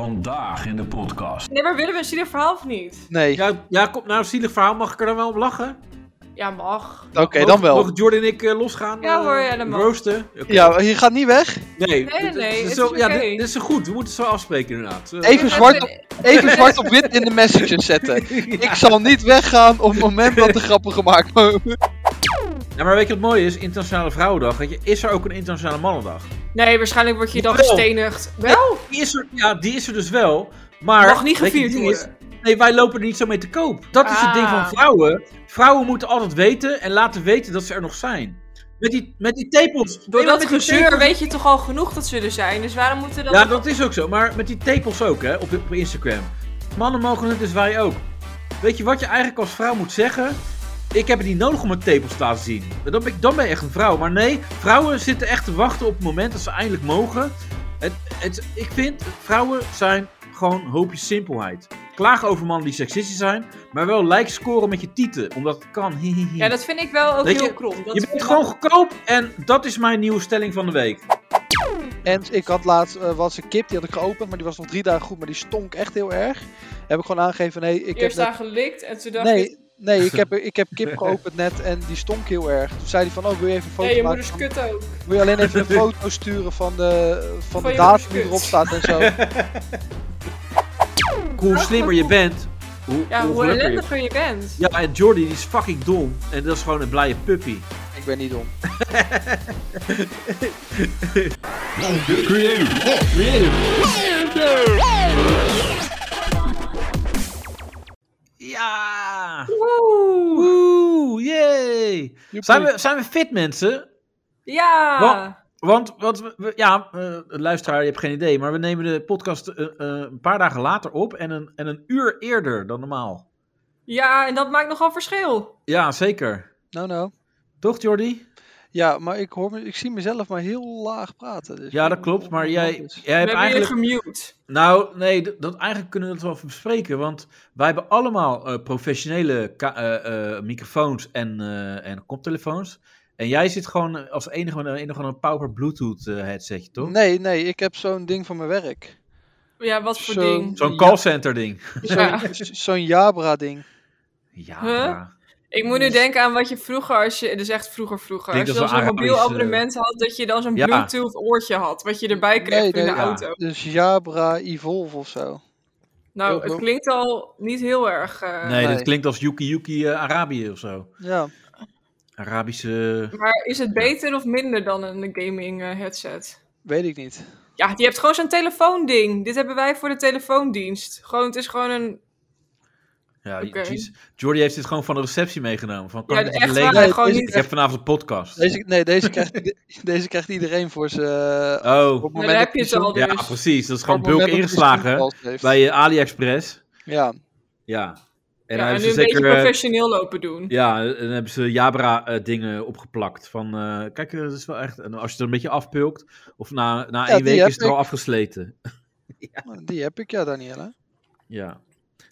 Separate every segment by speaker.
Speaker 1: Vandaag in de podcast.
Speaker 2: Nee, maar willen we een zielig verhaal of niet?
Speaker 3: Nee.
Speaker 4: Ja, ja, kom nou, zielig verhaal. Mag ik er dan wel om lachen?
Speaker 2: Ja, mag.
Speaker 3: Oké, dan wel.
Speaker 4: Mogen Jordan en ik eh, losgaan?
Speaker 2: Ja
Speaker 4: eh,
Speaker 2: hoor, ja, dat mag.
Speaker 4: Roosten? Oké.
Speaker 3: Ja, je gaat niet weg.
Speaker 4: Nee, dit-
Speaker 2: nee, nee,
Speaker 4: dit
Speaker 2: het
Speaker 4: is
Speaker 2: is
Speaker 4: wel- ja,
Speaker 2: oké.
Speaker 4: dit, dit is zo goed. We moeten het zo afspreken inderdaad. Eh,
Speaker 3: Even
Speaker 2: Ja,
Speaker 3: zwart,
Speaker 2: dat-
Speaker 3: op, even zwart op wit in de messages zetten. Ik zal niet weggaan op het moment dat de grappen gemaakt worden.
Speaker 4: Ja, maar weet je wat mooi is? Internationale Vrouwendag. Weet je, is er ook een Internationale Mannendag?
Speaker 2: Nee, waarschijnlijk word je dan
Speaker 4: Wel.
Speaker 2: gestenigd. Wel?
Speaker 4: Die is er, ja, die is er dus wel. Maar.
Speaker 2: Mag niet
Speaker 4: weet je,
Speaker 2: gevierd
Speaker 4: het ding is,
Speaker 2: worden.
Speaker 4: Nee, wij lopen er niet zo mee te koop. Dat is het
Speaker 2: Ah.
Speaker 4: ding van vrouwen. Vrouwen moeten altijd weten en laten weten dat ze er nog zijn. Met die, met die tepels.
Speaker 2: Door
Speaker 4: Nee, maar
Speaker 2: dat
Speaker 4: met die
Speaker 2: gezeur
Speaker 4: tepels-
Speaker 2: weet je toch al genoeg dat ze er zijn. Dus waarom moeten we
Speaker 4: Ja,
Speaker 2: dat...
Speaker 4: dat is ook zo. Maar met die tepels ook, hè, op, op Instagram. Mannen mogen het, dus wij ook. Weet je wat je eigenlijk als vrouw moet zeggen? Ik heb het niet nodig om mijn tepels te laten zien. Dan ben, ik, dan ben je echt een vrouw. Maar nee, vrouwen zitten echt te wachten op het moment dat ze eindelijk mogen. Het, het, ik vind, vrouwen zijn gewoon een hoopje simpelheid. Klagen over mannen die seksistisch zijn, maar wel like scoren met je tieten, omdat het kan. Hihihi.
Speaker 2: Ja, dat vind ik wel ook
Speaker 4: Weet
Speaker 2: heel
Speaker 4: je,
Speaker 2: krom. Dat
Speaker 4: je bent gewoon goedkoop en dat is mijn nieuwe stelling van de week.
Speaker 3: En ik had laatst eh, was een kip, die had ik geopend, maar die was nog drie dagen goed, maar die stonk echt heel erg. Heb ik gewoon aangegeven, nee, ik heb
Speaker 2: Eerst
Speaker 3: net...
Speaker 2: daar gelikt en toen dacht ik...
Speaker 3: Nee, nee ik, heb, ik heb kip geopend net en die stonk heel erg. Toen zei hij van, oh, wil je even een foto
Speaker 2: Nee, je
Speaker 3: maken?
Speaker 2: moeders
Speaker 3: van-
Speaker 2: kut ook.
Speaker 3: Wil je alleen even een foto sturen van de, van de
Speaker 2: je
Speaker 3: datum die
Speaker 2: moederskut.
Speaker 3: erop staat en zo?
Speaker 4: Hoe slimmer je bent, hoe,
Speaker 2: Ja, hoe
Speaker 4: gelukkiger je
Speaker 2: ellendiger je bent.
Speaker 4: Ja, en Jordi die is fucking dom. En dat is gewoon een blije puppy.
Speaker 3: ik ben niet dom.
Speaker 1: Creative.
Speaker 4: Ja!
Speaker 2: Woe.
Speaker 4: Oeh, yay!
Speaker 3: Joepie.
Speaker 4: Zijn we, zijn we fit, mensen?
Speaker 2: Ja.
Speaker 4: Wat? Want, want we, we- ja, eh, luisteraar, je hebt geen idee. Maar we nemen de podcast eh, eh, een paar dagen later op. En een, en een uur eerder dan normaal.
Speaker 2: Ja, en dat maakt nogal verschil.
Speaker 4: Ja, zeker.
Speaker 3: Nou, nou.
Speaker 4: Toch, Jordi?
Speaker 3: Ja, maar ik, hoor me, ik zie mezelf maar heel laag praten. dus
Speaker 4: Ja,
Speaker 3: ik
Speaker 4: dat
Speaker 3: weet
Speaker 4: klopt.
Speaker 3: niet
Speaker 4: Maar
Speaker 3: wat
Speaker 4: jij,
Speaker 3: het is.
Speaker 4: jij
Speaker 2: We
Speaker 4: hebt
Speaker 2: hebben jullie
Speaker 4: eigenlijk
Speaker 2: gemute.
Speaker 4: Nou, nee, d- dat, eigenlijk kunnen we dat wel even bespreken. Want wij hebben allemaal eh, professionele ka- eh, eh, microfoons en, eh, en koptelefoons. En jij zit gewoon als enige met een, enige een power Bluetooth eh, headsetje, toch?
Speaker 3: Nee, nee, ik heb zo'n ding van mijn werk.
Speaker 2: Ja, wat voor
Speaker 3: Zo.
Speaker 2: ding.
Speaker 4: Zo'n
Speaker 3: Ja.
Speaker 4: callcenter ding.
Speaker 3: Zo'n
Speaker 2: Ja.
Speaker 3: zo'n Jabra-ding.
Speaker 4: Ja,
Speaker 2: Huh?
Speaker 4: ja.
Speaker 2: Ik moet
Speaker 4: Dus-
Speaker 2: nu denken aan wat je vroeger, als je, dus echt vroeger vroeger,
Speaker 4: Ik
Speaker 2: als
Speaker 4: denk
Speaker 2: je
Speaker 4: dat
Speaker 2: dan zo'n
Speaker 4: we
Speaker 2: mobiel
Speaker 4: Arabisch, eh,
Speaker 2: abonnement had, dat je dan zo'n
Speaker 4: Ja.
Speaker 2: bluetooth oortje had, wat je erbij kreeg
Speaker 3: Nee,
Speaker 2: voor in
Speaker 3: nee,
Speaker 2: de
Speaker 4: ja.
Speaker 2: auto.
Speaker 3: Dus Jabra Evolve of zo.
Speaker 2: Nou,
Speaker 3: Heel
Speaker 2: het
Speaker 3: goed.
Speaker 2: klinkt al niet heel erg, eh,
Speaker 4: nee,
Speaker 3: nee.
Speaker 4: dit klinkt als Yuki Yuki eh, Arabië of zo.
Speaker 3: Ja.
Speaker 4: Arabische...
Speaker 2: maar is het beter of minder dan een gaming eh, headset?
Speaker 3: Weet ik niet.
Speaker 2: Ja, die hebt gewoon zo'n telefoonding. Dit hebben wij voor de telefoondienst. Gewoon, het is gewoon een,
Speaker 4: Ja,
Speaker 2: Oké.
Speaker 4: jeez. Jordi heeft dit gewoon van de receptie meegenomen. Van, kan
Speaker 2: ja,
Speaker 4: ik dit
Speaker 2: echt
Speaker 4: lenen?
Speaker 2: waar,
Speaker 3: Nee,
Speaker 2: gewoon
Speaker 3: deze-
Speaker 2: niet...
Speaker 4: Ik heb vanavond een podcast.
Speaker 3: Deze, nee, deze krijgt, de- deze krijgt iedereen voor zijn... op
Speaker 4: Oh,
Speaker 3: het
Speaker 2: Ja,
Speaker 3: moment
Speaker 2: daar
Speaker 3: dat
Speaker 2: heb je
Speaker 3: hij
Speaker 2: het
Speaker 3: zo'n-
Speaker 2: al dus.
Speaker 4: ja, precies. Dat is gewoon
Speaker 3: op het moment
Speaker 4: bulk
Speaker 3: dat hij zo'n
Speaker 4: ingeslagen
Speaker 3: vast heeft.
Speaker 4: bij eh, AliExpress.
Speaker 3: Ja.
Speaker 4: Ja. En
Speaker 2: Ja,
Speaker 4: dan
Speaker 2: en
Speaker 4: hebben
Speaker 2: nu
Speaker 4: ze
Speaker 2: een
Speaker 4: zeker.
Speaker 2: beetje
Speaker 4: eh,
Speaker 2: professioneel lopen doen.
Speaker 4: ja, en dan hebben ze Jabra-dingen opgeplakt. Van, eh, kijk, eh, dat is wel echt. En als je het een beetje afpulkt, of na, na
Speaker 3: Ja,
Speaker 4: één
Speaker 3: die
Speaker 4: week
Speaker 3: heb
Speaker 4: is het er al
Speaker 3: ik.
Speaker 4: afgesleten.
Speaker 3: Die heb ik, ja, Danielle.
Speaker 4: Ja.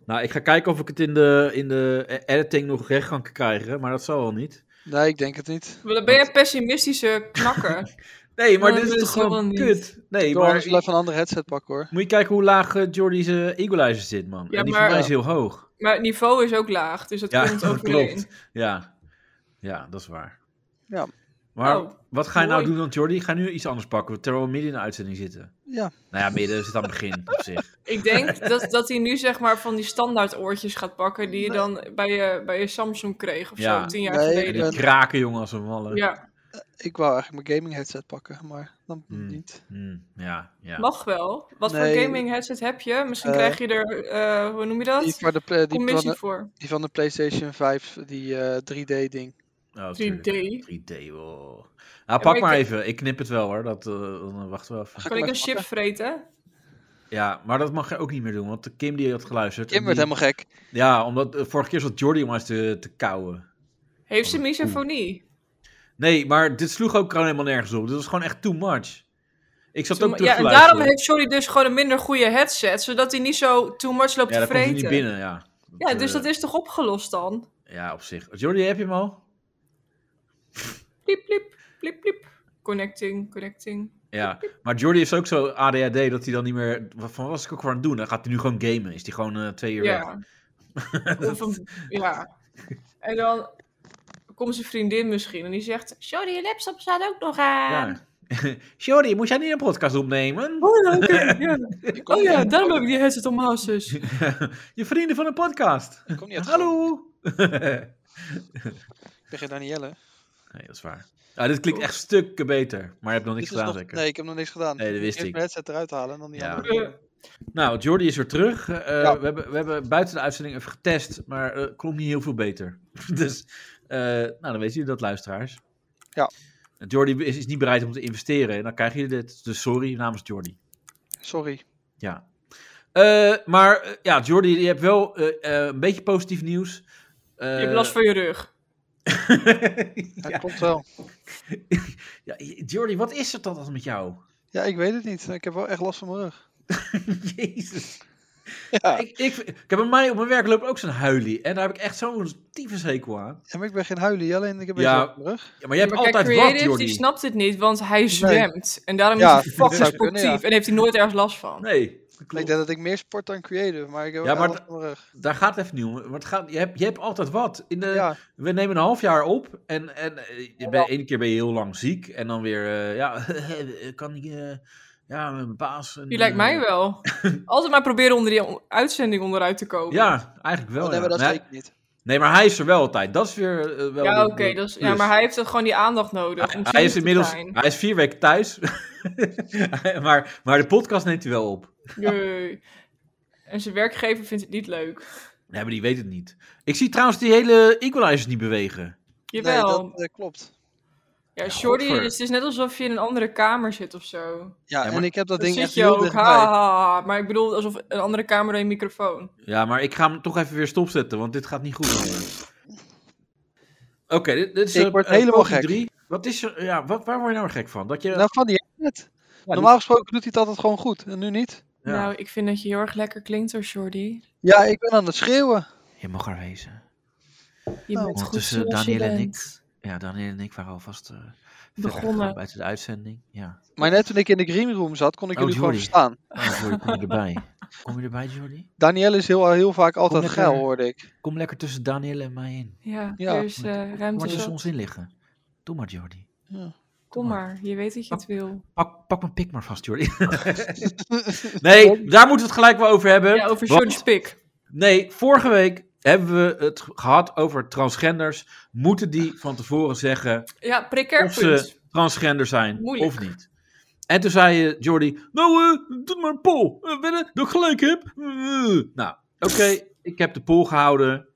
Speaker 4: Nou, ik ga kijken of ik het in de, in de e- editing nog recht kan krijgen, maar dat zal wel niet.
Speaker 3: Nee, ik denk het niet.
Speaker 2: Maar Dan ben jij pessimistische knakker.
Speaker 4: Nee, maar
Speaker 2: Oh,
Speaker 4: dit is
Speaker 2: dat
Speaker 4: toch
Speaker 2: zal wel
Speaker 4: gewoon
Speaker 2: niet.
Speaker 4: kut. Nee,
Speaker 3: Ik wil anders wel
Speaker 4: maar
Speaker 3: even een andere headset pakken, hoor.
Speaker 4: moet je kijken hoe laag eh, Jordi's eh, equalizer zit, man.
Speaker 2: Ja,
Speaker 4: en die
Speaker 2: maar- eh,
Speaker 4: van mij is heel hoog.
Speaker 2: maar het niveau is ook laag, dus dat
Speaker 4: Ja,
Speaker 2: komt
Speaker 4: dat
Speaker 2: overeen.
Speaker 4: klopt. Ja. ja, dat is waar.
Speaker 3: Ja.
Speaker 4: Maar
Speaker 2: Oh,
Speaker 4: wat ga je nou
Speaker 2: mooi.
Speaker 4: doen dan, Jordi? Ga nu iets anders pakken, terwijl we midden in de uitzending zitten.
Speaker 3: Ja.
Speaker 4: Nou ja, midden zit aan het begin op zich.
Speaker 2: Ik denk dat, dat hij nu zeg maar van die standaard oortjes gaat pakken die je dan bij je, bij je Samsung kreeg of
Speaker 4: Ja.
Speaker 2: zo, tien jaar
Speaker 3: Nee,
Speaker 4: En
Speaker 2: geleden.
Speaker 4: die
Speaker 3: ben-
Speaker 4: kraken, jongen, als een malle.
Speaker 2: Ja,
Speaker 3: Ik wou eigenlijk mijn gaming headset pakken, maar dan
Speaker 4: Hmm.
Speaker 3: niet.
Speaker 4: Hmm, ja, ja.
Speaker 2: mag wel. Wat voor
Speaker 3: Nee.
Speaker 2: gaming headset heb je? Misschien
Speaker 3: Eh,
Speaker 2: krijg je er, eh, hoe noem je dat?
Speaker 3: Die, van de, pla- die, van
Speaker 2: Commissie
Speaker 3: de,
Speaker 2: voor.
Speaker 3: die van de PlayStation 5, die eh, 3D-ding.
Speaker 4: Oh,
Speaker 2: 3D.
Speaker 4: tuurlijk. 3D, wow. Nou, pak
Speaker 2: ik-
Speaker 4: maar even. Ik knip het wel, hoor. Dat, eh, dan wachten we af.
Speaker 3: Ga
Speaker 2: Kan
Speaker 3: hem
Speaker 2: ik een
Speaker 3: even
Speaker 2: chip
Speaker 3: pakken.
Speaker 2: vreten?
Speaker 4: Ja, maar dat mag je ook niet meer doen, want Kim die had geluisterd.
Speaker 3: Kim
Speaker 4: en die-
Speaker 3: werd helemaal gek.
Speaker 4: Ja, omdat eh, vorige keer zat Jordi om eens te, te kauwen.
Speaker 2: Heeft ze
Speaker 4: Oh,
Speaker 2: misofonie?
Speaker 4: Nee, maar dit sloeg ook gewoon helemaal nergens op. Dit was gewoon echt too much. Ik zat ook terug
Speaker 2: Ja,
Speaker 4: te
Speaker 2: en
Speaker 4: luisteren.
Speaker 2: daarom heeft Sorry dus gewoon een minder goede headset, zodat hij niet zo too much
Speaker 4: Ja,
Speaker 2: loopt te
Speaker 4: dat komt hij niet
Speaker 2: vreten.
Speaker 4: binnen, ja.
Speaker 2: Ja, dus
Speaker 4: eh,
Speaker 2: dat is toch opgelost dan?
Speaker 4: Ja, op zich. Jordi, heb je hem al?
Speaker 2: Pliep, pliep, pliep, pliep. Connecting, connecting.
Speaker 4: Ja, maar Jordi is ook zo ADHD dat hij dan niet meer. Wat van, wat was ik ook voor aan het doen? Dan gaat hij nu gewoon gamen. Is hij gewoon eh, twee uur weg.
Speaker 2: Ja. Of een- ja. En dan komt zijn vriendin misschien en die zegt: Sorry, je laptop staat ook nog aan.
Speaker 4: Ja. Jordi, moet jij niet een podcast opnemen?
Speaker 2: Oh, ja, oké, ja.
Speaker 3: Ik kom
Speaker 2: oh ja,
Speaker 3: niet-
Speaker 2: daarom heb ik die headset om mijn hoofd, zus.
Speaker 4: Je vrienden van een podcast.
Speaker 3: ik kom Oh, niet uit de grond.
Speaker 4: Hallo!
Speaker 3: Ik ben geen Danielle.
Speaker 4: nee, dat is waar. Ah, dit klinkt echt stukken beter. Maar je hebt nog niks
Speaker 3: Dit is
Speaker 4: gedaan,
Speaker 3: nog-
Speaker 4: zeker?
Speaker 3: Nee, ik heb nog niks gedaan.
Speaker 4: Nee, dat wist
Speaker 3: Eerst
Speaker 4: ik.
Speaker 3: mijn headset eruit halen en dan die
Speaker 4: Ja.
Speaker 3: andere.
Speaker 2: Eh,
Speaker 4: Nou, Jordi is weer terug. Eh,
Speaker 3: Ja.
Speaker 4: we, hebben, we hebben buiten de uitzending even getest, maar eh klonk niet heel veel beter. dus, eh, nou, dan weten jullie dat, luisteraars.
Speaker 3: Ja.
Speaker 4: En Jordi is, is niet bereid om te investeren en dan krijgen jullie dit. Dus sorry namens Jordi.
Speaker 3: Sorry.
Speaker 4: Ja. Eh, maar eh, ja, Jordi, je hebt wel eh, eh, een beetje positief nieuws.
Speaker 2: je
Speaker 4: Eh,
Speaker 2: hebt last van je rug.
Speaker 3: Dat
Speaker 4: ja,
Speaker 3: klopt wel.
Speaker 4: ja, Jordi, wat is er dan als met jou?
Speaker 3: Ja, ik weet het niet. Ik heb wel echt last van mijn rug.
Speaker 4: Jezus.
Speaker 3: Ja.
Speaker 4: Ik, ik, ik heb bij mij op mijn werk loopt ook zo'n huilie. En daar heb ik echt zo'n tyfushekel aan.
Speaker 3: En ik ben geen huilie, alleen ik heb een
Speaker 4: Ja.
Speaker 3: beetje last van mijn rug.
Speaker 4: Ja, maar jij hebt
Speaker 2: Maar kijk,
Speaker 4: altijd wat,
Speaker 2: Creative
Speaker 4: Jordi.
Speaker 2: die snapt het niet, want hij zwemt. En daarom
Speaker 3: Ja,
Speaker 2: is hij
Speaker 3: dat
Speaker 2: fucking
Speaker 3: zou
Speaker 2: sportief
Speaker 3: kunnen,
Speaker 2: en heeft hij nooit ergens last van.
Speaker 4: Nee, dat
Speaker 3: Ik
Speaker 4: klopt.
Speaker 3: denk dat ik meer sport dan creative, maar ik heb
Speaker 4: Ja,
Speaker 3: wel
Speaker 4: maar
Speaker 3: last
Speaker 4: d-
Speaker 3: van mijn rug.
Speaker 4: Daar gaat het even niet om. Want het gaat, je, hebt, je hebt altijd wat. In de,
Speaker 3: Ja,
Speaker 4: We nemen een half jaar op. En, en eh, je bent- één keer ben je heel lang ziek. En dan weer, eh, ja, kan ik... eh, ja, mijn baas... en,
Speaker 2: Die lijkt
Speaker 4: eh,
Speaker 2: mij wel. Altijd maar proberen onder die on- uitzending onderuit te komen.
Speaker 4: Ja, eigenlijk wel.
Speaker 3: oh, nee,
Speaker 4: ja.
Speaker 3: maar dat
Speaker 4: Maar-
Speaker 3: zeker niet.
Speaker 4: nee, maar hij is er wel altijd. Dat is weer eh, wel...
Speaker 2: Ja,
Speaker 4: de-
Speaker 2: oké.
Speaker 4: de
Speaker 2: dat is- ja,
Speaker 4: plus.
Speaker 2: maar hij heeft dan gewoon die aandacht nodig. om
Speaker 4: hij is
Speaker 2: zinnig te
Speaker 4: inmiddels
Speaker 2: zijn.
Speaker 4: hij is vier weken thuis. maar, maar de podcast neemt hij wel op.
Speaker 2: Jee. En zijn werkgever vindt het niet leuk.
Speaker 4: Nee, maar die weet het niet. Ik zie trouwens die hele equalizers niet bewegen.
Speaker 3: Nee,
Speaker 2: Jawel.
Speaker 3: dat eh, klopt.
Speaker 2: Ja, Shorty,
Speaker 4: godver.
Speaker 2: het is net alsof je in een andere kamer zit of zo.
Speaker 3: Ja,
Speaker 4: Ja, maar-
Speaker 3: en ik heb dat
Speaker 2: Dat
Speaker 3: ding
Speaker 2: zit
Speaker 3: echt
Speaker 2: je
Speaker 3: heel
Speaker 2: ook,
Speaker 3: dichtbij.
Speaker 2: haha. Maar ik bedoel, alsof een andere kamer dan je microfoon.
Speaker 4: Ja, maar ik ga hem toch even weer stopzetten, want dit gaat niet goed. Oké, dit, dit is
Speaker 3: Ik
Speaker 4: eh,
Speaker 3: word
Speaker 4: eh,
Speaker 3: helemaal
Speaker 4: poging
Speaker 3: gek.
Speaker 4: drie. Wat is er, ja, wat, waar word je nou gek van? Dat je,
Speaker 3: Nou, van die headset.
Speaker 4: ja,
Speaker 3: Normaal gesproken doet hij het altijd gewoon goed, en nu niet.
Speaker 4: ja.
Speaker 2: Nou, ik vind dat je heel erg lekker klinkt hoor, Shorty.
Speaker 3: Ja, ik ben aan het schreeuwen.
Speaker 4: Je mag er wezen.
Speaker 2: Je
Speaker 3: Nou,
Speaker 2: bent goed
Speaker 4: ondertussen
Speaker 2: zoals je
Speaker 4: Daniel en ik.
Speaker 2: bent.
Speaker 4: Ja, Daniel en ik waren alvast eh, verder
Speaker 2: Begonnen.
Speaker 4: gegaan buiten de uitzending. Ja.
Speaker 3: Maar net toen ik in de greenroom zat, kon ik
Speaker 4: Oh,
Speaker 3: jullie gewoon
Speaker 4: Jordi.
Speaker 3: verstaan.
Speaker 4: Oh, Jordi, kom je erbij? Kom je erbij, Jordi?
Speaker 3: Danielle is heel, eh, heel vaak altijd
Speaker 4: lekker.
Speaker 3: geil, hoorde ik.
Speaker 4: Kom lekker tussen Daniel en mij in.
Speaker 2: Ja,
Speaker 3: Ja.
Speaker 2: dus eh
Speaker 4: Kom maar
Speaker 2: ruimte
Speaker 4: tussen
Speaker 2: zat.
Speaker 4: ons in liggen. Doe maar, Jordi.
Speaker 2: Kom maar, je weet dat je het wil.
Speaker 4: Pak, pak mijn pik maar vast, Jordi. nee, daar moeten we het gelijk wel over hebben.
Speaker 2: Ja, over
Speaker 4: want-
Speaker 2: Shorty's pik.
Speaker 4: Nee, vorige week hebben we het gehad over transgenders. Moeten die van tevoren zeggen
Speaker 2: Ja, precair
Speaker 4: Of ze-
Speaker 2: punt.
Speaker 4: transgender zijn
Speaker 2: Moeilijk.
Speaker 4: of niet? En toen zei je, Jordi, nou, eh, doe maar een poll. Eh, willen dat ik gelijk heb? Eh, eh. nou, oké, ik heb de poll gehouden.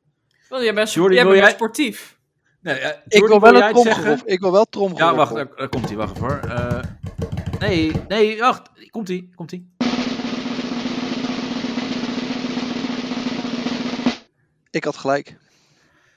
Speaker 2: Want jij bent,
Speaker 4: Jordi,
Speaker 2: jij
Speaker 4: wil
Speaker 2: bent
Speaker 4: jij-
Speaker 2: sportief.
Speaker 4: Nee, eh, Jordi,
Speaker 3: Ik wil
Speaker 4: wil
Speaker 3: wel
Speaker 4: jij
Speaker 3: een
Speaker 4: het
Speaker 3: tromgeroep. Ik wil wel tromgeroep.
Speaker 4: Ja, wacht, eh. daar, daar komt hij, wacht even hoor. Eh, nee, nee, wacht, komt hij, komt hij.
Speaker 3: Ik had gelijk.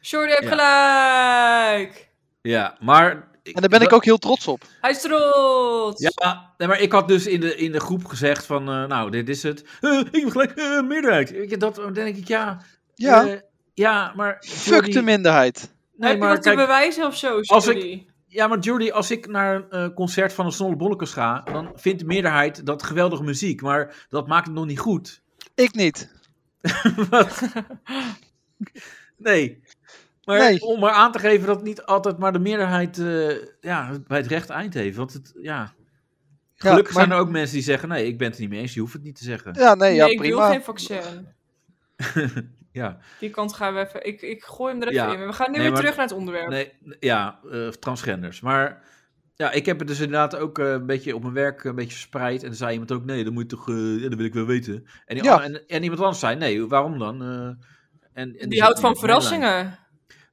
Speaker 2: Shorty heeft
Speaker 4: Ja.
Speaker 2: gelijk.
Speaker 4: Ja, maar...
Speaker 3: En daar ben ik ook heel trots op.
Speaker 2: Hij is trots.
Speaker 4: Ja, nee, maar ik had dus in de, in de groep gezegd van, eh, nou, dit is het. Eh, ik heb gelijk, eh, meerderheid. Weet je, dat dan denk ik, ja...
Speaker 3: Ja,
Speaker 4: eh, ja, maar...
Speaker 3: fuck de minderheid.
Speaker 4: Nee,
Speaker 2: heb je
Speaker 4: maar
Speaker 2: wat te
Speaker 4: kijk,
Speaker 2: bewijzen of zo,
Speaker 4: als
Speaker 2: Shorty?
Speaker 4: ja, maar Jordi, als ik naar een eh, concert van een Snolle Bollekes ga, dan vindt de meerderheid dat geweldige muziek. Maar dat maakt het nog niet goed.
Speaker 3: Ik niet.
Speaker 4: Wat? nee. Maar
Speaker 3: Nee.
Speaker 4: om maar aan te geven dat niet altijd maar de meerderheid eh, ja, bij het recht eind heeft. Want het, ja... Gelukkig
Speaker 3: maar-
Speaker 4: zijn er ook mensen die zeggen, nee, ik ben het er niet mee eens, je hoeft het niet te zeggen.
Speaker 3: Ja, nee,
Speaker 2: Nee,
Speaker 3: ja,
Speaker 2: ik wil
Speaker 3: prima.
Speaker 2: geen vaccin.
Speaker 4: Ja.
Speaker 2: Die kant gaan we even... Ik, ik gooi hem er even
Speaker 4: Ja.
Speaker 2: in. We gaan nu
Speaker 4: Nee,
Speaker 2: weer
Speaker 4: maar-
Speaker 2: terug naar het onderwerp.
Speaker 4: Nee, n- ja, eh, transgenders. Maar ja, ik heb het dus inderdaad ook eh, een beetje op mijn werk een beetje verspreid. En toen zei iemand ook, nee, dan moet je toch, eh, ja, dat wil ik wel weten. En, die
Speaker 3: Ja.
Speaker 4: ander- en, en iemand anders zei, nee, waarom dan? Eh, en, en
Speaker 2: Die,
Speaker 4: zit
Speaker 2: houdt
Speaker 4: nu
Speaker 2: van
Speaker 4: op mijn lijn.
Speaker 2: verrassingen.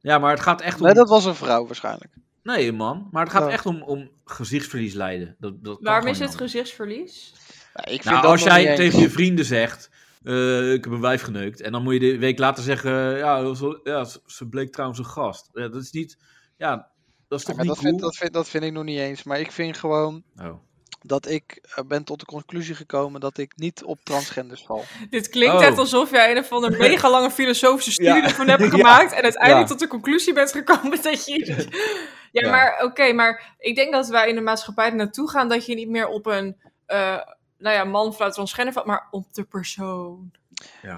Speaker 4: Ja, maar het gaat echt om...
Speaker 3: Nee, dat was een vrouw waarschijnlijk.
Speaker 4: Nee, man. Maar het gaat
Speaker 3: Ja.
Speaker 4: echt om, om gezichtsverlies lijden. Dat, dat kan
Speaker 2: Waarom
Speaker 4: gewoon
Speaker 2: is
Speaker 4: niet
Speaker 2: het
Speaker 4: anders.
Speaker 2: gezichtsverlies?
Speaker 3: Nou, ik vind
Speaker 4: Nou,
Speaker 3: dat
Speaker 4: als
Speaker 3: nog niet
Speaker 4: jij
Speaker 3: eens.
Speaker 4: tegen je vrienden zegt, eh, ik heb een wijf geneukt. En dan moet je de week later zeggen, ja, dat was wel- ja ze- ze bleek trouwens een gast. Ja, dat is niet... Ja, dat is
Speaker 3: Ja,
Speaker 4: toch
Speaker 3: maar
Speaker 4: niet
Speaker 3: dat,
Speaker 4: cool?
Speaker 3: vind, dat, vind, dat vind ik nog niet eens. Maar ik vind gewoon
Speaker 4: Oh.
Speaker 3: dat ik eh, ben tot de conclusie gekomen dat ik niet op transgenders val.
Speaker 2: Dit klinkt
Speaker 4: Oh.
Speaker 2: echt alsof jij een of andere mega lange filosofische studie
Speaker 4: Ja.
Speaker 2: ervan hebt
Speaker 4: Ja.
Speaker 2: gemaakt. En uiteindelijk
Speaker 4: Ja.
Speaker 2: tot de conclusie bent gekomen dat je Ja,
Speaker 4: Ja.
Speaker 2: maar oké, maar ik denk dat wij in de maatschappij er naartoe gaan dat je niet meer op een eh, nou ja, man, vrouw, transgender valt, maar op de persoon.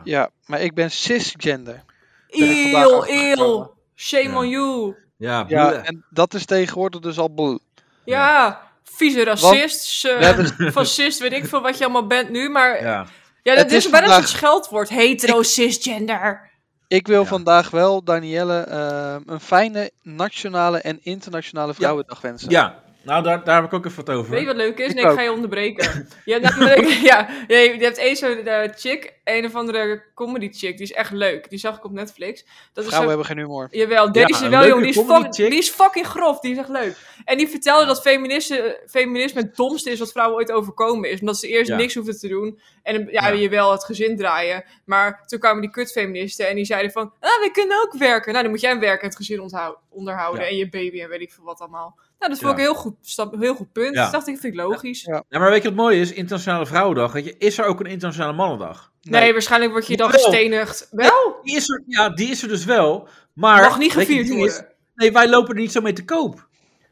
Speaker 3: Ja, maar ik ben cisgender. Ben ik vandaag
Speaker 2: Eeuw,
Speaker 3: achtergekomen.
Speaker 2: eeuw, shame
Speaker 4: Ja.
Speaker 2: on you.
Speaker 4: Ja,
Speaker 3: Ja,
Speaker 4: boeien.
Speaker 3: en dat is tegenwoordig dus al boel.
Speaker 2: Ja, vieze racist, eh,
Speaker 3: We hebben,
Speaker 2: fascist, weet ik veel wat je allemaal bent nu, maar ja,
Speaker 4: ja.
Speaker 2: dat
Speaker 3: Het
Speaker 2: is,
Speaker 3: is
Speaker 2: bijna
Speaker 3: vandaag-
Speaker 2: een scheldwoord. Hetero, cisgender.
Speaker 3: ik wil
Speaker 4: Ja.
Speaker 3: vandaag wel Danielle ehm, een fijne nationale en internationale vrouwendag wensen.
Speaker 4: Ja, nou daar, daar heb ik ook even wat over.
Speaker 2: Weet je wat leuk is?
Speaker 3: Ik
Speaker 2: Nee, ik
Speaker 3: ook.
Speaker 2: ga je onderbreken. Je hebt namelijk, ja, je, je hebt één zo'n eh, chick, een of andere comedy chick, die is echt leuk. Die zag ik op Netflix. Dat is
Speaker 3: Vrouwen
Speaker 2: zo-
Speaker 3: hebben geen humor.
Speaker 2: Jawel,
Speaker 4: Ja,
Speaker 2: deze
Speaker 4: een
Speaker 2: wel,
Speaker 4: leuke
Speaker 2: jongen. Die is,
Speaker 4: comedy
Speaker 2: fuck-
Speaker 4: chick.
Speaker 2: die is fucking grof. Die is echt leuk. En die vertelde dat feminisme, feminisme het domste is wat vrouwen ooit overkomen is. Omdat ze eerst
Speaker 4: Ja.
Speaker 2: niks hoeven te doen. En eh, ja,
Speaker 4: Ja.
Speaker 2: je wel het gezin draaien. Maar toen kwamen die kutfeministen en die zeiden van... Ah, we kunnen ook werken. Nou, dan moet jij werken en het gezin onthou- onderhouden.
Speaker 4: Ja.
Speaker 2: En je baby en weet ik veel wat allemaal. Nou, dat vond ik
Speaker 4: Ja.
Speaker 2: een heel goed, stap, heel goed punt.
Speaker 4: Ja.
Speaker 2: Dat dacht ik, vind ik logisch.
Speaker 3: Ja.
Speaker 4: Ja, maar weet je wat mooi is? Internationale Vrouwendag. Weet je, is er ook een Internationale Mannendag?
Speaker 2: Nee, waarschijnlijk word je dan
Speaker 4: Jawel.
Speaker 2: gestenigd. Wel?
Speaker 4: Die is er, ja, die is er dus wel. Maar.
Speaker 2: Mag niet
Speaker 4: weet je,
Speaker 2: gevierd
Speaker 4: die
Speaker 2: worden.
Speaker 4: is- nee, wij lopen er niet zo mee te koop.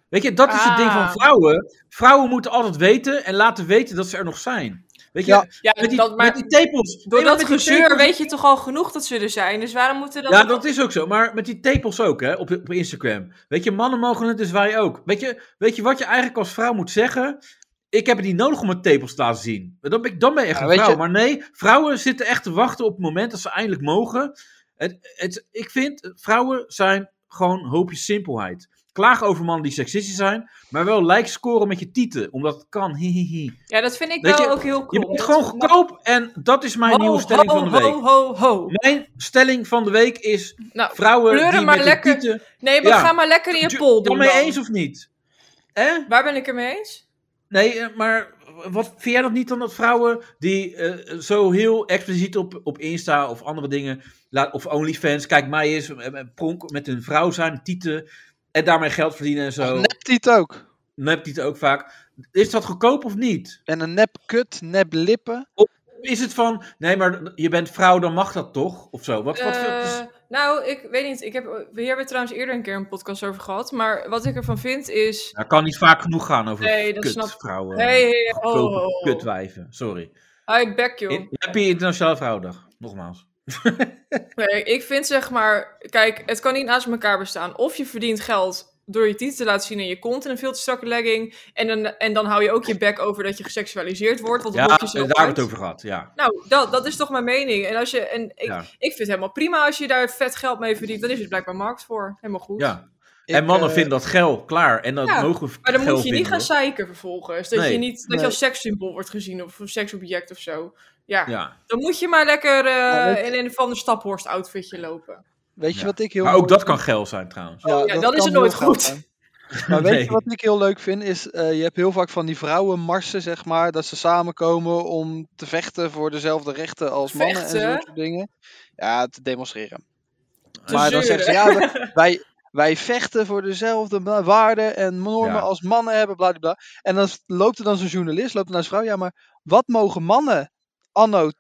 Speaker 4: Weet je, dat is het ding van
Speaker 2: Ah.
Speaker 4: vrouwen. Vrouwen moeten altijd weten en laten weten dat ze er nog zijn. Weet je,
Speaker 3: Ja,
Speaker 2: Ja,
Speaker 4: met, die,
Speaker 2: dat, maar
Speaker 4: met die tepels. Nee,
Speaker 2: door
Speaker 4: maar
Speaker 2: dat
Speaker 4: met die
Speaker 2: gezeur
Speaker 4: tepels-
Speaker 2: weet je toch al genoeg dat ze er zijn. Dus waarom moeten dat...
Speaker 4: Ja, dat is ook zo. Maar met die tepels ook, hè, op, op Instagram. Weet je, mannen mogen het, dus wij ook. Weet je, weet je wat je eigenlijk als vrouw moet zeggen? Ik heb het niet nodig om mijn tepels te laten zien. Dan ben ik, dan ben je echt
Speaker 3: Ja,
Speaker 4: een
Speaker 3: weet
Speaker 4: vrouw.
Speaker 3: je-
Speaker 4: Maar nee, vrouwen zitten echt te wachten op het moment dat ze eindelijk mogen. Het, het, ik vind, vrouwen zijn gewoon een hoopje simpelheid. Klagen over mannen die seksistisch zijn, maar wel like scoren met je tieten, omdat het kan. Hihihi.
Speaker 2: Ja, dat vind ik
Speaker 4: Weet
Speaker 2: wel
Speaker 4: je,
Speaker 2: ook heel cool.
Speaker 4: Je bent
Speaker 2: Dat
Speaker 4: gewoon
Speaker 2: is-
Speaker 4: goedkoop en dat is mijn
Speaker 2: Ho,
Speaker 4: nieuwe stelling
Speaker 2: ho,
Speaker 4: van de week.
Speaker 2: Ho, ho, ho.
Speaker 4: Mijn stelling van de week is
Speaker 2: Nou,
Speaker 4: vrouwen
Speaker 2: Kleuren
Speaker 4: die
Speaker 2: maar
Speaker 4: met
Speaker 2: lekker
Speaker 4: hun tieten...
Speaker 2: nee, maar
Speaker 4: ja.
Speaker 2: ga maar lekker in je
Speaker 4: Ju-
Speaker 2: pol doen
Speaker 4: Kan mee
Speaker 2: dan.
Speaker 4: eens of niet? Hè?
Speaker 2: Waar ben ik het mee eens?
Speaker 4: Nee, eh, maar wat vind jij dat niet dan dat vrouwen die eh, zo heel expliciet op, op Insta of andere dingen, laat, of OnlyFans, kijk mij eens, eh, eh, pronk met hun vrouw zijn, tieten, en daarmee geld verdienen en zo.
Speaker 3: Nep tiet ook.
Speaker 4: Nep tieten ook vaak. Is dat goedkoop of niet?
Speaker 3: En een nep kut, nep lippen.
Speaker 4: Is het van, nee, maar je bent vrouw, dan mag dat toch? Of zo? Wat, wat, wat is-
Speaker 2: Eh, nou, ik weet niet. Ik heb, hier hebben we trouwens eerder een keer een podcast over gehad. Maar wat ik ervan vind is...
Speaker 4: Nou, kan niet vaak genoeg gaan over
Speaker 2: Nee, dat
Speaker 4: kut
Speaker 2: snap
Speaker 4: vrouwen.
Speaker 2: Hey, oh. hey, ho,
Speaker 4: Goedkope
Speaker 2: ho, ho.
Speaker 4: kutwijven, sorry.
Speaker 2: Hou je bek, joh.
Speaker 4: In- Happy Internationale Vrouwendag, nogmaals.
Speaker 2: Nee, ik vind zeg maar, kijk, het kan niet naast elkaar bestaan. Of je verdient geld door je titel te laten zien en je kont in een veel te strakke legging. En dan, en dan hou je ook je bek over dat je geseksualiseerd wordt. Want
Speaker 4: Ja,
Speaker 2: dan
Speaker 4: daar
Speaker 2: word je zo
Speaker 4: hebben we
Speaker 2: uit.
Speaker 4: het over gehad. Ja.
Speaker 2: Nou, dat, dat is toch mijn mening. En, als je, en ik,
Speaker 4: Ja.
Speaker 2: ik vind het helemaal prima als je daar vet geld mee verdient. Dan is het blijkbaar markt voor. Helemaal goed.
Speaker 4: Ja.
Speaker 3: Ik,
Speaker 4: en mannen
Speaker 3: eh,
Speaker 4: vinden dat geil, klaar. En dat
Speaker 2: Ja,
Speaker 4: mogen we
Speaker 2: Maar dan
Speaker 4: geil
Speaker 2: moet je niet
Speaker 4: vinden,
Speaker 2: gaan zeiken vervolgens. Dat,
Speaker 4: Nee.
Speaker 2: je, niet, dat
Speaker 3: Nee.
Speaker 2: je als sekssymbool wordt gezien of een seksobject of zo. Ja,
Speaker 4: hoor. Ja.
Speaker 2: dan moet je maar lekker eh,
Speaker 3: Ja, weet je-
Speaker 2: in een van de staphorst outfitje lopen.
Speaker 3: Weet je
Speaker 4: Ja.
Speaker 3: wat ik heel
Speaker 4: Maar ook
Speaker 3: mooi
Speaker 4: dat kan geil zijn trouwens.
Speaker 2: Oh, ja, dan is
Speaker 3: kan
Speaker 2: het nooit
Speaker 3: heel
Speaker 2: goed.
Speaker 3: gaaf zijn. Maar weet
Speaker 4: Nee.
Speaker 3: je wat ik heel leuk vind? Is, eh, je hebt heel vaak van die vrouwenmarsen, zeg maar, dat ze samenkomen om te vechten voor dezelfde rechten als mannen en
Speaker 2: Vechten?
Speaker 3: zo soort dingen. Ja, te demonstreren.
Speaker 2: Te
Speaker 3: maar dan
Speaker 2: zeuren.
Speaker 3: zeggen ze, ja, we- wij, wij vechten voor dezelfde ma- waarden en normen
Speaker 4: Ja.
Speaker 3: als mannen hebben, bla bla, bla. En dan s- loopt er dan zo'n journalist, loopt er naar zijn vrouw, ja, maar wat mogen mannen anno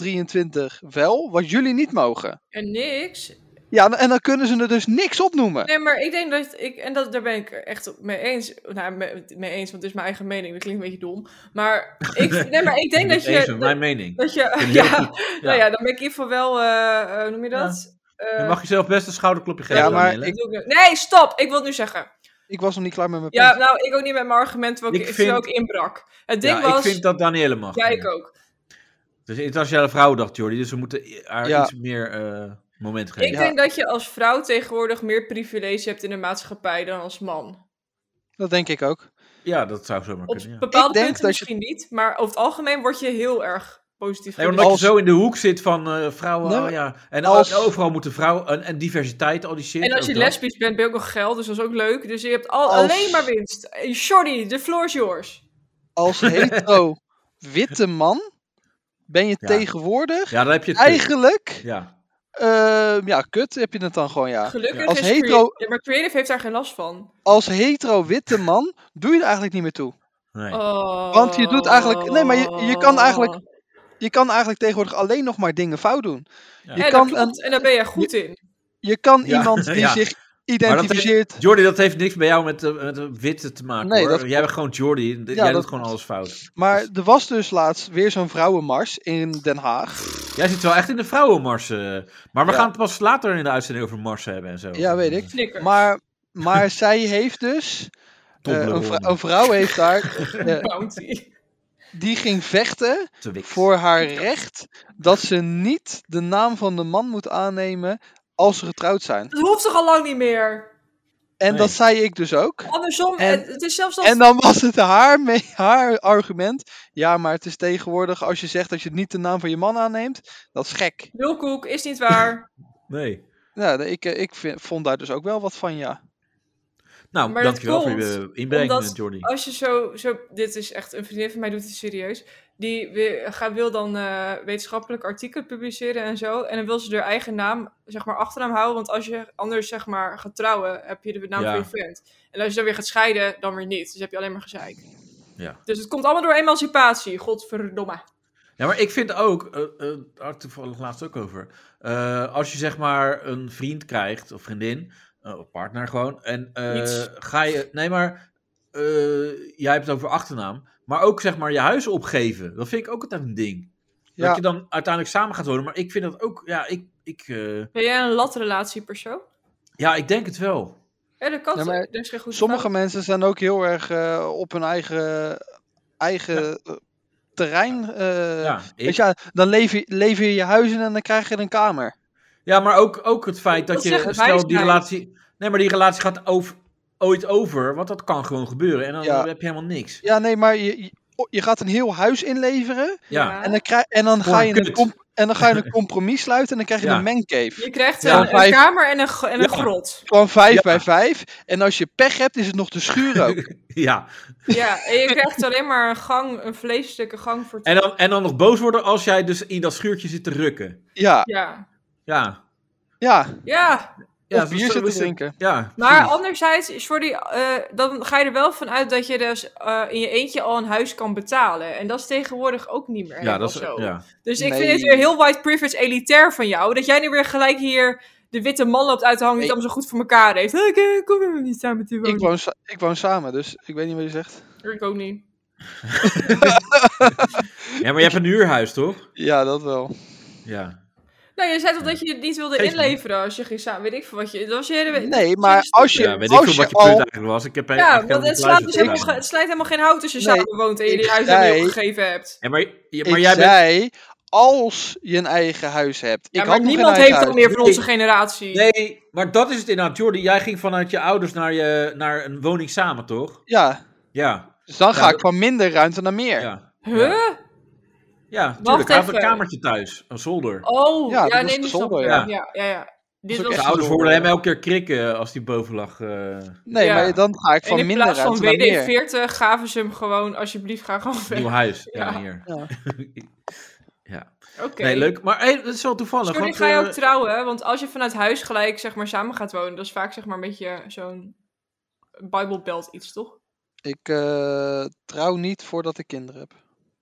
Speaker 3: 2023 wel, wat jullie niet mogen?
Speaker 2: En niks.
Speaker 3: Ja, en dan kunnen ze er dus niks op noemen.
Speaker 2: Nee, maar ik denk dat ik, en dat, daar ben ik echt op mee eens. Nou, mee, mee eens, want het is mijn eigen mening. Dat klinkt een beetje dom. Maar ik, nee, maar ik denk dat
Speaker 4: Eens met
Speaker 2: je.
Speaker 4: mijn mening.
Speaker 2: Dat je
Speaker 4: vind
Speaker 2: ja,
Speaker 4: het heel
Speaker 2: Nou ja, dan ben ik in ieder geval wel. eh, hoe noem je dat? Eh,
Speaker 4: Dan mag je zelf best een schouderklopje geven.
Speaker 3: Ja, maar
Speaker 4: Danielle.
Speaker 2: dat doe ik nu- Nee, stop! Ik wil het nu zeggen.
Speaker 3: Ik was nog niet klaar met mijn
Speaker 2: Ja,
Speaker 3: punt.
Speaker 2: nou, ik ook niet met mijn argument, terwijl ik,
Speaker 4: Ik
Speaker 2: terwijl
Speaker 4: vind-
Speaker 2: ik inbrak. Het ding
Speaker 4: Ja,
Speaker 2: was.
Speaker 4: ik vind dat Danielle mag.
Speaker 2: Ja, ik ook.
Speaker 4: Dus Internationale Vrouwendag, Jordi. Dus we moeten i- haar
Speaker 3: Ja.
Speaker 4: iets meer eh moment geven.
Speaker 2: Ik
Speaker 3: Ja.
Speaker 2: denk dat je als vrouw tegenwoordig meer privilege hebt in de maatschappij dan als man.
Speaker 3: Dat denk ik ook.
Speaker 4: Ja, dat zou zomaar
Speaker 2: Op
Speaker 4: kunnen. Ja.
Speaker 2: bepaalde
Speaker 3: Ik denk
Speaker 2: punten
Speaker 3: dat je-
Speaker 2: misschien niet, maar over het algemeen word je heel erg positief.
Speaker 4: Nee,
Speaker 2: gezien.
Speaker 4: omdat
Speaker 3: Als-
Speaker 4: je zo in de hoek zit van eh, vrouwen.
Speaker 3: Nee,
Speaker 4: oh ja. En
Speaker 3: als-
Speaker 4: al- overal moeten vrouwen. En, en diversiteit, al die shit.
Speaker 2: En als je
Speaker 4: ook dat.
Speaker 2: lesbisch bent, ben je ook nog geld, dus dat is ook leuk. Dus je hebt al,
Speaker 3: Als-
Speaker 2: alleen maar winst. Eh, Shorty, the floor is yours.
Speaker 3: Als hetero witte man ben je
Speaker 4: Ja.
Speaker 3: tegenwoordig
Speaker 4: Ja, dan heb je het.
Speaker 3: eigenlijk...
Speaker 4: Ja.
Speaker 3: ehm, ja, kut heb je het dan gewoon, ja.
Speaker 2: Gelukkig
Speaker 3: Als
Speaker 2: is
Speaker 3: hetero-
Speaker 2: creative, maar creative heeft daar geen last van.
Speaker 3: Als hetero witte man doe je er eigenlijk niet meer toe.
Speaker 4: Nee.
Speaker 2: Oh.
Speaker 3: Want je doet eigenlijk- nee, maar je- je kan eigenlijk- Je kan eigenlijk tegenwoordig alleen nog maar dingen fout doen.
Speaker 4: Ja.
Speaker 3: Je
Speaker 2: en,
Speaker 3: kan,
Speaker 2: dat klopt, en daar ben jij goed in.
Speaker 3: een- je kan
Speaker 4: Ja,
Speaker 3: iemand die
Speaker 4: ja.
Speaker 3: zich identificeert.
Speaker 4: Jordi, dat heeft niks bij jou met, eh, met eh, witte te maken.
Speaker 3: Nee,
Speaker 4: hoor.
Speaker 3: dat
Speaker 4: Jij bent gewoon Jordi. Jij
Speaker 3: dat
Speaker 4: doet gewoon
Speaker 3: klopt.
Speaker 4: alles fout.
Speaker 3: Maar er was dus laatst weer zo'n vrouwenmars in Den Haag.
Speaker 4: Jij zit wel echt in de vrouwenmars. eh. Maar we
Speaker 3: Ja.
Speaker 4: gaan het pas later in de uitzending over mars hebben en zo.
Speaker 3: Ja, weet ik.
Speaker 2: Snickers.
Speaker 3: Maar, maar zij heeft dus. eh, een, vrou- een vrouw heeft daar. eh,
Speaker 2: Bounty.
Speaker 3: die ging vechten
Speaker 4: Te wik.
Speaker 3: voor haar recht dat ze niet de naam van de man moet aannemen als ze getrouwd zijn.
Speaker 2: Dat hoeft toch al lang niet meer?
Speaker 3: En
Speaker 4: Nee.
Speaker 3: dat zei ik dus ook.
Speaker 2: Andersom,
Speaker 3: En-
Speaker 2: het, het is zelfs als...
Speaker 3: En dan was het haar, me- haar argument. Ja, maar het is tegenwoordig als je zegt dat je niet de naam van je man aanneemt. Dat is gek.
Speaker 2: Lulkoek is niet waar.
Speaker 4: Nee.
Speaker 3: Nou, ik, eh, ik vind- vond daar dus ook wel wat van, ja.
Speaker 4: Nou,
Speaker 2: Maar dat
Speaker 4: dankjewel voor je
Speaker 2: komt
Speaker 4: inbreng,
Speaker 2: omdat-
Speaker 4: eh, Jordi.
Speaker 2: Als je zo, zo... Dit is echt... Een vriendin van mij doet het serieus. Die wi- gaat, wil dan eh, wetenschappelijk artikelen publiceren en zo. En dan wil ze haar eigen naam, zeg maar, achternaam houden. Want als je anders, zeg maar, gaat trouwen, heb je de naam
Speaker 4: Ja.
Speaker 2: van je vriend. En als je dan weer gaat scheiden, dan weer niet. Dus heb je alleen maar gezeik.
Speaker 4: Ja.
Speaker 2: Dus het komt allemaal door emancipatie. Godverdomme.
Speaker 4: Ja, maar ik vind ook, eh eh, daar had ik toevallig laatst ook over. Eh, als je zeg maar een vriend krijgt, of vriendin, eh, of partner gewoon. En eh,
Speaker 2: Niets.
Speaker 4: ga je, nee maar, eh, jij hebt het over achternaam. Maar ook zeg maar je huis opgeven. Dat vind ik ook altijd een ding.
Speaker 3: Ja.
Speaker 4: Dat je dan uiteindelijk samen gaat wonen. Maar ik vind dat ook, ja, ik, ik, eh,
Speaker 2: Ben jij een latrelatiepersoon?
Speaker 4: ja, ik denk het wel.
Speaker 2: Ja, dat kan.
Speaker 3: Ja,
Speaker 2: toch? Eh,
Speaker 3: maar
Speaker 2: Er is geen goed
Speaker 3: Sommige mensen zijn ook heel erg eh, op hun eigen, eigen eh, terrein. eh,
Speaker 4: ja, ik-
Speaker 3: weet je, ja, dan lever, lever je je huis in en dan krijg je een kamer.
Speaker 4: Ja, maar ook, ook het feit dat,
Speaker 2: Dat
Speaker 4: je
Speaker 2: zeggen
Speaker 4: stel die
Speaker 2: wijsheid.
Speaker 4: relatie. Nee, maar die relatie gaat over, ooit over, want dat kan gewoon gebeuren. En dan
Speaker 3: Ja.
Speaker 4: heb je helemaal niks.
Speaker 3: Ja, nee, maar je, je- oh, je gaat een heel huis inleveren.
Speaker 4: Ja.
Speaker 3: En dan, krijg, en dan,
Speaker 4: Voor
Speaker 3: ga,
Speaker 4: een
Speaker 3: je een
Speaker 4: kut.
Speaker 3: comp- en dan ga je een compromis sluiten. En dan krijg je
Speaker 4: Ja.
Speaker 3: een mancave.
Speaker 2: Je krijgt
Speaker 4: Ja,
Speaker 2: een,
Speaker 3: vijf-
Speaker 2: een kamer en een, gro- en een
Speaker 4: Ja.
Speaker 2: grot.
Speaker 3: Gewoon vijf
Speaker 4: Ja.
Speaker 3: bij vijf. En als je pech hebt, is het nog de schuur ook.
Speaker 4: ja.
Speaker 2: Ja, en je krijgt alleen maar een gang, een vleeselijke gang voor
Speaker 4: En, dan, en dan nog boos worden als jij dus in dat schuurtje zit te rukken.
Speaker 3: Ja,
Speaker 2: Ja.
Speaker 4: Ja.
Speaker 3: ja.
Speaker 2: ja,
Speaker 4: ja
Speaker 3: of
Speaker 4: zo-
Speaker 3: bier
Speaker 4: zo
Speaker 3: zitten
Speaker 4: is het.
Speaker 3: drinken.
Speaker 4: Ja.
Speaker 2: maar
Speaker 4: precies.
Speaker 2: anderzijds, sorry, eh, dan ga je er wel van uit dat je dus eh, in je eentje al een huis kan betalen. En dat is tegenwoordig ook niet meer
Speaker 4: Ja,
Speaker 2: helemaal
Speaker 4: dat is,
Speaker 2: zo.
Speaker 4: ja.
Speaker 2: Dus ik
Speaker 3: Nee.
Speaker 2: vind het weer heel white privilege elitair van jou, dat jij nu weer gelijk hier de witte man loopt uit te hangen die
Speaker 3: Nee.
Speaker 2: het allemaal zo goed voor elkaar heeft. Oké, kom maar niet samen te wonen.
Speaker 3: Ik woon, sa- ik woon samen, dus ik weet niet wat je zegt.
Speaker 2: Ik ook niet.
Speaker 4: ja, maar je hebt een huurhuis, toch?
Speaker 3: Ja, dat wel.
Speaker 4: Ja.
Speaker 2: Nou, je zei toch dat je het niet wilde
Speaker 4: Geeft niet.
Speaker 2: inleveren als je ging samen, weet ik veel wat je... Dat was je hele...
Speaker 3: Nee, maar als je,
Speaker 4: ja weet ik
Speaker 3: als
Speaker 4: veel
Speaker 3: je
Speaker 4: wat je punt
Speaker 3: al...
Speaker 4: eigenlijk was. Ik heb
Speaker 2: Ja,
Speaker 4: eigenlijk
Speaker 2: want het
Speaker 4: helemaal
Speaker 2: slaat,
Speaker 4: niet
Speaker 2: dus
Speaker 4: geluisterd
Speaker 2: helemaal, ge- het slijt helemaal geen hout als je
Speaker 3: Nee,
Speaker 2: samen woont en je die
Speaker 3: ik
Speaker 2: huis aan
Speaker 3: zei-
Speaker 2: je opgegeven hebt.
Speaker 4: Ja, maar, ja, maar
Speaker 3: ik
Speaker 4: jij bent...
Speaker 3: zei, als je een eigen huis hebt.
Speaker 2: Ja,
Speaker 3: ik
Speaker 2: maar
Speaker 3: had nog geen
Speaker 2: niemand
Speaker 3: eigen
Speaker 2: heeft dat
Speaker 3: huis.
Speaker 2: meer van onze generatie.
Speaker 4: Nee, maar dat is het inderdaad. Jordi, jij ging vanuit je ouders naar, je, naar een woning samen, toch?
Speaker 3: Ja,
Speaker 4: Ja.
Speaker 3: dus dan
Speaker 4: Ja,
Speaker 3: ga ik
Speaker 4: dat-
Speaker 3: van minder ruimte naar meer.
Speaker 4: ja.
Speaker 2: Huh?
Speaker 4: Ja, natuurlijk. Hij heeft een
Speaker 2: even.
Speaker 4: kamertje thuis, een zolder.
Speaker 2: Oh,
Speaker 3: Ja,
Speaker 2: ja,
Speaker 3: dat was
Speaker 2: nee,
Speaker 3: de
Speaker 2: nu snap
Speaker 3: zolder,
Speaker 2: ik
Speaker 4: ja.
Speaker 2: hem. Ja, ja, ja. Dit was
Speaker 3: ook echt
Speaker 4: Zijn
Speaker 3: een
Speaker 4: ouders
Speaker 3: zolder,
Speaker 4: hoorden hem
Speaker 3: ja.
Speaker 4: elke keer krikken als hij boven lag. eh.
Speaker 3: Nee,
Speaker 2: Ja.
Speaker 3: maar dan ga ik
Speaker 2: en
Speaker 3: van
Speaker 2: in
Speaker 3: minder
Speaker 2: plaats van
Speaker 3: ruimte naar meer.
Speaker 2: WD-40 gaven ze hem gewoon, alsjeblieft, ga gewoon weg.
Speaker 4: nieuw huis. Ja,
Speaker 2: Ja.
Speaker 4: hier.
Speaker 3: Ja.
Speaker 4: Ja.
Speaker 2: Oké.
Speaker 4: Nee, leuk. Maar hey, dat is wel toevallig.
Speaker 2: Jordi,
Speaker 4: want,
Speaker 2: ga je
Speaker 4: eh,
Speaker 2: ook trouwen? Want als je vanuit huis gelijk, zeg maar, samen gaat wonen, dat is vaak, zeg maar, een beetje zo'n Bible Belt iets, toch?
Speaker 3: Ik eh, trouw niet voordat ik kinderen heb.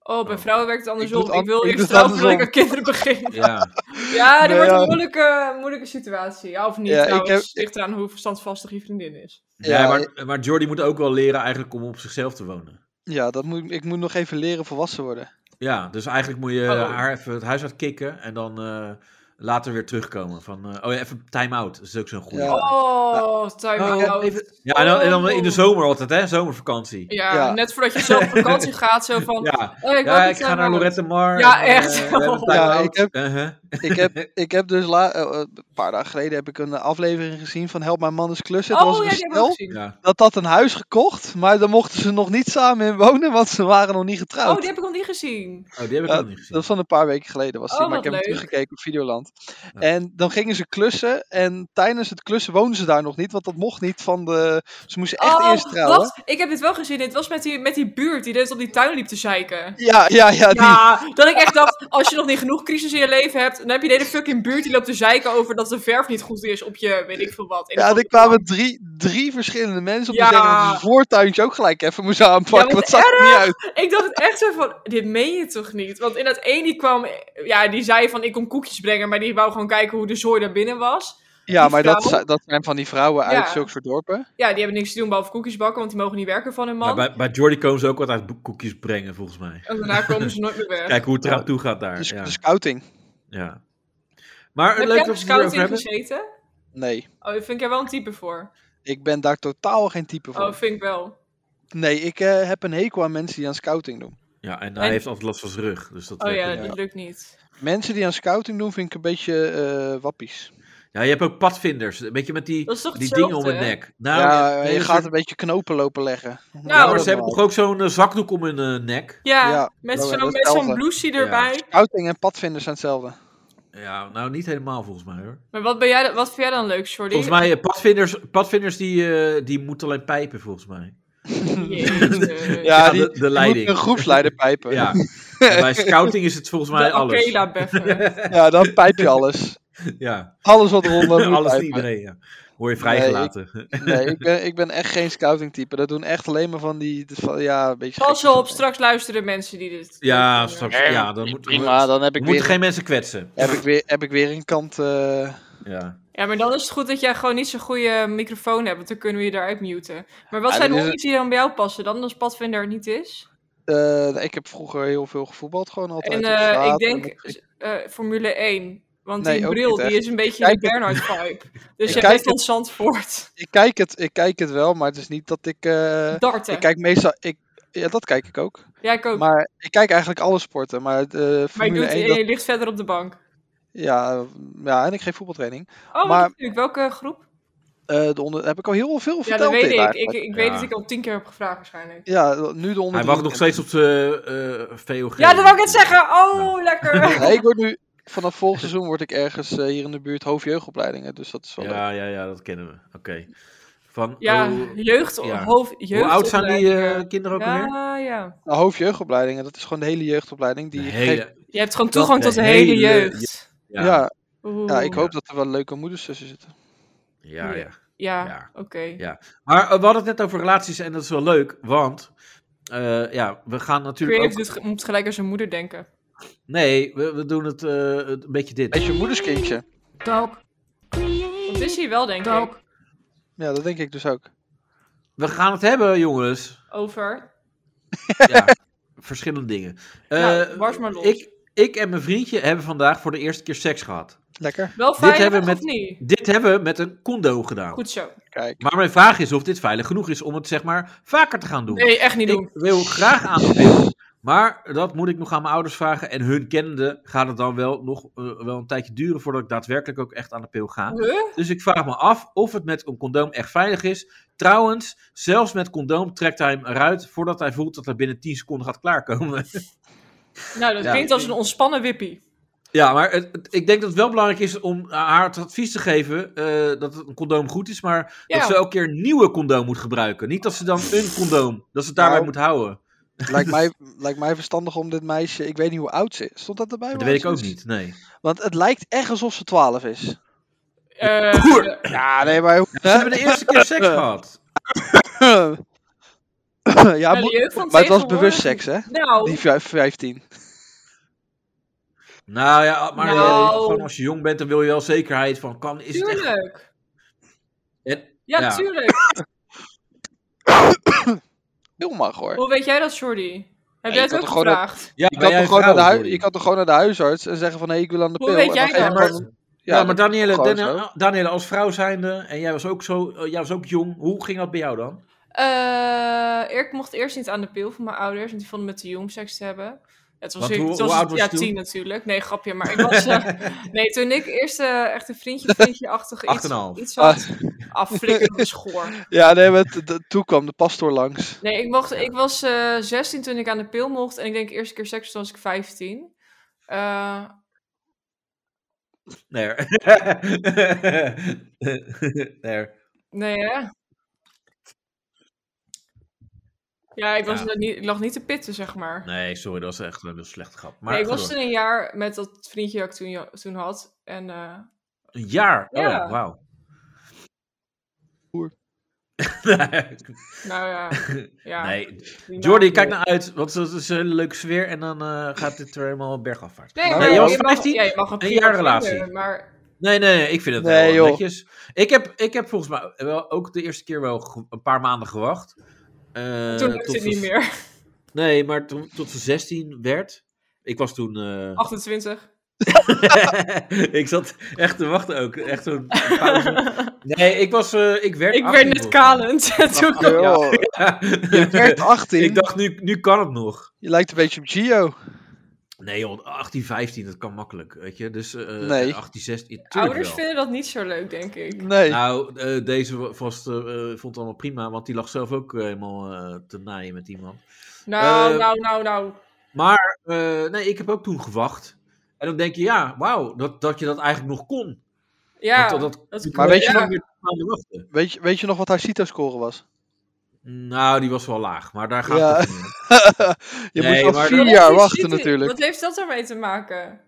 Speaker 2: Oh, bij
Speaker 4: Oh.
Speaker 2: vrouwen werkt het andersom. Ik,
Speaker 3: doe het an-
Speaker 2: wil
Speaker 3: ik
Speaker 2: eerst
Speaker 3: doe het
Speaker 2: trouwen voordat ik aan
Speaker 3: andersom.
Speaker 2: kinderen begin.
Speaker 4: ja.
Speaker 2: Ja, dat
Speaker 3: Nee,
Speaker 2: wordt
Speaker 3: ja.
Speaker 2: een moeilijke, moeilijke situatie. Ja, of niet
Speaker 3: Ja, ik
Speaker 2: trouwens.
Speaker 3: heb-
Speaker 2: ligt eraan hoe verstandvastig je vriendin is.
Speaker 3: Ja,
Speaker 4: Ja, maar, maar Jordi moet ook wel leren eigenlijk om op zichzelf te wonen.
Speaker 3: Ja, dat moet, ik moet nog even leren volwassen worden.
Speaker 4: Ja, dus eigenlijk moet je
Speaker 2: Oh.
Speaker 4: haar even het huis uitkicken en dan eh, later weer terugkomen. Van, eh, oh ja, even time-out. Dat is ook zo'n goede.
Speaker 3: Ja.
Speaker 2: Oh, time
Speaker 4: Oh,
Speaker 2: out.
Speaker 4: even- Ja, en dan, en dan in de
Speaker 2: Oh.
Speaker 4: zomer altijd, hè? Zomervakantie.
Speaker 2: Ja,
Speaker 3: Ja.
Speaker 2: net voordat je zelf op vakantie gaat, zo van...
Speaker 4: Ja,
Speaker 2: oh, ik,
Speaker 4: ja,
Speaker 2: wil
Speaker 4: ik
Speaker 2: niet
Speaker 4: ga naar
Speaker 2: time-out.
Speaker 4: Lorette Mar.
Speaker 2: Ja,
Speaker 4: en, eh,
Speaker 2: echt.
Speaker 4: we hebben
Speaker 2: Ja,
Speaker 4: time-out.
Speaker 3: ik heb-
Speaker 4: Uh-huh.
Speaker 3: Ik heb, ik heb dus la- eh, eh, een paar dagen geleden heb ik een eh, aflevering gezien van Help Mijn Man is Klussen. Er was
Speaker 2: Oh,
Speaker 3: een
Speaker 2: ja, die hebben we
Speaker 3: stel
Speaker 2: gezien.
Speaker 4: Ja.
Speaker 3: dat had een huis gekocht, maar daar mochten ze nog niet samen in wonen, want ze waren nog niet
Speaker 2: Oh,
Speaker 3: getrouwd.
Speaker 2: die heb ik nog niet gezien.
Speaker 4: Oh, die heb ik
Speaker 3: Ja,
Speaker 4: nog niet gezien.
Speaker 3: Dat is van een paar weken geleden was die,
Speaker 2: Oh,
Speaker 3: maar ik
Speaker 2: wat
Speaker 3: heb hem
Speaker 2: leuk.
Speaker 3: teruggekeken op Videoland.
Speaker 4: Ja.
Speaker 3: En dan gingen ze klussen en tijdens het klussen woonden ze daar nog niet, want dat mocht niet van de... Ze moesten echt
Speaker 2: oh,
Speaker 3: eerst trouwen.
Speaker 2: Wat? Ik heb dit wel gezien. Dit was met die, met die buurt die dus op die tuin liep te zeiken.
Speaker 3: Ja, ja, ja, die.
Speaker 2: Ja, dat ik echt dacht, als je nog niet genoeg crisis in je leven hebt, dan heb je de hele fucking buurt die loopt te zeiken over dat de verf niet goed is op je, weet ik veel wat. En
Speaker 3: Ja,
Speaker 2: dan-
Speaker 3: er kwamen drie, drie verschillende mensen om
Speaker 2: Ja.
Speaker 3: te zeggen dat ze het voortuintje ook gelijk even moesten aanpakken.
Speaker 2: Ja,
Speaker 3: want
Speaker 2: wat
Speaker 3: het zag er niet uit.
Speaker 2: Ik dacht het echt zo van, dit meen je toch niet? Want in dat één die kwam, ja, die zei van ik kom koekjes brengen, maar die wou gewoon kijken hoe de zooi daar binnen was.
Speaker 3: Ja,
Speaker 2: Die
Speaker 3: maar dat,
Speaker 2: vrouw-
Speaker 3: zi- dat zijn van die vrouwen uit
Speaker 2: Ja.
Speaker 3: zulke soort dorpen.
Speaker 2: Ja, die hebben niks te doen behalve koekjes bakken, want die mogen niet werken van hun man.
Speaker 4: Maar bij, bij Jordy komen ze ook wat uit koekjes brengen, volgens mij.
Speaker 2: En daarna komen ze nooit meer weg.
Speaker 4: Kijk hoe het eraan
Speaker 3: Ja.
Speaker 4: toe gaat daar.
Speaker 3: Dus
Speaker 4: Ja.
Speaker 3: de scouting.
Speaker 4: ja. Maar leuk
Speaker 2: Heb jij
Speaker 4: dat we
Speaker 2: op
Speaker 4: het erover
Speaker 2: scouting
Speaker 4: hebben.
Speaker 2: gezeten?
Speaker 3: Nee,
Speaker 2: Oh, daar vind ik er wel een type voor.
Speaker 3: ik ben daar totaal geen type voor.
Speaker 2: Oh, vind ik wel.
Speaker 3: Nee, ik eh, heb een hekel aan mensen die aan scouting doen.
Speaker 4: Ja, en hij
Speaker 2: En-
Speaker 4: heeft altijd last van zijn rug. Dus dat
Speaker 2: Oh
Speaker 4: werkt
Speaker 2: ja,
Speaker 4: ook niet.
Speaker 2: dat lukt niet.
Speaker 3: Mensen die aan scouting doen, vind ik een beetje eh, wappies.
Speaker 4: ja, je hebt ook padvinders. Een beetje met die,
Speaker 2: Dat is toch
Speaker 4: die dingen om
Speaker 2: hetzelfde,
Speaker 4: hun
Speaker 2: hè?
Speaker 4: nek. Nou,
Speaker 3: ja,
Speaker 4: nee,
Speaker 3: je
Speaker 4: een
Speaker 3: gaat
Speaker 4: soort-
Speaker 3: een beetje knopen lopen leggen.
Speaker 4: ja,
Speaker 2: Nou,
Speaker 4: maar ze hebben
Speaker 3: allemaal.
Speaker 4: toch ook zo'n eh, zakdoek om hun eh, nek?
Speaker 2: Ja,
Speaker 3: Ja,
Speaker 2: met
Speaker 3: dat-
Speaker 2: zo'n
Speaker 3: dat
Speaker 2: met zo'n
Speaker 3: telde.
Speaker 2: blousie
Speaker 4: Ja.
Speaker 2: erbij.
Speaker 3: Scouting en padvinders zijn hetzelfde.
Speaker 4: Ja, nou niet helemaal volgens mij hoor.
Speaker 2: Maar wat, ben jij, wat vind jij dan leuk, Jordi?
Speaker 4: Volgens mij, eh, padvinders, padvinders die, eh, die moeten alleen pijpen volgens mij.
Speaker 2: Jezus.
Speaker 3: Ja,
Speaker 4: Ja,
Speaker 3: die,
Speaker 4: de- de
Speaker 3: die moet
Speaker 4: leiding.
Speaker 3: een groepsleider pijpen.
Speaker 4: Ja.
Speaker 3: ja.
Speaker 4: En bij scouting is het volgens mij
Speaker 2: de
Speaker 4: alles.
Speaker 2: Akela Beffer.
Speaker 3: dan pijp je alles.
Speaker 4: Ja,
Speaker 3: Alles wat eronder moet
Speaker 4: alles voor
Speaker 3: pijpen.
Speaker 4: iedereen. Ja. Hoor je vrijgelaten.
Speaker 3: Nee, ik ben, ik ben echt geen scouting type. Dat doen echt alleen maar van die, van, ja, een beetje...
Speaker 2: Pas
Speaker 3: gekke-
Speaker 2: op, straks luisteren mensen die dit.
Speaker 4: ja,
Speaker 2: dit vinden.
Speaker 4: straks. Ja, dan moet,
Speaker 3: Prima, dan heb
Speaker 4: we
Speaker 3: ik,
Speaker 4: moeten
Speaker 3: weer,
Speaker 4: geen mensen kwetsen.
Speaker 3: heb, ik weer, heb ik weer een kant... eh,
Speaker 4: Ja.
Speaker 2: Ja, maar dan is het goed dat jij gewoon niet zo'n goede microfoon hebt, want dan kunnen we je daaruit muten. Maar wat
Speaker 3: Ja,
Speaker 2: zijn
Speaker 3: dat
Speaker 2: de
Speaker 3: is-
Speaker 2: hobby's die dan bij jou passen dan, als padvinder het niet is?
Speaker 3: eh, ik heb vroeger heel veel gevoetbald, gewoon altijd.
Speaker 2: en
Speaker 3: op
Speaker 2: eh,
Speaker 3: straat.
Speaker 2: ik denk eh, Formule 1. Want
Speaker 3: Nee,
Speaker 2: die
Speaker 3: ook
Speaker 2: bril
Speaker 3: niet
Speaker 2: die
Speaker 3: echt.
Speaker 2: is een beetje
Speaker 3: Kijk
Speaker 2: de Bernhard-vibe. Dus je
Speaker 3: kijk
Speaker 2: bent
Speaker 3: het-
Speaker 2: van Zandvoort.
Speaker 3: Ik kijk, het, ik kijk het wel, maar het is niet dat ik... eh,
Speaker 2: Darten.
Speaker 3: ik kijk meestal... Ik, ja, dat kijk ik ook.
Speaker 2: ja, ik ook. Maar,
Speaker 3: Maar ik kijk eigenlijk alle sporten. Maar de
Speaker 2: je,
Speaker 3: Formule
Speaker 2: doet,
Speaker 3: 1...
Speaker 2: en
Speaker 3: dat-
Speaker 2: je ligt verder op de bank.
Speaker 3: ja, ja, en ik geef voetbaltraining.
Speaker 2: Oh,
Speaker 3: Maar-
Speaker 2: maar, welke groep?
Speaker 3: Eh, de onder, heb ik al heel veel
Speaker 2: Ja, dat
Speaker 3: verteld.
Speaker 2: weet
Speaker 3: dit
Speaker 2: ik. Ik,
Speaker 3: eigenlijk.
Speaker 2: ik weet
Speaker 4: Ja.
Speaker 2: dat ik al tien keer heb gevraagd waarschijnlijk.
Speaker 3: Ja, nu de onder.
Speaker 4: Hij wacht nog steeds op zijn eh VOG.
Speaker 2: Ja, dat wou ik net zeggen. Oh,
Speaker 3: Nou.
Speaker 2: lekker.
Speaker 3: Nee, ik word nu, vanaf volgend seizoen word ik ergens eh, hier in de buurt hoofdjeugdopleidingen. Dus dat is wel leuk.
Speaker 4: Ja, ja, ja, dat kennen we. Oké. Van,
Speaker 2: Ja,
Speaker 4: hoe,
Speaker 2: jeugd,
Speaker 4: ja.
Speaker 2: hoofd,
Speaker 4: hoe
Speaker 2: jeugd.
Speaker 4: oud zijn die eh,
Speaker 2: opleidingen.
Speaker 4: kinderen ook alweer?
Speaker 2: ja, ja.
Speaker 3: Nou, hoofdjeugdopleidingen, dat is gewoon de hele jeugdopleiding. Die
Speaker 4: De
Speaker 3: geeft-
Speaker 4: hele,
Speaker 2: Je hebt gewoon
Speaker 4: Dat
Speaker 2: toegang
Speaker 4: de
Speaker 2: tot de hele,
Speaker 4: hele
Speaker 2: jeugd.
Speaker 4: ja,
Speaker 3: ja.
Speaker 4: ja,
Speaker 3: Ja,
Speaker 2: Oeh.
Speaker 3: ik hoop dat er wel leuke moeders tussen zitten.
Speaker 4: ja,
Speaker 2: Ja. Ja,
Speaker 4: ja.
Speaker 2: oké.
Speaker 4: Ja. Maar eh, we hadden het net over relaties en dat is wel leuk, want eh, ja, we gaan natuurlijk
Speaker 2: Creative
Speaker 4: ook...
Speaker 2: doet ge- moet gelijk aan zijn moeder denken.
Speaker 4: Nee, we, we doen het eh, het- een beetje dit.
Speaker 3: Beetje moederskindje.
Speaker 5: Talk.
Speaker 2: Dat is hij wel, denk ik.
Speaker 5: Talk.
Speaker 3: Ja, dat denk ik dus ook.
Speaker 4: We gaan het hebben, jongens.
Speaker 2: Over.
Speaker 4: Ja, verschillende dingen. Eh,
Speaker 2: Nou, barst maar los.
Speaker 4: ik, ik en mijn vriendje hebben vandaag voor de eerste keer seks gehad.
Speaker 3: Lekker.
Speaker 2: Wel
Speaker 4: Dit
Speaker 2: veilig,
Speaker 4: hebben we
Speaker 2: of
Speaker 4: met-
Speaker 2: niet?
Speaker 4: Dit hebben we met een condo gedaan.
Speaker 2: Goed zo.
Speaker 3: Kijk.
Speaker 4: Maar mijn vraag is of dit veilig genoeg is om het zeg maar vaker te gaan doen.
Speaker 2: Nee, echt niet doen.
Speaker 4: Ik wil graag aanbevelen. Maar dat moet ik nog aan mijn ouders vragen. En hun kennende gaat het dan wel nog eh, wel een tijdje duren voordat ik daadwerkelijk ook echt aan de pil ga.
Speaker 2: Huh?
Speaker 4: Dus ik vraag me af of het met een condoom echt veilig is. Trouwens, zelfs met condoom trekt hij hem eruit voordat hij voelt dat hij binnen 10 seconden gaat klaarkomen.
Speaker 2: Nou, dat
Speaker 4: Ja.
Speaker 2: klinkt als een ontspannen wippie.
Speaker 4: Ja, maar het, het- ik denk dat het wel belangrijk is om haar het advies te geven eh, dat het een condoom goed is, maar
Speaker 2: Ja.
Speaker 4: dat ze elke keer een nieuwe condoom moet gebruiken. Niet dat ze dan een condoom, dat ze het daarbij
Speaker 3: Nou,
Speaker 4: moet houden.
Speaker 3: Lijkt mij, lijkt mij verstandig om dit meisje. Ik weet niet hoe oud ze is. Stond dat erbij?
Speaker 4: Dat
Speaker 3: hoe
Speaker 4: weet
Speaker 3: oud
Speaker 4: ik
Speaker 3: ze
Speaker 4: ook
Speaker 3: is?
Speaker 4: niet, nee.
Speaker 3: Want het lijkt echt alsof ze 12 is.
Speaker 2: Eh,
Speaker 3: Ja, nee, maar.
Speaker 4: Ze hebben de eerste keer seks gehad.
Speaker 3: ja,
Speaker 2: de
Speaker 3: moet-
Speaker 2: jeugd van
Speaker 3: maar het was
Speaker 2: tegenwoordig-
Speaker 3: bewust seks, hè?
Speaker 2: nou,
Speaker 3: Die vijf- 15.
Speaker 4: Nou ja, maar
Speaker 2: Nou.
Speaker 4: eh, gewoon als je jong bent, dan wil je wel zekerheid van kan, is het echt...
Speaker 2: tuurlijk.
Speaker 4: En-
Speaker 2: Ja,
Speaker 4: Ja.
Speaker 2: tuurlijk.
Speaker 3: Heel mag hoor.
Speaker 2: Hoe weet jij dat, Jordi? Heb
Speaker 3: je
Speaker 2: jij het
Speaker 3: kan
Speaker 2: ook
Speaker 3: toch gewoon dat-
Speaker 2: gevraagd?
Speaker 4: Ja,
Speaker 3: Je
Speaker 4: ben
Speaker 3: kan,
Speaker 4: Oh, jij
Speaker 3: toch gewoon naar de
Speaker 4: vrouw,
Speaker 3: hui-
Speaker 4: sorry?
Speaker 3: je kan toch gewoon naar de huisarts en zeggen van hé, ik wil aan de
Speaker 2: Hoe
Speaker 3: pil.
Speaker 2: weet
Speaker 3: en
Speaker 2: jij
Speaker 3: dan geef
Speaker 2: dat?
Speaker 3: je
Speaker 4: Ja, maar-
Speaker 3: gewoon-
Speaker 4: Ja, maar
Speaker 3: dat-
Speaker 4: Danielle,
Speaker 3: gewoon
Speaker 4: Danielle-
Speaker 3: zo.
Speaker 4: Danielle, als vrouw zijnde, en jij was ook zo, eh, jij was ook jong, hoe ging dat bij jou dan?
Speaker 2: Eh, ik mocht eerst niet aan de pil van mijn ouders, want die vonden me te jong om seks te hebben. Het was,
Speaker 4: Want
Speaker 2: ik,
Speaker 4: hoe-
Speaker 2: het
Speaker 4: hoe
Speaker 2: was-
Speaker 4: oud was
Speaker 2: ja,
Speaker 4: je toen?
Speaker 2: tien natuurlijk. Nee, grapje, maar ik was... eh, nee, toen ik eerst eh, echt een vriendje, vriendje-achtig
Speaker 4: Acht
Speaker 2: iets,
Speaker 4: en een half.
Speaker 2: iets
Speaker 4: Ah.
Speaker 2: had. Afflikken, dat is goor.
Speaker 3: ja, nee, maar t- t- toen kwam de pastoor langs.
Speaker 2: Nee, ik, mocht, ik was eh 16 toen ik aan de pil mocht. En ik denk de eerste keer seks toen was ik 15. Eh,
Speaker 4: Nee. nee.
Speaker 2: nee, hè? Ja, ik, was
Speaker 4: Ja.
Speaker 2: net niet, ik lag niet te pitten, zeg maar.
Speaker 4: Nee, sorry, dat was echt een heel slecht grap. Maar
Speaker 2: nee, ik was
Speaker 4: gewoon
Speaker 2: toen een jaar met dat vriendje dat ik toen, ja- toen had. En eh,
Speaker 4: een jaar. Oh ja,
Speaker 2: Ja.
Speaker 4: wauw.
Speaker 3: Boer.
Speaker 4: nee,
Speaker 2: nou ja... ja
Speaker 4: nee.
Speaker 2: die
Speaker 4: Jordi,
Speaker 2: naam-
Speaker 4: kijk nou uit, want het is een hele leuke sfeer en dan eh, gaat dit er helemaal bergafwaarts.
Speaker 2: Nee,
Speaker 3: Nou,
Speaker 2: maar
Speaker 3: jij
Speaker 2: je
Speaker 4: was
Speaker 2: mag-
Speaker 4: 15,
Speaker 2: ja, je mag een
Speaker 4: een Eh,
Speaker 2: prima
Speaker 4: jaarrelatie.
Speaker 2: vinden, Maar
Speaker 4: Nee, nee, nee, ik vind het
Speaker 3: Nee,
Speaker 4: wel
Speaker 3: joh.
Speaker 4: netjes. Ik heb, ik heb volgens mij wel ook de eerste keer wel ge- een paar maanden gewacht. Eh,
Speaker 2: Toen lukte
Speaker 4: tot
Speaker 2: het
Speaker 4: ze-
Speaker 2: niet meer.
Speaker 4: Nee, maar toen, tot ze 16 werd. Ik was toen. eh,
Speaker 2: Oh. 28.
Speaker 4: ik zat echt te wachten ook. Echt zo'n pauze. Nee, ik was. eh, ik werd.
Speaker 2: Ik
Speaker 4: 18
Speaker 2: werd
Speaker 4: volgens
Speaker 2: net
Speaker 4: mij.
Speaker 2: kalend. En toen
Speaker 4: Ja.
Speaker 3: Joh, Je werd 18.
Speaker 4: ik dacht, nu, nu kan het nog.
Speaker 3: Je lijkt een beetje op Gio.
Speaker 4: Nee, joh, 18, 15, dat kan makkelijk. Weet je, dus. eh
Speaker 3: Nee.
Speaker 4: 18, 16. tuurlijk
Speaker 2: Ouders
Speaker 4: wel.
Speaker 2: vinden dat niet zo leuk, denk ik.
Speaker 3: Nee.
Speaker 4: Nou, eh, deze wa- vast, eh, eh, vond het allemaal prima, want die lag zelf ook eh, helemaal eh, te naaien met iemand.
Speaker 2: Nou,
Speaker 4: Eh,
Speaker 2: nou, nou, nou.
Speaker 4: Maar eh, nee, ik heb ook toen gewacht. En dan denk je, ja, wauw, dat, dat je dat eigenlijk nog kon.
Speaker 2: Ja,
Speaker 4: Want dat, dat,
Speaker 2: dat
Speaker 3: Maar weet je
Speaker 2: ja.
Speaker 4: nog weer twee maanden wachten.
Speaker 3: Weet, je, weet je nog wat haar CITO-score was?
Speaker 4: Nou, die was wel laag, maar daar gaat
Speaker 3: Ja.
Speaker 4: het niet om.
Speaker 3: je
Speaker 4: Nee,
Speaker 3: moest al
Speaker 4: maar
Speaker 3: vier
Speaker 4: dat-
Speaker 3: jaar
Speaker 2: Wat
Speaker 3: wachten
Speaker 2: heeft-
Speaker 3: natuurlijk.
Speaker 2: Wat heeft dat ermee te maken?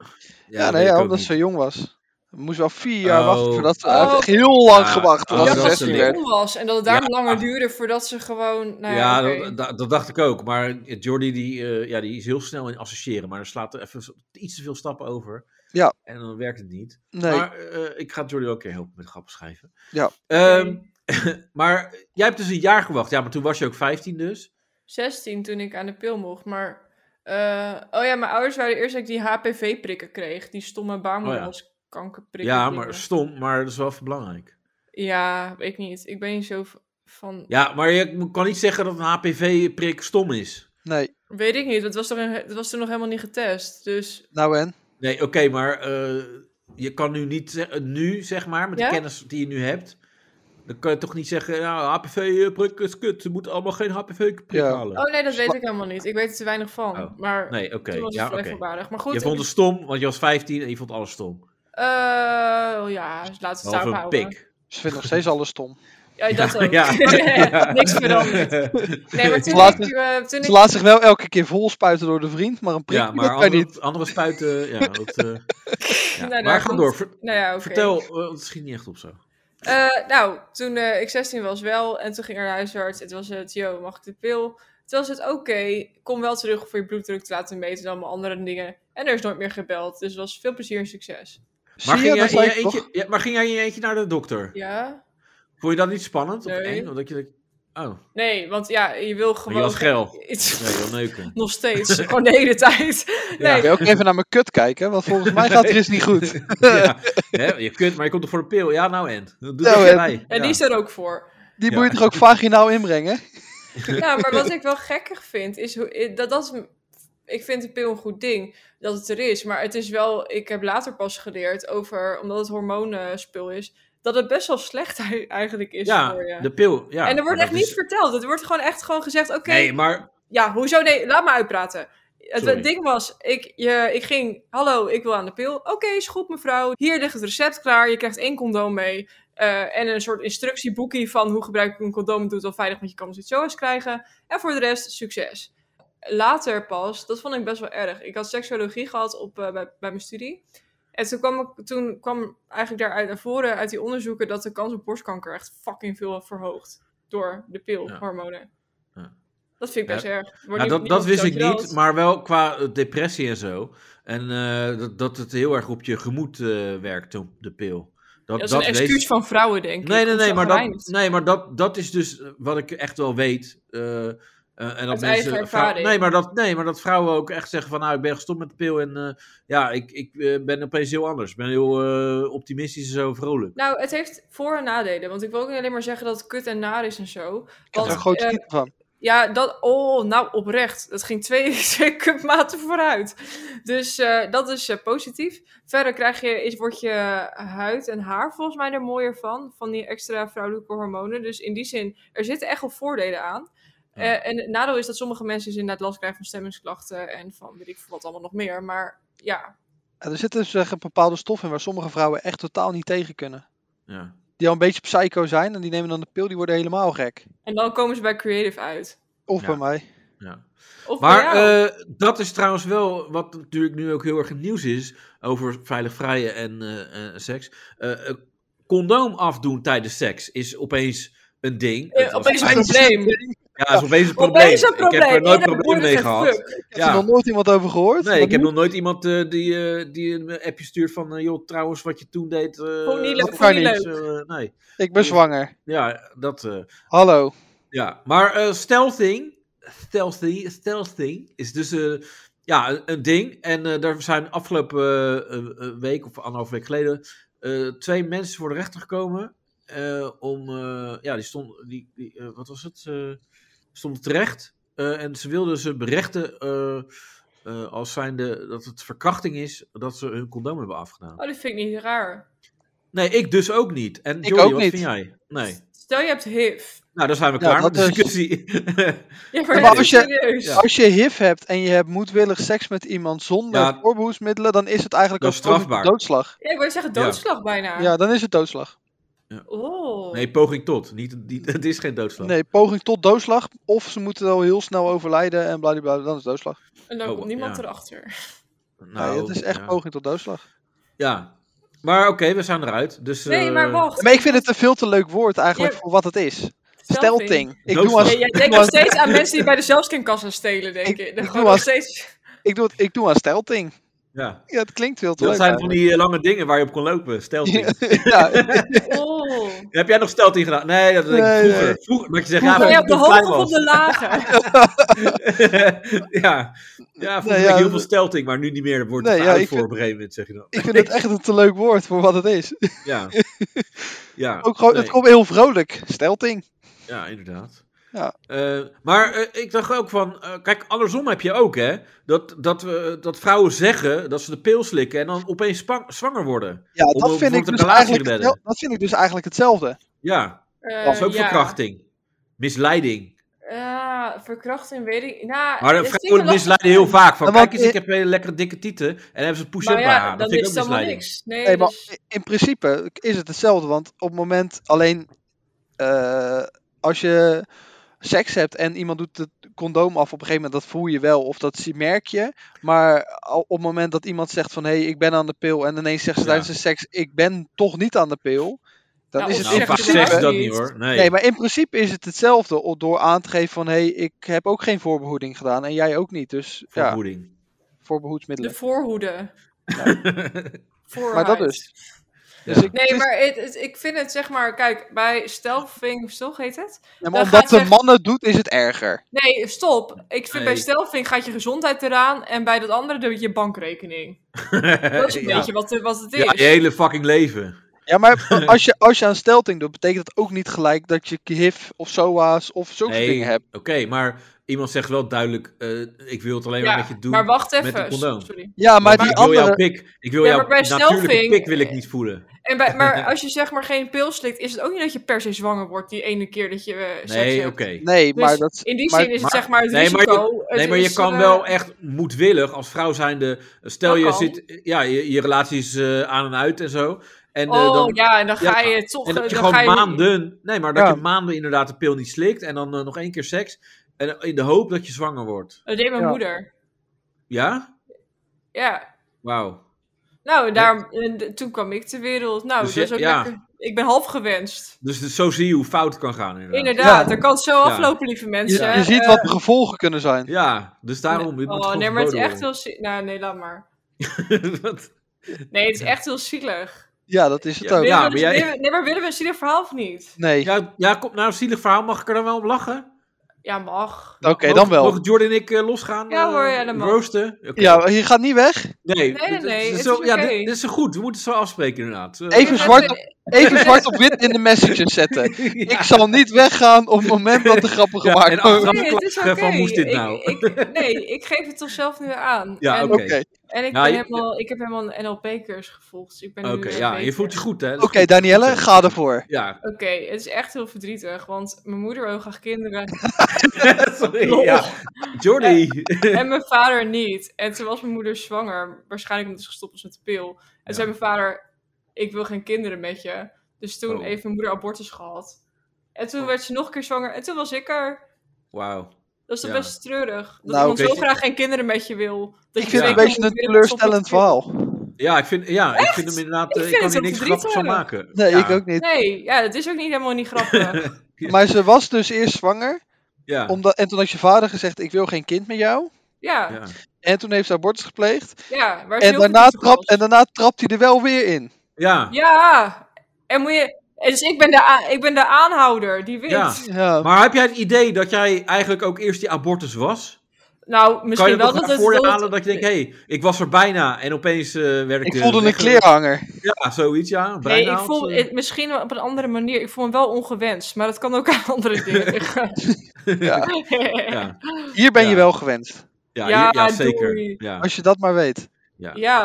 Speaker 3: ja, nee,
Speaker 4: weet ik
Speaker 3: ja,
Speaker 4: ook
Speaker 3: omdat
Speaker 4: niet.
Speaker 3: ze jong was. We moest wel vier jaar
Speaker 4: Oh.
Speaker 3: wachten voordat ze...
Speaker 2: Oh.
Speaker 3: Hij heeft echt heel lang
Speaker 4: Ja.
Speaker 3: gewacht
Speaker 4: Oh,
Speaker 3: voordat ze
Speaker 4: dat is een
Speaker 3: 16
Speaker 4: ding.
Speaker 3: werd.
Speaker 2: jong was en dat het daarom langer duurde voordat ze gewoon... Nou,
Speaker 4: ja,
Speaker 2: ja, oké.
Speaker 4: dat, dat, dat dacht ik ook. Maar Jordi die, eh, ja, die is heel snel in associëren, maar dan slaat er even iets te veel stappen over.
Speaker 3: Ja.
Speaker 4: En dan werkt het niet.
Speaker 3: Nee,
Speaker 4: Maar eh, ik ga Jordi ook een keer helpen met grappen schrijven.
Speaker 3: Ja.
Speaker 4: Ehm, maar jij hebt dus een jaar gewacht. Ja, maar toen was je ook 15 dus.
Speaker 2: 16 toen ik aan de pil mocht, maar... eh, oh ja, mijn ouders waren eerst dat ik die HPV-prikken kreeg. Die stomme baarmoederhalskankerprikken.
Speaker 4: Oh ja,
Speaker 2: dingen.
Speaker 4: maar stom, maar dat is wel even belangrijk.
Speaker 2: Ja, weet ik niet. Ik ben niet zo v- van...
Speaker 4: Ja, maar je kan niet zeggen dat een HPV-prik stom is.
Speaker 3: nee.
Speaker 2: Weet ik niet, dat was, toch een, dat was toen nog helemaal niet getest. Dus
Speaker 3: Nou en?
Speaker 4: Nee, oké, maar eh, je kan nu niet, ze- eh, nu zeg maar, met
Speaker 2: Ja?
Speaker 4: de kennis die je nu hebt, dan kan je toch niet zeggen, nou, HPV-prik is kut, ze moeten allemaal geen HPV-prik
Speaker 3: Ja.
Speaker 4: halen.
Speaker 2: Oh nee, dat weet ik helemaal niet. Ik weet er te weinig van.
Speaker 4: Oh.
Speaker 2: Maar
Speaker 4: Nee, oké,
Speaker 2: toen was
Speaker 4: ja,
Speaker 2: het
Speaker 4: oké.
Speaker 2: vrij voorbarig. Maar goed,
Speaker 4: Je
Speaker 2: ik-
Speaker 4: vond het stom, want je was 15 en je vond alles stom.
Speaker 2: Eh, oh ja, laten we het
Speaker 4: Behalve
Speaker 2: daarop
Speaker 4: een
Speaker 2: houden.
Speaker 4: pik.
Speaker 3: Ze vindt nog steeds alles stom.
Speaker 2: Ja, dat ook.
Speaker 4: Ja, ja.
Speaker 2: Niks veranderd. Nee, maar toen
Speaker 3: Laat-
Speaker 2: ik... eh, toen
Speaker 3: Ze
Speaker 2: ik
Speaker 3: laat zich wel elke keer vol spuiten door de vriend, maar een prik,
Speaker 4: Ja, maar
Speaker 3: dat kan
Speaker 4: andere,
Speaker 3: niet.
Speaker 4: andere spuiten. Ja, dat, eh, ja.
Speaker 2: Nou, daar
Speaker 4: maar ga
Speaker 2: komt-
Speaker 4: door. ver-
Speaker 2: nou ja, oké.
Speaker 4: Vertel, eh, want het schiet niet echt op zo.
Speaker 2: Eh, nou, toen eh, ik 16 was wel. En toen ging er naar de huisarts. Het was het, yo, mag ik de pil? Toen was het, oké, kom wel terug voor je bloeddruk te laten meten en allemaal andere dingen. En er is nooit meer gebeld. Dus het was veel plezier en succes.
Speaker 4: Maar
Speaker 3: Zie je,
Speaker 4: ging,
Speaker 3: dat
Speaker 4: jij in
Speaker 3: zei
Speaker 4: je
Speaker 3: ik toch?
Speaker 4: eentje, ja, maar ging jij in je eentje naar de dokter?
Speaker 2: Ja?
Speaker 4: Vond je dat niet spannend of
Speaker 2: Nee.
Speaker 4: eng? Omdat je denkt, oh,
Speaker 2: Nee, want ja, je wil gewoon...
Speaker 4: je was geil.
Speaker 2: Iets-
Speaker 4: Nee, wel neuken.
Speaker 2: Nog steeds. Gewoon de hele tijd.
Speaker 4: Ja.
Speaker 2: Nee,
Speaker 3: Wil je ook even naar mijn kut kijken? Want volgens mij gaat er iets niet goed.
Speaker 4: ja, hè, je kunt, maar je komt er voor de pil. Ja, nou en. Dat doet
Speaker 3: Nou
Speaker 4: er
Speaker 3: en.
Speaker 4: bij.
Speaker 2: en die is er ook voor.
Speaker 3: Die
Speaker 4: Ja.
Speaker 3: moet je toch ook vaginaal inbrengen?
Speaker 2: Nou, maar wat ik wel gekkig vind, is hoe, i- dat dat is m- Ik vind de pil een goed ding dat het er is. Maar het is wel. Ik heb later pas geleerd over. Omdat het hormonenspul is. Dat het best wel slecht ei- eigenlijk is
Speaker 4: Ja,
Speaker 2: voor je.
Speaker 4: de pil. Ja,
Speaker 2: en er
Speaker 4: maar
Speaker 2: wordt
Speaker 4: dat
Speaker 2: echt
Speaker 4: is-
Speaker 2: niet verteld. Het wordt gewoon echt gewoon gezegd: oké,
Speaker 4: Nee, maar
Speaker 2: ja, hoezo? Nee, laat me uitpraten. Het
Speaker 4: Sorry.
Speaker 2: ding was, ik, je, ik ging, hallo, ik wil aan de pil. Oké, is goed mevrouw. Hier ligt het recept klaar. Je krijgt één condoom mee. eh, en een soort instructieboekje van hoe gebruik ik een condoom. Doe het wel veilig, want je kan het zoals krijgen. En voor de rest, succes. Later pas, dat vond ik best wel erg. Ik had seksuologie gehad op, eh, bij, bij mijn studie. En toen kwam, ik- toen kwam eigenlijk daaruit naar voren, uit die onderzoeken, dat de kans op borstkanker echt fucking veel verhoogt. Door de pil,
Speaker 4: Ja.
Speaker 2: hormonen.
Speaker 4: Ja.
Speaker 2: Dat vind ik best
Speaker 4: Ja.
Speaker 2: erg. Wordt
Speaker 4: ja,
Speaker 2: niet-
Speaker 4: dat,
Speaker 2: niet
Speaker 4: dat wist ik
Speaker 2: verteld.
Speaker 4: niet, maar wel qua eh, depressie en zo. En eh, dat, dat het heel erg op je gemoed eh, werkt, de- de pil. Dat,
Speaker 2: Dat is een
Speaker 4: wees-
Speaker 2: excuus van vrouwen, denk ik.
Speaker 4: Nee, nee,
Speaker 2: om
Speaker 4: nee,
Speaker 2: zo
Speaker 4: maar, dat,
Speaker 2: gereinigd.
Speaker 4: nee maar dat, dat is dus eh, wat ik echt wel weet. eh, eh, en dat
Speaker 2: Uit
Speaker 4: mensen,
Speaker 2: eigen
Speaker 4: vrouw-
Speaker 2: ervaring.
Speaker 4: nee, maar dat, nee, maar dat vrouwen ook echt zeggen van... nou, ik ben gestopt met de pil en eh, ja, ik, ik eh, ben opeens heel anders. Ik ben heel eh, optimistisch en zo vrolijk.
Speaker 2: Nou, het heeft voor- en nadelen. Want ik wil ook niet alleen maar zeggen dat het kut en naar is en zo.
Speaker 3: Ik heb er een
Speaker 2: Want,
Speaker 3: grote
Speaker 2: eh,
Speaker 3: titel van.
Speaker 2: ja, dat... Oh, nou, oprecht. Dat ging twee, twee cupmaten vooruit. Dus eh, dat is eh, positief. Verder krijg je, is, wordt je eh, huid en haar volgens mij er mooier van. Van die extra vrouwelijke hormonen. Dus in die zin, er zitten echt wel voordelen aan.
Speaker 4: Ja.
Speaker 2: Eh, en het nadeel is dat sommige mensen dus inderdaad last krijgen van stemmingsklachten. En van weet ik veel wat allemaal nog meer. Maar ja,
Speaker 3: Ja, er zit dus echt een bepaalde stof in waar sommige vrouwen echt totaal niet tegen kunnen.
Speaker 4: Ja.
Speaker 3: Die al een beetje psycho zijn en die nemen dan de pil, die worden helemaal gek.
Speaker 2: en dan komen ze bij creative uit.
Speaker 3: Of
Speaker 4: Ja.
Speaker 3: bij mij.
Speaker 4: Ja.
Speaker 2: Of bij
Speaker 4: Maar
Speaker 2: jou.
Speaker 4: eh, dat is trouwens wel wat natuurlijk nu ook heel erg in het nieuws is... over veilig vrijen en eh, eh, seks. Eh, eh, condoom afdoen tijdens seks is opeens een ding.
Speaker 2: Eh,
Speaker 4: Het was-
Speaker 2: opeens een
Speaker 3: Dat is
Speaker 2: probleem.
Speaker 3: het ding.
Speaker 4: Ja, dat is opeens een probleem.
Speaker 2: Opeens een Oh, probleem.
Speaker 4: Ik heb er nooit
Speaker 2: in een
Speaker 4: probleem mee
Speaker 2: boerderij,
Speaker 4: gehad.
Speaker 2: fuck.
Speaker 3: Ik heb er
Speaker 4: Ja.
Speaker 3: nog nooit iemand over gehoord.
Speaker 4: Nee,
Speaker 3: Wat
Speaker 4: ik heb
Speaker 3: nu?
Speaker 4: nog nooit iemand eh, die, eh, die een appje stuurt van... eh, joh, trouwens, wat je toen deed... eh,
Speaker 2: Vond niet leuk,
Speaker 4: dat
Speaker 3: vond
Speaker 4: kan
Speaker 2: niet
Speaker 4: eh, nee.
Speaker 3: ik ben zwanger.
Speaker 4: Ja, dat... eh,
Speaker 3: Hallo.
Speaker 4: ja. Maar eh stealthing... Stealthing, stealthing is dus... eh, ja, een, een ding. En eh, daar zijn afgelopen eh, eh, eh, week of anderhalf week geleden... eh, twee mensen voor de rechter gekomen... eh, om... eh, ja, die stonden... Die, die, eh, wat was het? Eh, stonden terecht. eh, en ze wilden ze berechten... eh, eh, als zijnde dat het verkrachting is dat ze hun condoom hebben afgedaan.
Speaker 2: Oh, dat vind ik niet raar.
Speaker 4: Nee, ik dus ook niet. En
Speaker 3: Ik
Speaker 4: Jordi,
Speaker 3: ook
Speaker 4: wat
Speaker 3: niet.
Speaker 4: vind jij? Nee.
Speaker 2: Stel je hebt HIV.
Speaker 4: Nou, daar zijn we
Speaker 3: Ja,
Speaker 4: klaar met de
Speaker 3: dat is-
Speaker 4: discussie.
Speaker 2: Ja, maar,
Speaker 3: maar
Speaker 2: dat is
Speaker 3: als je-
Speaker 2: serieus.
Speaker 4: Ja.
Speaker 3: Als je HIV hebt en je hebt moedwillig seks met iemand zonder
Speaker 4: Ja.
Speaker 3: voorbehoedsmiddelen, dan is het eigenlijk
Speaker 4: Dat
Speaker 3: ook
Speaker 4: is strafbaar.
Speaker 3: doodslag.
Speaker 2: Ja, ik wou zeggen doodslag bijna.
Speaker 3: Ja, dan is het doodslag.
Speaker 2: Oh.
Speaker 4: nee, poging tot. Niet, niet, het is geen doodslag.
Speaker 3: Nee, poging tot doodslag. Of ze moeten al heel snel overlijden en blablabla, dan is het doodslag.
Speaker 2: En dan
Speaker 4: Oh,
Speaker 2: komt niemand
Speaker 4: ja.
Speaker 2: erachter.
Speaker 4: Nou,
Speaker 3: nee, het is echt
Speaker 4: ja.
Speaker 3: poging tot doodslag.
Speaker 4: Ja. Maar oké, we zijn eruit. Dus,
Speaker 2: Nee,
Speaker 4: eh,
Speaker 2: maar wacht.
Speaker 3: Maar ik vind het een veel te leuk woord eigenlijk
Speaker 2: Ja.
Speaker 3: voor wat het is. Stelting. Ik doe,
Speaker 4: Doodslag.
Speaker 3: aan,
Speaker 2: Ja, jij denkt nog steeds aan mensen die bij de zelfskinkassa stelen, denk
Speaker 3: Ik-
Speaker 2: ik.
Speaker 3: ik
Speaker 2: Gewoon
Speaker 3: doe
Speaker 2: nog
Speaker 3: als-
Speaker 2: steeds...
Speaker 3: ik, doe, het- ik doe aan stelting.
Speaker 4: Ja.
Speaker 3: Ja, het klinkt veel te
Speaker 4: Dat
Speaker 3: leuk.
Speaker 4: zijn van die eh, lange dingen waar je op kon lopen. Stelting.
Speaker 3: eigenlijk. ja,
Speaker 2: Oh.
Speaker 4: Heb jij nog stelting gedaan? Nee, dat denk ik
Speaker 3: Nee,
Speaker 4: vroeger.
Speaker 3: nee.
Speaker 4: Vroeger, dat je zegt,
Speaker 2: Ja,
Speaker 4: ja,
Speaker 3: Vroeger.
Speaker 4: maar
Speaker 2: ben je op de hoge of op de lage?
Speaker 4: ja. ja, vroeger
Speaker 3: Nee,
Speaker 4: had
Speaker 3: ja,
Speaker 4: ik heel
Speaker 3: dat-
Speaker 4: veel stelting, maar nu niet meer. Dat wordt het
Speaker 3: Nee,
Speaker 4: te
Speaker 3: ja,
Speaker 4: oud
Speaker 3: ik
Speaker 4: voor
Speaker 3: vind-
Speaker 4: op een gegeven moment, zeg je dan.
Speaker 3: ik vind het echt een te leuk woord voor wat het is.
Speaker 4: Ja. ja.
Speaker 3: Ook gewoon,
Speaker 4: nee.
Speaker 3: Het komt heel vrolijk. Stelting.
Speaker 4: Ja, inderdaad.
Speaker 3: Ja.
Speaker 4: Eh, maar eh, ik dacht ook van, eh, kijk, andersom heb je ook, hè? Dat, dat, we dat vrouwen zeggen dat ze de pil slikken en dan opeens spang- zwanger worden.
Speaker 3: Ja,
Speaker 4: Om-
Speaker 3: dat
Speaker 4: om
Speaker 3: vind, ik
Speaker 4: te
Speaker 3: dus
Speaker 4: relatie
Speaker 3: eigenlijk,
Speaker 4: te
Speaker 3: hetzel-
Speaker 4: redden.
Speaker 3: dat vind ik dus eigenlijk hetzelfde.
Speaker 4: Ja,
Speaker 2: Eh,
Speaker 4: dat is ook
Speaker 2: ja. Eh,
Speaker 4: verkrachting. Misleiding.
Speaker 2: Ja, verkrachting Ah, weet ik... Nou,
Speaker 4: Maar
Speaker 2: dat
Speaker 4: de
Speaker 2: vind ik
Speaker 4: vrouwen
Speaker 2: lastig.
Speaker 4: misleiden heel vaak. Van,
Speaker 3: Maar
Speaker 4: kijk
Speaker 3: wat-
Speaker 4: eens, ik heb hele lekkere dikke tieten en dan hebben ze een push-up
Speaker 2: Maar ja,
Speaker 4: BH.
Speaker 2: dan
Speaker 4: Ah, Dat vind
Speaker 2: is
Speaker 4: ik ook
Speaker 2: het allemaal
Speaker 4: misleiding.
Speaker 2: niks. Nee,
Speaker 3: Nee, maar
Speaker 2: dus-
Speaker 3: in principe is het hetzelfde. Want op het moment alleen eh, als je seks hebt en iemand doet het condoom af, op een gegeven moment dat voel je wel of dat zie- merk je. Maar al- op het moment dat iemand zegt van hé, hey, ik ben aan de pil en ineens zegt ze
Speaker 4: Ja.
Speaker 3: tijdens de seks, ik ben toch niet aan de pil. Dan
Speaker 2: Nou,
Speaker 3: is
Speaker 2: of
Speaker 3: het
Speaker 4: Nou,
Speaker 2: Zeg
Speaker 3: in
Speaker 4: vaak
Speaker 2: het
Speaker 3: principe...
Speaker 4: zeggen ze dat
Speaker 2: niet.
Speaker 4: niet, hoor. Nee.
Speaker 3: Nee, maar in principe is het hetzelfde o- door aan te geven van hé, hey, ik heb ook geen voorbehoeding gedaan en jij ook niet. Dus ja,
Speaker 4: Vervoeding.
Speaker 3: voorbehoedsmiddelen.
Speaker 2: de voorhoede. Voorhuid.
Speaker 3: Maar dat dus.
Speaker 4: Ja.
Speaker 3: Dus ik- het
Speaker 2: Nee,
Speaker 3: is-
Speaker 2: maar het- het- ik vind het zeg maar... Kijk, bij stelving... Toch heet het?
Speaker 3: Ja,
Speaker 2: Dan
Speaker 3: maar
Speaker 2: gaat
Speaker 3: omdat de
Speaker 2: ze echt-
Speaker 3: man het doet, is het erger.
Speaker 2: Nee, stop. Ik vind
Speaker 4: Nee.
Speaker 2: bij stelving gaat je gezondheid eraan en bij dat andere doe je je bankrekening. Dat is een
Speaker 4: ja.
Speaker 2: beetje wat, eh, wat het is.
Speaker 4: ja, je hele fucking leven.
Speaker 3: Ja, maar als je, als je aan stelting doet, betekent dat ook niet gelijk dat je HIV of SOA's of zulke soort
Speaker 4: Nee,
Speaker 3: dingen hebt.
Speaker 4: oké, maar iemand zegt wel duidelijk, eh, ik wil het alleen
Speaker 2: Ja,
Speaker 4: maar met je doen.
Speaker 2: maar wacht
Speaker 4: met
Speaker 2: even.
Speaker 4: een condoom.
Speaker 2: Sorry.
Speaker 3: Ja, maar,
Speaker 4: Want
Speaker 3: die
Speaker 4: ik wil jouw
Speaker 3: andere...
Speaker 4: pik. Ik wil
Speaker 2: Ja,
Speaker 4: jouw
Speaker 2: maar bij
Speaker 4: natuurlijke
Speaker 2: stelving-
Speaker 4: pik wil ik niet voelen.
Speaker 2: En bij, maar als je zeg maar geen pil slikt, is het ook niet dat je per se zwanger wordt die ene keer dat je eh, seks
Speaker 4: Nee,
Speaker 2: hebt.
Speaker 4: oké.
Speaker 3: Nee,
Speaker 2: Dus
Speaker 3: maar dat...
Speaker 2: In die
Speaker 3: maar-
Speaker 2: zin is het
Speaker 4: maar-
Speaker 2: zeg maar het
Speaker 4: nee, maar je-
Speaker 2: risico. het
Speaker 4: Nee, maar je
Speaker 2: is,
Speaker 4: kan
Speaker 2: eh,
Speaker 4: wel echt moedwillig als vrouw zijnde. Stel
Speaker 2: Dat
Speaker 4: je
Speaker 2: kan.
Speaker 4: zit, ja, je, je relatie is eh, aan en uit en zo. En, eh,
Speaker 2: oh
Speaker 4: dan,
Speaker 2: ja, en dan
Speaker 4: ja,
Speaker 2: ga je toch... eh,
Speaker 4: en dat je
Speaker 2: dan ga
Speaker 4: gewoon
Speaker 2: je,
Speaker 4: maanden, nee, maar dat
Speaker 3: Ja.
Speaker 4: je maanden inderdaad de pil niet slikt en dan eh, nog één keer seks. En eh, in de hoop dat je zwanger wordt.
Speaker 2: Dat deed mijn
Speaker 3: Ja.
Speaker 2: moeder.
Speaker 4: Ja?
Speaker 2: Ja.
Speaker 4: Wauw.
Speaker 2: Nou, daar, en d- toen kwam ik ter wereld. Nou,
Speaker 4: Dus
Speaker 2: dat
Speaker 4: je-
Speaker 2: is ook
Speaker 4: ja.
Speaker 2: lekker. Ik ben half gewenst.
Speaker 4: Dus, dus zo zie je hoe fout het kan gaan inderdaad.
Speaker 2: Inderdaad,
Speaker 3: Ja.
Speaker 2: dat kan het zo
Speaker 4: Ja.
Speaker 2: aflopen, lieve
Speaker 3: Je,
Speaker 2: mensen.
Speaker 3: je ziet
Speaker 2: Eh,
Speaker 3: wat de gevolgen kunnen zijn.
Speaker 4: Ja, dus daarom dit moet
Speaker 2: Oh,
Speaker 4: gewoon
Speaker 2: nee, maar het is
Speaker 4: verboden
Speaker 2: echt heel zielig. Nou, nee, laat maar.
Speaker 4: worden. Wat?
Speaker 2: Nee, het is echt heel zielig.
Speaker 3: Ja, dat is het ook.
Speaker 2: Willen
Speaker 4: Oh, Ja,
Speaker 2: we- dus-
Speaker 4: maar jij-
Speaker 2: willen we- Nee, maar willen we een zielig verhaal of niet?
Speaker 3: Nee.
Speaker 4: ja, ja, kom nou, zielig verhaal, mag ik er dan wel om lachen?
Speaker 2: Ja, mag.
Speaker 3: Oké,
Speaker 4: Mogen-
Speaker 3: dan wel.
Speaker 4: Mogen Jordan en ik eh, losgaan?
Speaker 2: Ja
Speaker 4: eh,
Speaker 2: hoor, ja, dat mag.
Speaker 4: Roosten? Oké.
Speaker 3: Ja, je gaat niet weg.
Speaker 4: Nee,
Speaker 2: nee,
Speaker 4: dit- dit-
Speaker 2: nee,
Speaker 4: dit
Speaker 2: het
Speaker 4: is zo,
Speaker 2: is
Speaker 4: ja,
Speaker 2: oké.
Speaker 4: dit, dit is zo goed. We moeten het zo afspreken inderdaad. Eh,
Speaker 3: Even
Speaker 2: Ja,
Speaker 3: zwart
Speaker 2: dat-
Speaker 3: Even zwart op wit in de messages zetten.
Speaker 4: ja.
Speaker 3: Ik zal niet weggaan op het moment dat de grappen
Speaker 4: Ja,
Speaker 3: gemaakt
Speaker 4: en achteraf-
Speaker 3: worden.
Speaker 4: dan
Speaker 2: Nee, het is
Speaker 4: klagen
Speaker 2: oké.
Speaker 4: van, moest dit
Speaker 2: Ik-
Speaker 4: nou?
Speaker 2: Ik, nee, ik geef het toch zelf nu aan.
Speaker 4: Ja,
Speaker 2: en,
Speaker 4: oké.
Speaker 3: Oké,
Speaker 2: en ik,
Speaker 4: Nou,
Speaker 2: ben
Speaker 4: je-
Speaker 2: helemaal, ik heb helemaal een NLP-cursus gevolgd. dus ik ben nu
Speaker 4: Oké,
Speaker 2: een
Speaker 4: ja,
Speaker 2: NLP
Speaker 4: je voelt je goed, hè? Dat is
Speaker 3: Oké,
Speaker 4: goed.
Speaker 3: Danielle, ga ervoor.
Speaker 4: Ja,
Speaker 2: Oké, het is echt heel verdrietig, want mijn moeder wil graag kinderen
Speaker 4: sorry.
Speaker 2: Lol.
Speaker 4: Ja. Jordi.
Speaker 2: en mijn vader niet. En toen was mijn moeder zwanger, waarschijnlijk omdat ze gestopt was met de pil. En
Speaker 4: Ja.
Speaker 2: toen zei mijn vader, ik wil geen kinderen met je. Dus toen
Speaker 4: Oh.
Speaker 2: heeft mijn moeder abortus gehad. En toen werd ze nog een keer zwanger en toen was ik er.
Speaker 4: Wauw.
Speaker 2: Dat is toch
Speaker 4: Ja.
Speaker 2: best treurig. Dat
Speaker 3: Nou,
Speaker 2: iemand
Speaker 4: weet
Speaker 2: zo
Speaker 4: je-
Speaker 2: graag geen kinderen met je wil. Dat
Speaker 3: Ik
Speaker 2: je
Speaker 3: vind het
Speaker 2: twee
Speaker 3: een
Speaker 4: Ja.
Speaker 2: keer
Speaker 3: beetje een
Speaker 2: moet willen stoppen met
Speaker 3: teleurstellend
Speaker 2: de pil.
Speaker 3: verhaal.
Speaker 4: Ja, ik vind, ja, ik vind hem inderdaad...
Speaker 2: Ik
Speaker 4: eh, Ik,
Speaker 2: vind
Speaker 4: kan
Speaker 2: het
Speaker 4: hier
Speaker 2: ook
Speaker 4: niks grappigs van
Speaker 2: verdrietig.
Speaker 4: maken.
Speaker 3: Nee,
Speaker 4: Ja.
Speaker 3: ik ook niet.
Speaker 2: Nee, ja, het is ook niet helemaal niet grappig.
Speaker 4: Ja.
Speaker 3: Maar ze was dus eerst zwanger.
Speaker 4: Ja.
Speaker 3: Omdat, en toen had je vader gezegd, ik wil geen kind met jou.
Speaker 2: Ja,
Speaker 4: Ja.
Speaker 3: En toen heeft ze abortus gepleegd.
Speaker 2: ja. Waar is
Speaker 3: En
Speaker 2: heel veel
Speaker 3: daarna,
Speaker 2: kritiek op
Speaker 3: trapt,
Speaker 2: was.
Speaker 3: en daarna trapt hij er wel weer in.
Speaker 4: ja.
Speaker 2: Ja, en moet je... en Dus ik ben de, a- ik ben de aanhouder, die wint.
Speaker 4: Ja.
Speaker 3: Ja.
Speaker 4: Maar heb jij het idee dat jij eigenlijk ook eerst die abortus was?
Speaker 2: Nou,
Speaker 4: Kan je
Speaker 2: misschien wel
Speaker 4: dat
Speaker 2: dat
Speaker 4: toch
Speaker 2: het...
Speaker 4: voor je
Speaker 2: dat het-
Speaker 4: halen dat je denkt, hé, hey, ik was er bijna en opeens eh werd ik...
Speaker 3: ik
Speaker 4: eh,
Speaker 3: voelde een
Speaker 4: wegge-
Speaker 3: kleerhanger.
Speaker 4: Ja, zoiets, ja.
Speaker 2: Nee,
Speaker 4: Bijna.
Speaker 2: ik voel
Speaker 4: eh.
Speaker 2: het misschien wel op een andere manier. Ik voel me wel ongewenst, maar dat kan ook aan andere dingen liggen.
Speaker 3: Ja.
Speaker 2: ja,
Speaker 4: Ja,
Speaker 3: Hier ben
Speaker 4: Ja.
Speaker 3: je wel gewenst.
Speaker 4: ja,
Speaker 2: Ja,
Speaker 4: ja, ja, zeker.
Speaker 2: doei.
Speaker 4: Ja,
Speaker 3: Als je dat maar weet.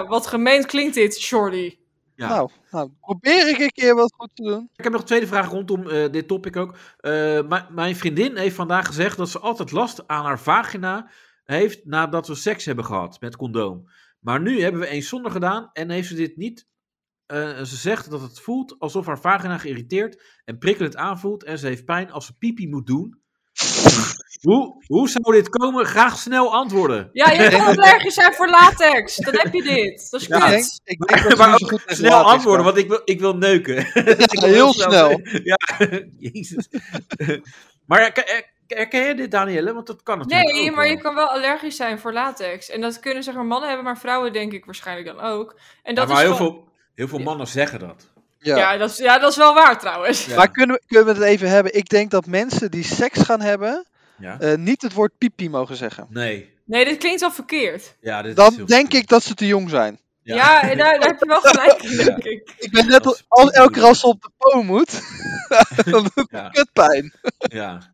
Speaker 2: wat gemeend klinkt dit, Shorty.
Speaker 4: ja.
Speaker 3: Nou, nou, probeer ik een keer wat goed te doen.
Speaker 4: Ik heb nog een tweede vraag rondom eh, dit topic ook. Eh, mijn- mijn vriendin heeft vandaag gezegd dat ze altijd last aan haar vagina heeft nadat we seks hebben gehad met condoom. Maar nu hebben we eens zonder gedaan en heeft ze dit niet. Eh, en ze zegt dat het voelt alsof haar vagina geïrriteerd en prikkelend aanvoelt en ze heeft pijn als ze pipi moet doen. hoe, hoe zou dit komen? Graag snel antwoorden.
Speaker 2: Ja, je kan allergisch zijn voor latex. Dan heb je dit. Dat is
Speaker 4: Ja.
Speaker 3: Ik denk,
Speaker 2: kut.
Speaker 3: ik denk
Speaker 4: Maar
Speaker 3: dat maar
Speaker 4: ook
Speaker 3: zo goed tegen
Speaker 4: Snel
Speaker 3: laat is,
Speaker 4: antwoorden,
Speaker 3: maar-
Speaker 4: want ik wil, ik wil neuken. Ik
Speaker 3: Ja,
Speaker 4: wil
Speaker 3: heel snel.
Speaker 4: Ja, jezus. maar herken- her- herken je dit, Danielle? Want dat kan natuurlijk
Speaker 2: Nee,
Speaker 4: ook
Speaker 2: maar
Speaker 4: wel.
Speaker 2: je kan wel allergisch zijn voor latex. En dat kunnen zeg maar mannen hebben, maar vrouwen denk ik waarschijnlijk dan ook. En
Speaker 4: Ja,
Speaker 2: dat
Speaker 4: maar
Speaker 2: is
Speaker 4: heel,
Speaker 2: gewoon-
Speaker 4: veel, heel veel mannen zeggen dat.
Speaker 3: Ja.
Speaker 2: Ja, dat is, ja, dat is wel waar trouwens.
Speaker 4: Ja.
Speaker 3: Maar kunnen we, kunnen we het even hebben? Ik denk dat mensen die seks gaan hebben,
Speaker 4: Ja?
Speaker 3: eh, niet het woord piepie mogen zeggen.
Speaker 4: Nee.
Speaker 2: Nee, dit klinkt wel verkeerd.
Speaker 4: Ja, dit is
Speaker 3: Dan
Speaker 4: heel-
Speaker 3: denk ik dat ze te jong zijn.
Speaker 2: Ja, en daar, daar heb je wel gelijk in, denk ik.
Speaker 3: Ik ben net
Speaker 4: Als
Speaker 3: als, als
Speaker 4: piepie
Speaker 3: elke
Speaker 4: doen.
Speaker 3: ras op de po moet, dan doet
Speaker 4: Ja.
Speaker 3: het kutpijn.
Speaker 4: Ja.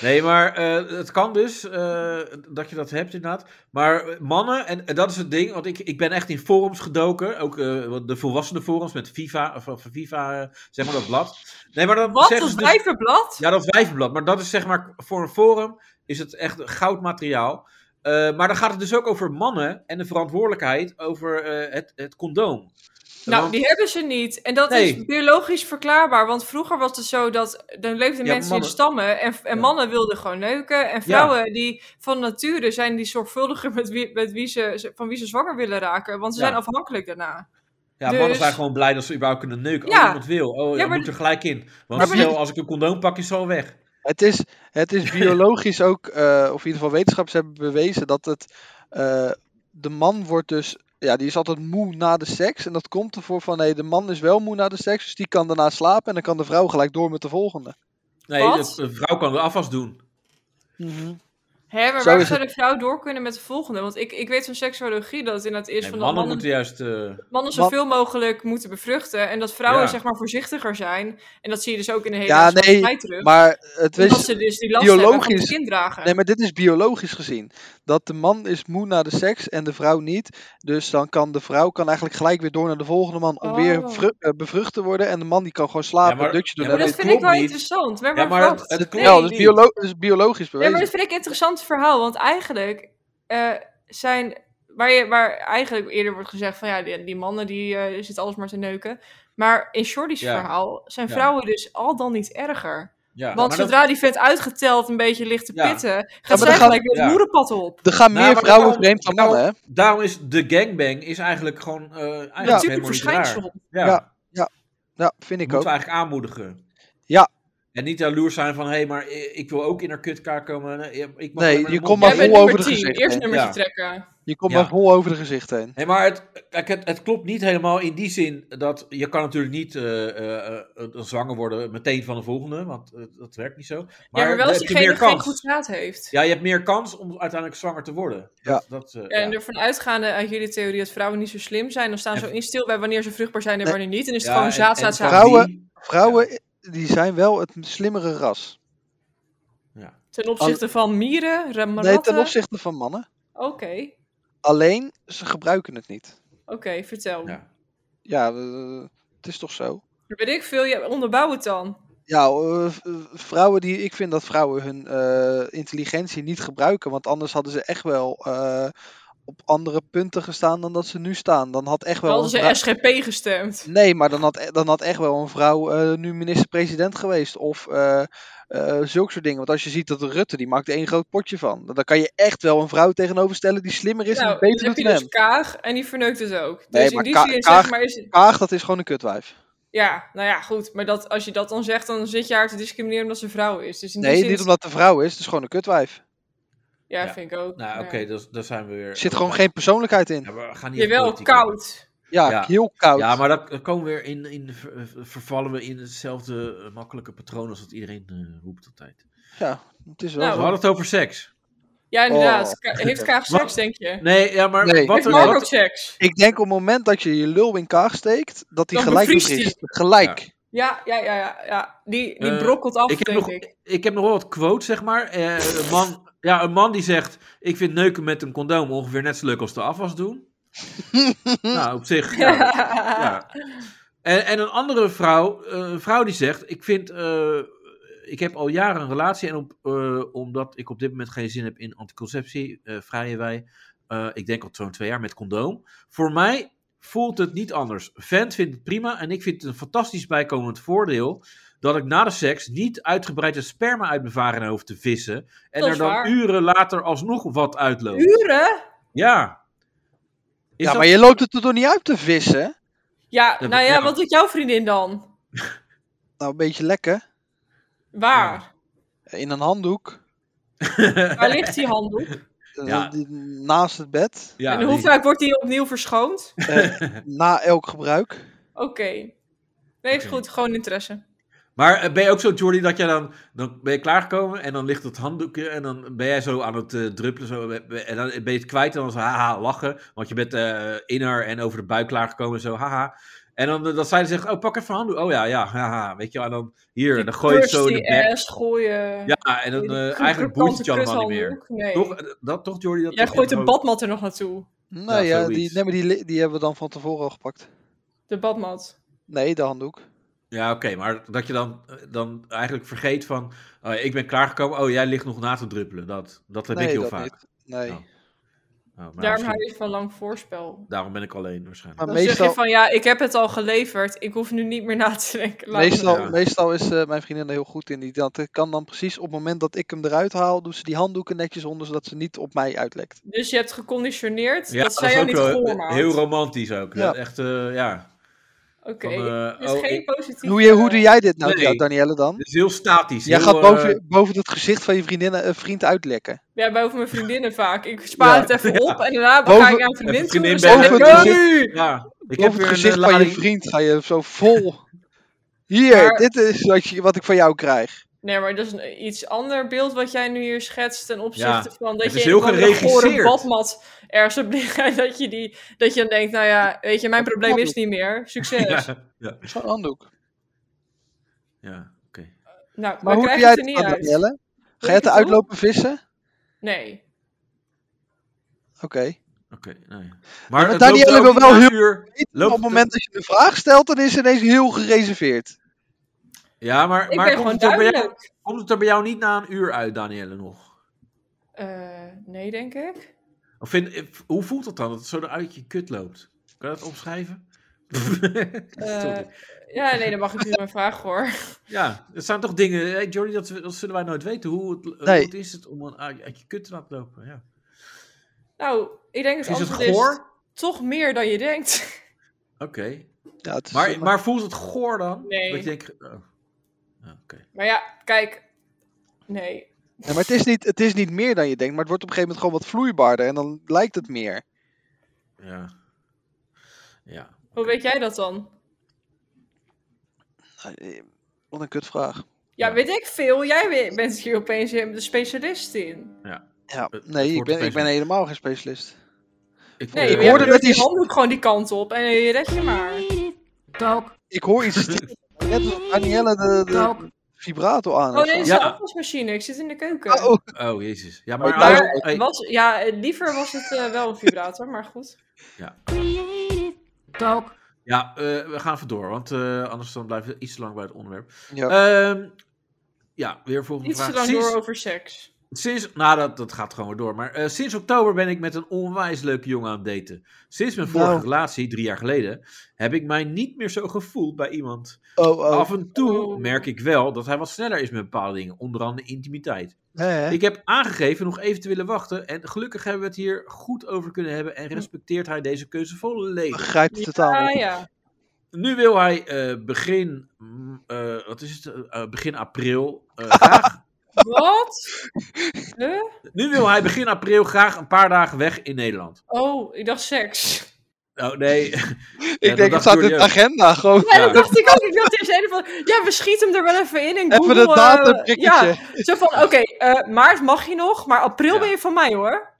Speaker 4: Nee, maar eh, het kan dus eh, dat je dat hebt inderdaad. Maar eh, mannen, en, en dat is het ding, want ik, ik ben echt in forums gedoken. Ook eh, wat de volwassenen forums met FIFA, of, of FIFA, eh, zeg maar dat blad. Nee, maar dat
Speaker 2: Wat,
Speaker 4: zeggen
Speaker 2: dat
Speaker 4: ze dus-
Speaker 2: wijverblad?
Speaker 4: Ja, dat wijvenblad. Maar dat is zeg maar voor een forum is het echt goudmateriaal. Eh, maar dan gaat het dus ook over mannen en de verantwoordelijkheid over eh, het, het condoom.
Speaker 2: Nou,
Speaker 4: Want-
Speaker 2: die hebben ze niet. En dat
Speaker 4: Nee.
Speaker 2: is biologisch verklaarbaar. Want vroeger was het zo dat. dan leefden
Speaker 4: Ja,
Speaker 2: mensen
Speaker 4: mannen-
Speaker 2: in stammen. En, en
Speaker 4: Ja.
Speaker 2: mannen wilden gewoon neuken. En vrouwen die van nature zijn die zorgvuldiger met wie, met wie ze, ze- van wie ze zwanger willen raken. Want ze
Speaker 4: Ja.
Speaker 2: zijn afhankelijk daarna.
Speaker 4: ja,
Speaker 2: dus-
Speaker 4: mannen zijn gewoon blij dat ze überhaupt kunnen neuken.
Speaker 2: Ja.
Speaker 4: Oh, iemand wil. Oh,
Speaker 2: Ja,
Speaker 4: je
Speaker 2: maar-
Speaker 4: moet er gelijk in. Want
Speaker 3: Maar-
Speaker 4: stel, als ik een condoom pak, is het al weg.
Speaker 3: Het is, het is biologisch ook, eh, of in ieder geval wetenschappers hebben bewezen dat het, eh, de man wordt dus, ja, die is altijd moe na de seks. En dat komt ervoor van, nee, de man is wel moe na de seks, dus die kan daarna slapen en dan kan de vrouw gelijk door met de volgende.
Speaker 4: Nee,
Speaker 2: Wat?
Speaker 4: de, de vrouw kan de afwas doen.
Speaker 2: Hè, maar
Speaker 3: Zo
Speaker 2: waar
Speaker 3: is
Speaker 2: zou de vrouw door kunnen met de volgende? Want ik, ik weet van seksuologie dat het inderdaad is.
Speaker 4: Nee,
Speaker 2: van
Speaker 4: mannen
Speaker 2: dat mannen,
Speaker 4: moeten juist... eh,
Speaker 2: mannen
Speaker 3: Man-
Speaker 2: zoveel mogelijk moeten bevruchten. En dat vrouwen
Speaker 4: Ja.
Speaker 2: zeg maar voorzichtiger zijn. En dat zie je dus ook in de hele
Speaker 3: Ja, nee,
Speaker 2: maatschappij terug.
Speaker 3: Maar het
Speaker 2: dat
Speaker 3: is,
Speaker 2: ze dus die last hebben van het
Speaker 3: biologisch-
Speaker 2: kind dragen.
Speaker 3: nee, maar dit is biologisch gezien. Dat de man is moe na de seks en de vrouw niet. Dus dan kan de vrouw kan eigenlijk gelijk weer door naar de volgende man om weer
Speaker 2: Oh.
Speaker 3: vru- eh, bevrucht te worden. En de man die kan gewoon slapen,
Speaker 4: maar-
Speaker 3: een dutje doen.
Speaker 4: ja,
Speaker 3: en
Speaker 2: maar
Speaker 4: nee,
Speaker 2: Oh, dat
Speaker 3: weet
Speaker 4: het
Speaker 2: vind ik
Speaker 4: klopt
Speaker 2: wel
Speaker 4: niet.
Speaker 2: interessant. Maar,
Speaker 4: Ja, dus maar
Speaker 2: wacht.
Speaker 4: het, het
Speaker 3: ik-
Speaker 4: klopt
Speaker 3: ja, dat is,
Speaker 4: niet.
Speaker 3: biolo dat is biologisch
Speaker 2: Ja, maar
Speaker 3: bewezen.
Speaker 2: dat vind ik een interessant verhaal. Want eigenlijk eh, zijn. Waar, je, waar eigenlijk eerder wordt gezegd van ja, die, die mannen die eh, zitten alles maar te neuken. Maar in Shorty's
Speaker 4: Ja.
Speaker 2: verhaal zijn
Speaker 4: Ja.
Speaker 2: vrouwen dus al dan niet erger.
Speaker 4: Ja, nou,
Speaker 2: Want
Speaker 4: maar dat-
Speaker 2: zodra die vent uitgeteld een beetje ligt te
Speaker 4: Ja.
Speaker 2: pitten, gaat
Speaker 3: dan
Speaker 2: zij
Speaker 3: gaat-
Speaker 2: gelijk weer het
Speaker 4: ja.
Speaker 2: moederpad op.
Speaker 3: Er gaan
Speaker 4: Nou,
Speaker 3: meer
Speaker 4: maar
Speaker 3: vrouwen
Speaker 4: daarom-
Speaker 3: vreemd dan mannen, hè?
Speaker 4: Daarom is de gangbang is eigenlijk gewoon... eh eigenlijk
Speaker 3: Ja.
Speaker 2: Ja,
Speaker 4: ja,
Speaker 2: Natuurlijk verschijnsel.
Speaker 4: Ja.
Speaker 3: Ja. Ja, vind ik
Speaker 4: moeten
Speaker 3: ook.
Speaker 4: we eigenlijk aanmoedigen.
Speaker 3: Ja.
Speaker 4: En niet jaloers zijn van, hé, hey, maar i- ik wil ook in haar kutkaart komen. en, eh, Ik mag
Speaker 3: Nee,
Speaker 4: alleen maar
Speaker 3: je
Speaker 4: de
Speaker 3: komt
Speaker 4: mond-
Speaker 3: maar
Speaker 2: Jij
Speaker 4: Hé,
Speaker 3: vol
Speaker 2: bent nummer
Speaker 3: over de
Speaker 2: 10,
Speaker 3: gezichten
Speaker 2: eerst
Speaker 3: heen.
Speaker 2: nummertje
Speaker 4: Ja.
Speaker 2: trekken.
Speaker 3: Je komt
Speaker 4: Ja.
Speaker 3: maar vol over de gezichten heen.
Speaker 4: Nee, maar het, kijk, het, het klopt niet helemaal in die zin dat je kan natuurlijk niet eh, eh, eh, eh, zwanger worden meteen van de volgende, want eh, dat werkt niet zo. Maar,
Speaker 2: ja, maar wel
Speaker 4: dan
Speaker 2: als
Speaker 4: heb je
Speaker 2: diegene
Speaker 4: meer
Speaker 2: die geen
Speaker 4: kans.
Speaker 2: goed zaad heeft.
Speaker 4: Ja, je hebt meer kans om uiteindelijk zwanger te worden.
Speaker 3: Ja.
Speaker 4: Dat, dat, eh,
Speaker 2: En
Speaker 4: ja.
Speaker 2: ervan uitgaande uit jullie theorie dat vrouwen niet zo slim zijn, dan staan ze
Speaker 4: En-
Speaker 2: in stil bij wanneer ze vruchtbaar zijn en
Speaker 3: Nee.
Speaker 2: wanneer niet. En is het
Speaker 4: Ja,
Speaker 2: gewoon
Speaker 4: en-
Speaker 2: zaad,
Speaker 4: en
Speaker 2: zaad, zaad.
Speaker 3: vrouwen-
Speaker 4: die-
Speaker 3: Vrouwen die zijn wel het slimmere ras.
Speaker 2: Ten opzichte van mieren, ra- ratten?
Speaker 3: Nee, ten opzichte van mannen.
Speaker 2: Oké,
Speaker 3: Alleen, ze gebruiken het niet.
Speaker 2: oké, vertel.
Speaker 4: Ja.
Speaker 3: Ja, eh, het is toch zo?
Speaker 2: Weet ik veel, ja, onderbouw het dan.
Speaker 3: Ja, eh, v- eh, vrouwen die, ik vind dat vrouwen hun eh, intelligentie niet gebruiken. Want anders hadden ze echt wel eh, op andere punten gestaan dan dat ze nu staan. Dan had echt wel.
Speaker 2: Hadden
Speaker 3: een
Speaker 2: ze
Speaker 3: vrou-
Speaker 2: SGP gestemd.
Speaker 3: Nee, maar dan had, e- dan had echt wel een vrouw eh, nu minister-president geweest. Of eh eh, zulke soort dingen. Want als je ziet dat Rutte, die maakt er één groot potje van. Dan kan je echt wel een vrouw tegenover stellen die slimmer is en
Speaker 2: nou,
Speaker 3: het beter
Speaker 2: dan heb
Speaker 3: doet
Speaker 2: je
Speaker 3: dan
Speaker 2: dus
Speaker 3: hem.
Speaker 2: Kaag en die verneukt het ook.
Speaker 3: Nee,
Speaker 2: dus in
Speaker 3: maar
Speaker 2: die
Speaker 3: Ka-
Speaker 2: zin
Speaker 3: Kaag-
Speaker 2: zeg maar is het...
Speaker 3: Kaag, dat is gewoon een kutwijf.
Speaker 2: Ja, nou ja, goed. Maar dat, als je dat dan zegt, dan zit je haar te discrimineren omdat ze vrouw is. Dus in die
Speaker 3: Nee,
Speaker 2: zin...
Speaker 3: niet omdat de vrouw is. Het is gewoon een kutwijf.
Speaker 2: Ja,
Speaker 4: Ja.
Speaker 2: vind ik ook.
Speaker 4: Nou,
Speaker 2: Maar-
Speaker 4: oké, dus daar zijn we weer.
Speaker 3: Er zit gewoon geen persoonlijkheid
Speaker 4: Ja,
Speaker 3: in.
Speaker 4: maar we gaan niet echt
Speaker 2: Jawel,
Speaker 4: politiek worden.
Speaker 2: koud.
Speaker 3: Ja,
Speaker 4: Ja.
Speaker 3: heel koud.
Speaker 4: Ja, maar dat dat komen we weer in, in ver- ver- vervallen we in hetzelfde eh, makkelijke patroon als wat iedereen eh, roept altijd.
Speaker 3: Ja, het is wel
Speaker 2: Nou,
Speaker 4: We
Speaker 3: zo.
Speaker 4: hadden het over seks.
Speaker 2: Ja, inderdaad.
Speaker 3: Oh.
Speaker 2: Ka- Heeft Kaag seks, denk je?
Speaker 4: Nee, ja, maar
Speaker 3: Nee.
Speaker 4: wat
Speaker 2: Heeft
Speaker 4: er
Speaker 2: Mark
Speaker 4: wat-
Speaker 2: ook seks?
Speaker 3: Ik denk op het moment dat je je lul in kaag steekt, dat hij
Speaker 2: Dan
Speaker 3: gelijk
Speaker 2: bevriest
Speaker 3: bevriest. Gelijk.
Speaker 2: Ja, ja, ja, ja. ja. Die, die
Speaker 4: Eh,
Speaker 2: brokkelt af,
Speaker 4: ik heb
Speaker 2: denk
Speaker 4: nog-
Speaker 2: ik.
Speaker 4: Ik heb nog wel wat quotes, zeg maar. Eh, een, man, ja, een man die zegt: Ik vind neuken met een condoom ongeveer net zo leuk als de afwas doen. nou, op zich. Ja, ja. En, en een andere vrouw, eh, een vrouw die zegt: Ik vind. eh, ik heb al jaren een relatie en op, eh, omdat ik op dit moment geen zin heb in anticonceptie, eh vrijen wij, eh, ik denk al zo'n twee jaar met condoom. Voor mij voelt het niet anders. Vent vindt het prima en ik vind het een fantastisch bijkomend voordeel dat ik na de seks niet uitgebreid het sperma uit mijn vagina hoef te vissen en
Speaker 2: Dat
Speaker 4: er
Speaker 2: is
Speaker 4: dan
Speaker 2: waar.
Speaker 4: uren later alsnog wat uitloopt.
Speaker 2: Uren?
Speaker 4: Ja. Is
Speaker 3: Ja,
Speaker 4: dat-
Speaker 3: maar je loopt het er toch niet uit te vissen?
Speaker 2: Ja,
Speaker 4: Dat-
Speaker 2: nou ja,
Speaker 4: ja.
Speaker 2: wat doet jouw vriendin dan?
Speaker 3: Nou, een beetje lekker.
Speaker 2: Waar?
Speaker 3: In een handdoek.
Speaker 2: Waar ligt die handdoek?
Speaker 3: eh,
Speaker 4: Ja.
Speaker 3: die- Naast het bed.
Speaker 4: Ja,
Speaker 2: en hoe
Speaker 4: die-
Speaker 2: vaak wordt die opnieuw verschoond?
Speaker 3: eh, na elk gebruik.
Speaker 2: Oké. Nee, is
Speaker 4: Oké.
Speaker 2: goed. Gewoon interesse.
Speaker 4: Maar eh, ben je ook zo, Jordi, dat jij dan, dan ben je klaargekomen en dan ligt het handdoekje en dan ben jij zo aan het eh, druppelen zo, eh, en dan ben je het kwijt en dan zo haha lachen, want je bent eh inner en over de buik klaargekomen en zo haha. En dan eh, dat zij zegt, oh pak even een handdoek, oh ja, ja, haha, weet je wel, en dan hier, en dan gooi je het zo in de
Speaker 2: Thirsty
Speaker 4: bek.
Speaker 2: ass, gooien.
Speaker 4: Ja, en dan eh, eigenlijk boeit het je allemaal niet meer.
Speaker 2: Nee.
Speaker 4: Toch, eh, dat, toch Jordi? Dat
Speaker 2: Jij
Speaker 4: dat-
Speaker 2: gooit de
Speaker 4: dat-
Speaker 2: badmat er nog naartoe.
Speaker 3: Nou ja,
Speaker 4: zoiets.
Speaker 3: die, nee, maar die, li- die hebben we dan van tevoren al gepakt.
Speaker 2: De badmat.
Speaker 3: Nee, de handdoek.
Speaker 4: Ja, oké, maar dat je dan, eh, dan eigenlijk vergeet van, oh, ik ben klaargekomen, oh jij ligt nog na te druppelen, dat, dat heb
Speaker 3: nee,
Speaker 4: ik heel
Speaker 3: dat
Speaker 4: vaak.
Speaker 3: niet. Nee.
Speaker 4: Oh. Oh, maar misschien-
Speaker 2: Daarom hou je van lang voorspel.
Speaker 4: Daarom ben ik alleen waarschijnlijk.
Speaker 3: Maar
Speaker 2: Dan zeg je
Speaker 3: meestal,
Speaker 2: van, ja, ik heb het al geleverd. Ik hoef nu niet meer na te denken. Laat me
Speaker 3: meestal,
Speaker 4: Ja.
Speaker 3: meestal is eh, mijn vriendin er heel goed in. Die dat kan dan precies op het moment dat ik hem eruit haal, doet ze die handdoeken netjes onder, zodat ze niet op mij uitlekt.
Speaker 2: Dus je hebt geconditioneerd dat
Speaker 4: is
Speaker 2: zij jou
Speaker 4: ook
Speaker 2: niet
Speaker 4: wel
Speaker 2: voormaakt.
Speaker 4: Heel romantisch ook.
Speaker 3: Ja.
Speaker 4: Echt, eh, ja.
Speaker 2: Oké,
Speaker 4: Van, eh,
Speaker 2: dus
Speaker 4: oh,
Speaker 2: geen
Speaker 4: ik-
Speaker 2: positieve...
Speaker 3: Hoe, je, hoe doe jij dit nou,
Speaker 4: Nee.
Speaker 3: ja, Danielle, dan?
Speaker 4: Het is heel statisch.
Speaker 3: Jij
Speaker 4: heel,
Speaker 3: gaat
Speaker 4: eh,
Speaker 3: boven, boven het gezicht van je vriendin, eh, vriend uitlekken.
Speaker 2: Ja, boven mijn vriendinnen vaak. Ik spaar het even op en daarna
Speaker 3: Boven-
Speaker 2: ga ik naar een vriendin toe.
Speaker 4: vriendin
Speaker 2: en zeg
Speaker 3: boven
Speaker 2: ik,
Speaker 3: het
Speaker 2: "Oh,
Speaker 3: gezicht-
Speaker 2: nu!"
Speaker 4: ja, ik heb
Speaker 3: Boven
Speaker 4: weer
Speaker 3: het
Speaker 4: een
Speaker 3: gezicht
Speaker 4: eh,
Speaker 3: van je
Speaker 4: lading-
Speaker 3: vriend ga je zo vol. Hier,
Speaker 2: Maar-
Speaker 3: dit is wat, je, wat ik van jou krijg.
Speaker 2: Nee, maar dat is een iets ander beeld wat jij nu hier schetst ten opzichte
Speaker 4: Ja,
Speaker 2: van... dat
Speaker 4: het
Speaker 2: je
Speaker 4: is
Speaker 2: in
Speaker 4: heel
Speaker 2: een of andere gore
Speaker 4: geregisseerd.
Speaker 2: badmat ergens op ligt en dat je, die, dat je dan denkt... nou ja, weet je, mijn
Speaker 3: Dat
Speaker 2: probleem
Speaker 3: kan
Speaker 2: is
Speaker 3: ook.
Speaker 2: niet meer. Succes.
Speaker 4: Ja, ja,
Speaker 3: Zo'n handdoek.
Speaker 4: ja, oké.
Speaker 2: Nou,
Speaker 3: Maar
Speaker 2: maar
Speaker 3: hoe doe
Speaker 2: krijg
Speaker 3: jij
Speaker 2: het er
Speaker 3: het
Speaker 2: niet
Speaker 3: aan,
Speaker 2: uit.
Speaker 3: Danielle? Ga
Speaker 2: ik
Speaker 3: jij het
Speaker 2: het
Speaker 3: eruit
Speaker 2: doen?
Speaker 3: lopen vissen?
Speaker 2: Nee.
Speaker 3: Oké.
Speaker 4: Oké, nee.
Speaker 3: maar
Speaker 4: Maar het
Speaker 3: Danielle
Speaker 4: loopt ook
Speaker 3: wil
Speaker 4: niet
Speaker 3: wel
Speaker 4: na
Speaker 3: heel-
Speaker 4: een uur.
Speaker 3: Op het
Speaker 4: het-
Speaker 3: moment dat je de vraag stelt, dan is ze ineens heel gereserveerd.
Speaker 4: Ja, maar,
Speaker 2: Ik
Speaker 4: maar
Speaker 2: ben
Speaker 4: komt,
Speaker 2: gewoon
Speaker 4: het er bij jou,
Speaker 2: duidelijk.
Speaker 4: komt het er bij jou niet na een uur uit, Danielle, nog?
Speaker 2: Eh, nee, denk ik.
Speaker 4: Of vind, eh, hoe voelt het dan, dat het zo eruit je kut loopt? Kan je dat opschrijven?
Speaker 2: Eh, ja, nee, dan mag ik nu mijn vraag hoor.
Speaker 4: Ja, het zijn toch dingen, hey, Jordi, dat, dat zullen wij nooit weten. Hoe het,
Speaker 3: Nee.
Speaker 4: hoe het is het om een, uit uit je kut te laten lopen? Ja.
Speaker 2: Nou, ik denk dat
Speaker 4: Is het
Speaker 2: antwoord is
Speaker 4: goor?
Speaker 2: toch meer dan je denkt.
Speaker 4: Oké.
Speaker 3: Ja, het is
Speaker 4: Maar,
Speaker 3: helemaal-
Speaker 4: maar voelt het goor dan?
Speaker 2: Nee.
Speaker 4: Dat je denkt, oh. Ja, oké.
Speaker 2: Maar ja, kijk. Nee.
Speaker 3: Ja, maar het, is niet, het is niet meer dan je denkt, maar het wordt op een gegeven moment gewoon wat vloeibaarder en dan lijkt het meer.
Speaker 4: Ja. Ja.
Speaker 2: Hoe weet jij dat dan?
Speaker 3: Nou, eh, Wat een kutvraag.
Speaker 2: Ja,
Speaker 4: Ja.
Speaker 2: weet ik veel. Jij we- bent hier opeens de specialist in.
Speaker 3: Ja,
Speaker 4: Het- het
Speaker 3: nee, ik
Speaker 4: wordt
Speaker 3: ben, ik
Speaker 4: opeens
Speaker 3: ben
Speaker 4: wel-
Speaker 3: helemaal geen specialist.
Speaker 4: Ik,
Speaker 2: Nee,
Speaker 3: Ik
Speaker 2: je
Speaker 3: hoorde
Speaker 2: hoorde
Speaker 3: dat
Speaker 2: die
Speaker 3: die-
Speaker 2: handdoek gewoon die kant op en je red je maar.
Speaker 3: Ik hoor iets stil. Net als Danielle de, de vibrato aan.
Speaker 2: Nou. Oh nee, dat is
Speaker 4: Ja.
Speaker 2: de afwasmachine. Ik zit in de keuken.
Speaker 3: Oh, Nou,
Speaker 4: Oh, jezus. Ja, maar...
Speaker 3: Maar-
Speaker 4: als-
Speaker 2: Maar
Speaker 4: hey,
Speaker 2: was, ja, eh, liever was het eh, wel een vibrator, maar goed.
Speaker 4: ja, eh, we gaan even door, want eh, anders dan blijven we iets te lang bij het onderwerp.
Speaker 3: ja.
Speaker 4: Ehm, ja, weer volgende
Speaker 2: Iets
Speaker 4: vraag.
Speaker 2: te lang
Speaker 4: Sinds-
Speaker 2: door over seks.
Speaker 4: Sinds, nou, dat, dat gaat gewoon weer door. Maar eh, sinds oktober ben ik met een onwijs leuke jongen aan het daten. Sinds mijn vorige
Speaker 3: Nou.
Speaker 4: relatie, drie jaar geleden, heb ik mij niet meer zo gevoeld bij iemand.
Speaker 3: oh, oh.
Speaker 4: Af en toe
Speaker 2: Oh.
Speaker 4: merk ik wel dat hij wat sneller is met bepaalde dingen, onder andere intimiteit.
Speaker 3: Hè, hè?
Speaker 4: Ik heb aangegeven nog even te willen wachten. En gelukkig hebben we het
Speaker 3: Hm.
Speaker 4: hier goed over kunnen hebben. En respecteert hij deze keuze volledig.
Speaker 3: begrijp het totaal
Speaker 2: Ah
Speaker 3: niet.
Speaker 2: ja.
Speaker 4: Nu wil hij eh, begin, mm, eh, wat is het, Eh, begin april eh, graag
Speaker 2: Wat? Huh?
Speaker 4: Nu wil hij begin april graag een paar dagen weg in Nederland.
Speaker 2: Oh, ik dacht seks.
Speaker 4: Oh nee.
Speaker 3: ik denk, het staat in de agenda gewoon.
Speaker 2: Ja,
Speaker 4: Ja.
Speaker 2: dat dacht ik ook. Ik dacht eerst helemaal van, ja, we schieten hem er wel even in. en
Speaker 3: Even
Speaker 2: Google,
Speaker 3: de
Speaker 2: eh,
Speaker 3: datumprikketje.
Speaker 2: ja, zo van, oké, eh, maart mag je nog, maar april
Speaker 4: Ja.
Speaker 2: ben je van mij hoor.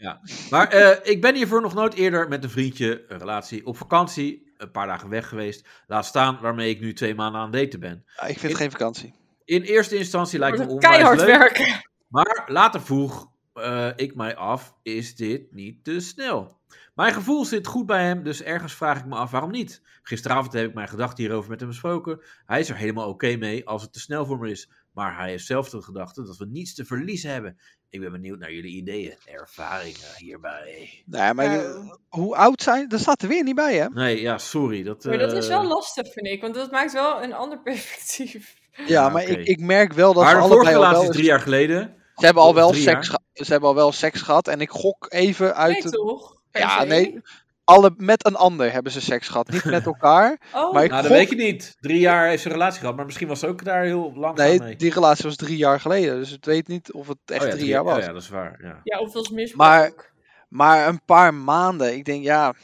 Speaker 4: Maar eh, ik ben hiervoor nog nooit eerder met een vriendje, een relatie, op vakantie, een paar dagen weg geweest. Laat staan waarmee ik nu twee maanden aan het daten ben.
Speaker 3: Ah, ik vind het geen vakantie.
Speaker 4: In eerste instantie lijkt het me
Speaker 2: Wordt
Speaker 4: onwijs
Speaker 2: Oh, keihard
Speaker 4: leuk.
Speaker 2: werken.
Speaker 4: Maar later vroeg eh, ik mij af, is dit niet te snel? Mijn gevoel zit goed bij hem, dus ergens vraag ik me af waarom niet. Gisteravond heb ik mijn gedachten hierover met hem besproken. Hij is er helemaal oké mee als het te snel voor me is. Maar hij heeft zelf de gedachte dat we niets te verliezen hebben. Ik ben benieuwd naar jullie ideeën, ervaringen hierbij.
Speaker 3: Nee, maar je-
Speaker 2: Ja.
Speaker 3: hoe oud zijn? Dat staat er weer niet bij, hè?
Speaker 4: Nee, ja, sorry. Dat,
Speaker 2: Maar dat is
Speaker 4: eh,
Speaker 2: wel lastig, vind ik, want dat maakt wel een ander perspectief.
Speaker 3: Ja, maar
Speaker 4: oké.
Speaker 3: ik, ik merk wel dat ze
Speaker 4: Maar de vorige
Speaker 3: allebei al
Speaker 4: relatie
Speaker 3: wel...
Speaker 4: is drie jaar geleden.
Speaker 3: Ze hebben al
Speaker 4: of
Speaker 3: wel
Speaker 4: drie
Speaker 3: seks
Speaker 4: jaar.
Speaker 3: geha- ze hebben al wel seks gehad. En ik gok even uit...
Speaker 2: Nee,
Speaker 3: het-
Speaker 2: toch? Per
Speaker 3: ja,
Speaker 2: se.
Speaker 3: nee. Alle, met een ander hebben ze seks gehad. Niet met elkaar.
Speaker 2: Oh,
Speaker 3: Maar ik-
Speaker 4: Nou, dat
Speaker 3: gok-
Speaker 4: weet je niet. Drie jaar heeft ze een relatie gehad, maar misschien was ze ook daar heel lang mee.
Speaker 3: Nee, die relatie was drie jaar geleden. Dus ik weet niet of het echt
Speaker 4: Oh ja,
Speaker 3: drie jaar was.
Speaker 4: Oh ja, dat is waar. Ja.
Speaker 2: ja, of dat is misbruik.
Speaker 3: Maar- Maar een paar maanden, ik denk ja.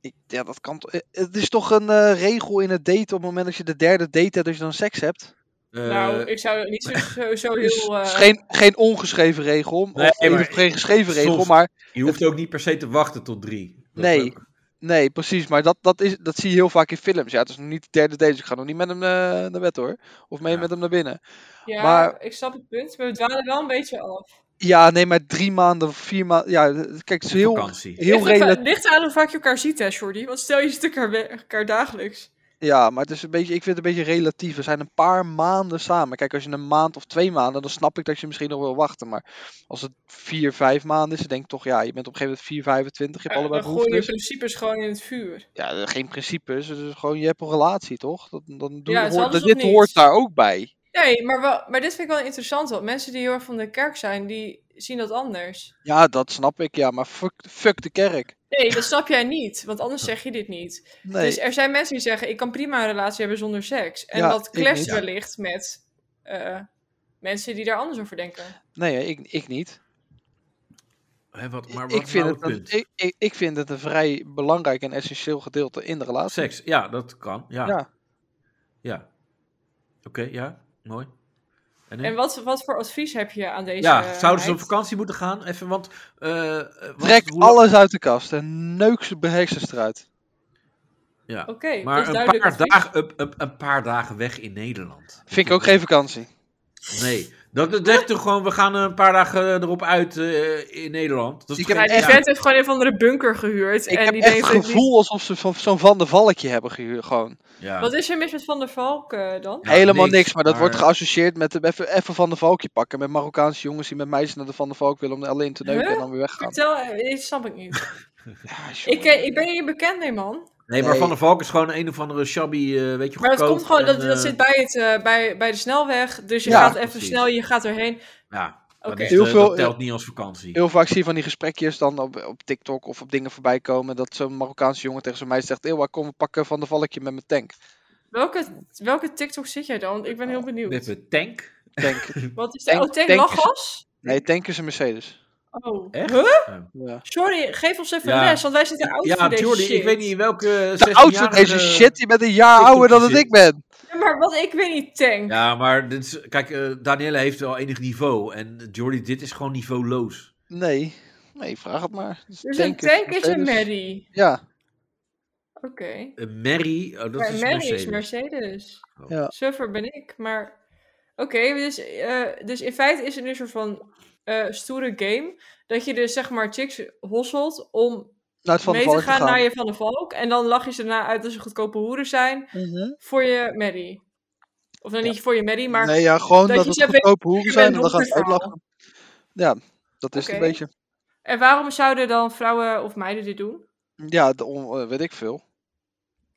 Speaker 3: Ik, ja, dat kan. to- eh, Het is toch een eh, regel in het daten op het moment dat je de derde date hebt, dat je dan seks hebt.
Speaker 2: nou,
Speaker 4: Eh,
Speaker 2: ik zou niet zo, zo, zo
Speaker 3: Dus
Speaker 2: heel... eh,
Speaker 3: het is geen, geen ongeschreven regel, of
Speaker 4: Nee,
Speaker 3: geen-
Speaker 4: maar-
Speaker 3: geen geschreven regel,
Speaker 4: soms-
Speaker 3: maar
Speaker 4: Je hoeft ook niet per se te wachten tot drie. Dat
Speaker 3: Nee.
Speaker 4: is ook-
Speaker 3: nee, precies. Maar dat, dat, is, dat zie je heel vaak in films. Ja, het is nog niet de derde date, dus ik ga nog niet met hem eh, naar bed hoor. Of mee
Speaker 4: Ja.
Speaker 3: met hem naar binnen.
Speaker 2: ja,
Speaker 3: maar-
Speaker 2: ik snap het punt, maar we dwalen wel een beetje af.
Speaker 3: Ja, nee, maar drie maanden, vier maanden. Ja, kijk, het is heel,
Speaker 4: Vakantie.
Speaker 3: heel
Speaker 2: Ligt aan-
Speaker 3: relatief.
Speaker 2: Ligt aan hoe vaak je elkaar ziet, hè, Jordi? Want stel je ziet elkaar, we- elkaar dagelijks.
Speaker 3: Ja, maar het is een beetje, ik vind het een beetje relatief. We zijn een paar maanden samen. Kijk, als je een maand of twee maanden, dan snap ik dat je misschien nog wil wachten. Maar als het vier, vijf maanden is, dan denk ik toch, ja, je bent op een gegeven moment 4, 25, je hebt
Speaker 2: Ja,
Speaker 3: allebei
Speaker 2: dan gooi je
Speaker 3: behoeftes.
Speaker 2: principes gewoon in het vuur.
Speaker 3: Ja, eh, geen principes. Het is gewoon, je hebt een relatie, toch? Dat, dan doe,
Speaker 2: Ja, het is
Speaker 3: hoort,
Speaker 2: alles
Speaker 3: dit
Speaker 2: of niets.
Speaker 3: hoort daar ook bij.
Speaker 2: Nee, maar, wel, maar dit vind ik wel interessant. Want mensen die heel erg van de kerk zijn, die zien dat anders.
Speaker 3: Ja, dat snap ik, ja. Maar fuck, fuck de kerk.
Speaker 2: Nee, dat snap jij niet. Want anders zeg je dit niet.
Speaker 3: Nee,
Speaker 2: Dus er zijn mensen die zeggen, ik kan prima een relatie hebben zonder seks. En
Speaker 3: Ja,
Speaker 2: dat
Speaker 3: ik
Speaker 2: clasht
Speaker 3: niet.
Speaker 2: wellicht met eh, mensen die daar anders over denken.
Speaker 3: nee ik, ik niet.
Speaker 4: Hè, wat, maar wat
Speaker 3: Ik
Speaker 4: is
Speaker 3: vind,
Speaker 4: nou
Speaker 3: het
Speaker 4: het
Speaker 3: een,
Speaker 4: punt?
Speaker 3: ik, ik, ik vind het een vrij belangrijk en essentieel gedeelte in de relatie.
Speaker 4: Seks, ja, dat kan. Ja.
Speaker 3: Ja.
Speaker 4: ja. Oké, ja, mooi. En, nu?
Speaker 2: En wat, eh, wat voor advies heb je aan deze
Speaker 4: ja, zouden ze op
Speaker 2: meid?
Speaker 4: vakantie moeten gaan? Even, want... eh, eh, wat-
Speaker 3: Trek
Speaker 4: hoe-
Speaker 3: alles uit de kast en neuk ze beheersers eruit.
Speaker 4: Ja.
Speaker 2: Oké, dat
Speaker 4: maar
Speaker 2: is
Speaker 4: een
Speaker 2: duidelijk
Speaker 4: paar,
Speaker 2: advies.
Speaker 4: dagen, een, een- een paar dagen weg in Nederland.
Speaker 3: Vind ik ook geen vakantie.
Speaker 4: Nee, dat dat zegt toch gewoon, we gaan een paar dagen eh, erop uit eh, in Nederland. Dat is
Speaker 3: Ik
Speaker 4: toch
Speaker 3: heb
Speaker 4: geen-
Speaker 2: Ja, die vent heeft gewoon een van de bunker gehuurd.
Speaker 3: Ik
Speaker 2: en
Speaker 3: heb
Speaker 2: die
Speaker 3: echt
Speaker 2: denkt
Speaker 3: het
Speaker 2: dat die-
Speaker 3: gevoel alsof ze van, zo'n Van de Valkje hebben gehuurd. Gewoon.
Speaker 4: ja.
Speaker 2: Wat is er mis met Van der Valk eh, dan?
Speaker 4: Ja,
Speaker 3: Helemaal niks, maar dat wordt
Speaker 4: maar-
Speaker 3: geassocieerd met de- even, even Van de Valkje pakken. Met Marokkaanse jongens die met meisjes naar de Van de Valk willen om er alleen te neuken
Speaker 2: Huh?
Speaker 3: en dan weer weggaan.
Speaker 2: Vertel, eh, dit snap ik niet.
Speaker 3: Ja,
Speaker 2: ik,
Speaker 3: jongen.
Speaker 2: eh, ik ben hier bekend mee, man.
Speaker 4: Nee, maar
Speaker 3: Nee.
Speaker 4: Van der Valk is gewoon een of andere shabby, eh, weet je,
Speaker 2: Maar dat
Speaker 4: goedkoop
Speaker 2: komt gewoon,
Speaker 4: en,
Speaker 2: dat, dat
Speaker 4: eh,
Speaker 2: zit bij, het, eh, bij, bij de snelweg. Dus je
Speaker 3: Ja,
Speaker 2: gaat even
Speaker 4: precies.
Speaker 2: snel, je gaat erheen.
Speaker 4: Ja, dat,
Speaker 2: Oké.
Speaker 4: is,
Speaker 3: Heel
Speaker 4: eh,
Speaker 3: veel-
Speaker 4: dat telt niet als vakantie.
Speaker 3: Heel vaak zie je van die gesprekjes dan op, op TikTok of op dingen voorbij komen. Dat zo'n Marokkaanse jongen tegen zo'n meisje zegt: Ewa, kom we pakken Van de Valkje met mijn tank.
Speaker 2: Welke, welke TikTok zit jij dan? Want Ik ben heel benieuwd.
Speaker 4: Met een tank.
Speaker 3: tank.
Speaker 2: Wat is dat?
Speaker 3: Tank-
Speaker 2: Oh, tank
Speaker 3: tank-
Speaker 2: lachgas?
Speaker 3: Nee, tank is een Mercedes.
Speaker 2: Oh.
Speaker 4: Echt?
Speaker 2: Huh?
Speaker 3: Ja.
Speaker 2: Sorry, geef ons even
Speaker 4: Ja.
Speaker 2: les, want wij zitten oud voor
Speaker 4: Ja,
Speaker 2: deze
Speaker 4: Jordi,
Speaker 2: shit.
Speaker 4: ik weet niet welke eh,
Speaker 3: De oudste van deze
Speaker 2: eh,
Speaker 4: 16-jarige-
Speaker 3: shit, je bent een jaar ouder dan dat ik ben.
Speaker 2: Ja, maar wat, ik weet niet, tank.
Speaker 4: Ja, maar dit is, kijk, eh Danielle heeft wel enig niveau. En Jordi, dit is gewoon niveauloos.
Speaker 3: Nee, nee, vraag het maar.
Speaker 2: Dus een tank is een Merry.
Speaker 3: Ja,
Speaker 2: Oké.
Speaker 4: Een Mary, oh, dat
Speaker 2: Maar
Speaker 4: is
Speaker 2: Mary
Speaker 4: Mercedes.
Speaker 2: is Mercedes.
Speaker 4: Oh.
Speaker 3: Ja.
Speaker 2: Suffer ben ik, maar... Oké, dus, eh, dus in feite is het nu een soort van eh, stoere game. Dat je dus zeg maar chicks hosselt om
Speaker 3: naar het Van de
Speaker 2: mee te
Speaker 3: Valkje
Speaker 2: gaan
Speaker 3: gaan.
Speaker 2: naar je Van de Valk. En dan lach je ze daarna uit dat ze goedkope hoeren zijn
Speaker 3: Mhm.
Speaker 2: voor je Mary. Of dan niet voor je Mary, maar...
Speaker 3: nee, ja, gewoon
Speaker 2: dat
Speaker 3: dat,
Speaker 2: je
Speaker 3: het
Speaker 2: ze weet-
Speaker 3: goedkope hoeren
Speaker 2: je
Speaker 3: zijn
Speaker 2: bent
Speaker 3: en dan gaan ze
Speaker 2: donker
Speaker 3: uitlachen. Ja, dat is het
Speaker 2: Oké.
Speaker 3: een beetje.
Speaker 2: En waarom zouden dan vrouwen of meiden dit doen?
Speaker 3: Ja, de on- eh, weet ik veel.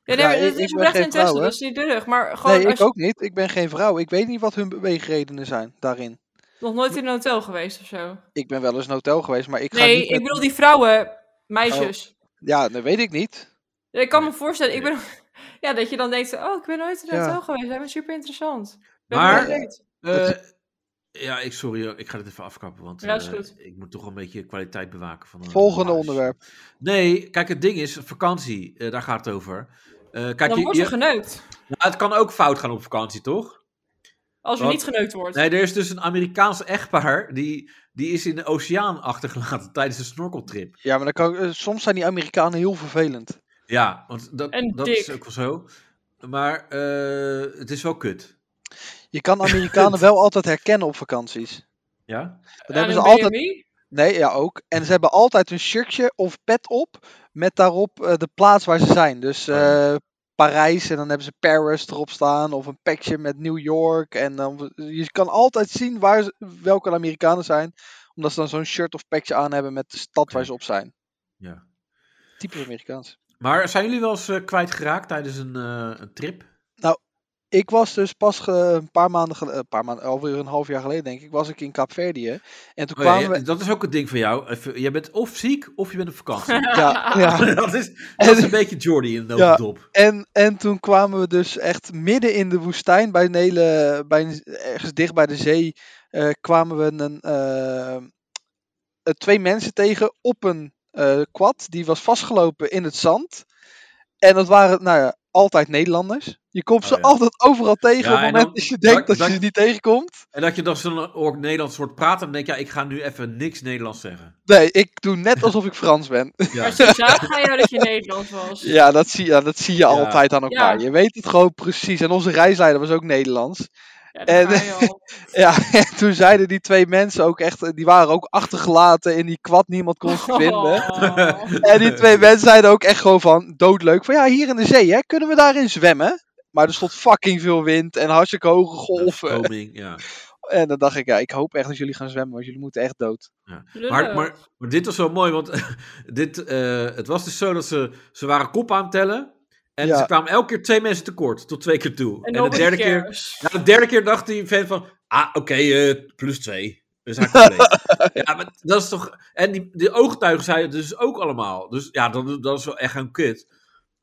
Speaker 2: Ja,
Speaker 3: Ja,
Speaker 2: nee,
Speaker 3: ik-
Speaker 2: dat
Speaker 3: ik
Speaker 2: is
Speaker 3: ben
Speaker 2: oprecht
Speaker 3: geen
Speaker 2: een test,
Speaker 3: vrouw, hè?
Speaker 2: dat is niet durig. Maar gewoon,
Speaker 3: nee,
Speaker 2: als
Speaker 3: ik
Speaker 2: je
Speaker 3: ook niet. Ik ben geen vrouw. Ik weet niet wat hun beweegredenen zijn daarin.
Speaker 2: nog nooit in een hotel geweest of zo.
Speaker 3: Ik ben wel eens een hotel geweest, maar ik ga
Speaker 2: Nee,
Speaker 3: niet
Speaker 2: ik
Speaker 3: met- Oh.
Speaker 2: bedoel die vrouwen, meisjes.
Speaker 3: Ja, dat weet ik niet.
Speaker 2: Ja, Ik kan me voorstellen, ik ben, Ja, dat je dan denkt, oh, ik ben nooit in een
Speaker 3: Ja.
Speaker 2: hotel geweest. Jij bent super interessant.
Speaker 4: Maar-
Speaker 2: leuk.
Speaker 4: Eh, ja, ik, sorry, hoor, ik ga dit even afkappen, want
Speaker 2: Ja, is
Speaker 4: eh,
Speaker 2: goed.
Speaker 4: ik moet toch een beetje kwaliteit bewaken van. een
Speaker 3: Volgende
Speaker 4: huis.
Speaker 3: onderwerp.
Speaker 4: Nee, kijk, het ding is vakantie. eh, daar gaat het over. Eh, kijk,
Speaker 2: dan
Speaker 4: je-
Speaker 2: wordt er
Speaker 4: je-
Speaker 2: geneukt.
Speaker 4: nou, het kan ook fout gaan op vakantie, toch?
Speaker 2: Als er
Speaker 4: Wat?
Speaker 2: niet geneukt wordt.
Speaker 4: Nee, er is dus een Amerikaans echtpaar die, die is in de oceaan achtergelaten tijdens een snorkeltrip.
Speaker 3: Ja, maar dan kan, ik- eh, soms zijn die Amerikanen heel vervelend.
Speaker 4: Ja, want dat,
Speaker 2: En
Speaker 4: dat
Speaker 2: dik.
Speaker 4: is ook wel zo. Maar eh, het is wel kut.
Speaker 3: Je kan Amerikanen wel altijd herkennen op vakanties.
Speaker 4: Ja?
Speaker 3: Dan
Speaker 2: Aan
Speaker 3: hebben ze
Speaker 2: een
Speaker 3: altijd.
Speaker 2: BMI?
Speaker 3: Nee, ja ook. En ze hebben altijd een shirtje of pet op met daarop eh, de plaats waar ze zijn. Dus
Speaker 4: Oh ja.
Speaker 3: eh, Parijs en dan hebben ze Paris erop staan of een pakje met New York. En dan, je kan altijd zien waar ze- welke Amerikanen zijn, omdat ze dan zo'n shirt of pakje aan hebben met de stad waar ze op zijn.
Speaker 4: ja.
Speaker 3: Typisch Amerikaans.
Speaker 4: Maar zijn jullie wel eens eh, kwijtgeraakt tijdens een, eh, een trip?
Speaker 3: Ik was dus pas ge- een paar maanden geleden, een paar maanden, alweer een half jaar geleden denk ik, was ik in Kaapverdië. En toen
Speaker 4: Oh ja,
Speaker 3: kwamen
Speaker 4: ja, Dat is ook het ding van jou. Even- Jij bent of ziek of je bent op vakantie.
Speaker 3: we... Ja, ja.
Speaker 4: dat, is, dat is een beetje Jordy in de
Speaker 3: Ja.
Speaker 4: notendop.
Speaker 3: En, en toen kwamen we dus echt midden in de woestijn, bij een hele, bij een, ergens dicht bij de zee, eh, kwamen we een, eh, eh, twee mensen tegen op een eh kwad. Die was vastgelopen in het zand. En dat waren, nou ja, altijd Nederlanders. Je komt
Speaker 4: Oh
Speaker 3: ze
Speaker 4: ja.
Speaker 3: altijd overal tegen
Speaker 4: Ja,
Speaker 3: op het
Speaker 4: en
Speaker 3: moment
Speaker 4: dan-
Speaker 3: dat je
Speaker 4: dat-
Speaker 3: denkt dat,
Speaker 4: dat-
Speaker 3: je ze niet tegenkomt.
Speaker 4: En dat je dan zo'n ook Nederlands hoort praten en denk je, ja, ik ga nu even niks Nederlands zeggen.
Speaker 3: Nee, ik doe net alsof ik Frans ben.
Speaker 4: Ja.
Speaker 2: Maar ze zagen aan jou dat je Nederlands was.
Speaker 3: ja, dat zie, ja, dat zie je altijd aan elkaar.
Speaker 2: Ja.
Speaker 3: Je weet het gewoon precies. En onze reisleider was ook Nederlands.
Speaker 2: Ja, daar
Speaker 3: En-
Speaker 2: ga je al.
Speaker 3: Ja, en toen zeiden die twee mensen ook echt, eh, die waren ook achtergelaten in die kwad, niemand kon ze vinden.
Speaker 2: Oh.
Speaker 3: En die twee mensen zeiden ook echt gewoon van, doodleuk, van ja, hier in de zee, hè, kunnen we daarin zwemmen? Maar er stond fucking veel wind en hartstikke hoge golven.
Speaker 4: Stroming, ja.
Speaker 3: En dan dacht ik, ja, ik hoop echt dat jullie gaan zwemmen, want jullie moeten echt dood.
Speaker 4: Maar,
Speaker 2: Lullig.
Speaker 4: maar, maar dit was wel mooi, want dit, eh, het was dus zo dat ze, ze waren kop aan het tellen. En
Speaker 3: Ja.
Speaker 4: ze kwamen elke keer twee mensen tekort, tot twee keer toe.
Speaker 2: En
Speaker 4: de
Speaker 2: nobody
Speaker 4: derde keer,
Speaker 2: cares.
Speaker 4: ja, Nou, de derde keer dacht die vent van, ah, oké, eh, plus twee. We zijn compleet. ja, maar dat is toch... En die, die oogtuigen zeiden het dus ook allemaal. Dus ja, dat, dat is wel echt een kut.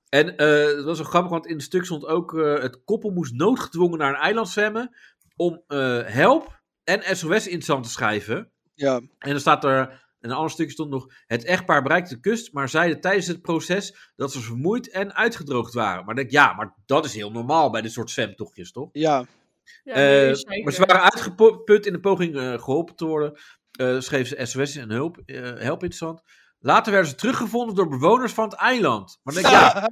Speaker 4: En eh het was wel grappig, want in het stuk stond ook... eh, het koppel moest noodgedwongen naar een eiland zwemmen... om eh, help en SOS in het zand te schrijven.
Speaker 3: Ja,
Speaker 4: En dan staat er, in een ander stukje stond nog, het echtpaar bereikte de kust, maar zeiden tijdens het proces dat ze vermoeid en uitgedroogd waren. Maar dan denk ik, ja, maar dat is heel normaal bij dit soort zwemtochtjes, toch?
Speaker 3: ja,
Speaker 2: Ja,
Speaker 4: Eh,
Speaker 2: nee, zeker.
Speaker 4: maar ze waren uitgeput in de poging eh, geholpen te worden. Eh schreef ze SOS en hulp, eh, help in het zand. Later werden ze teruggevonden door bewoners van het eiland. Maar dan denk ik, ja,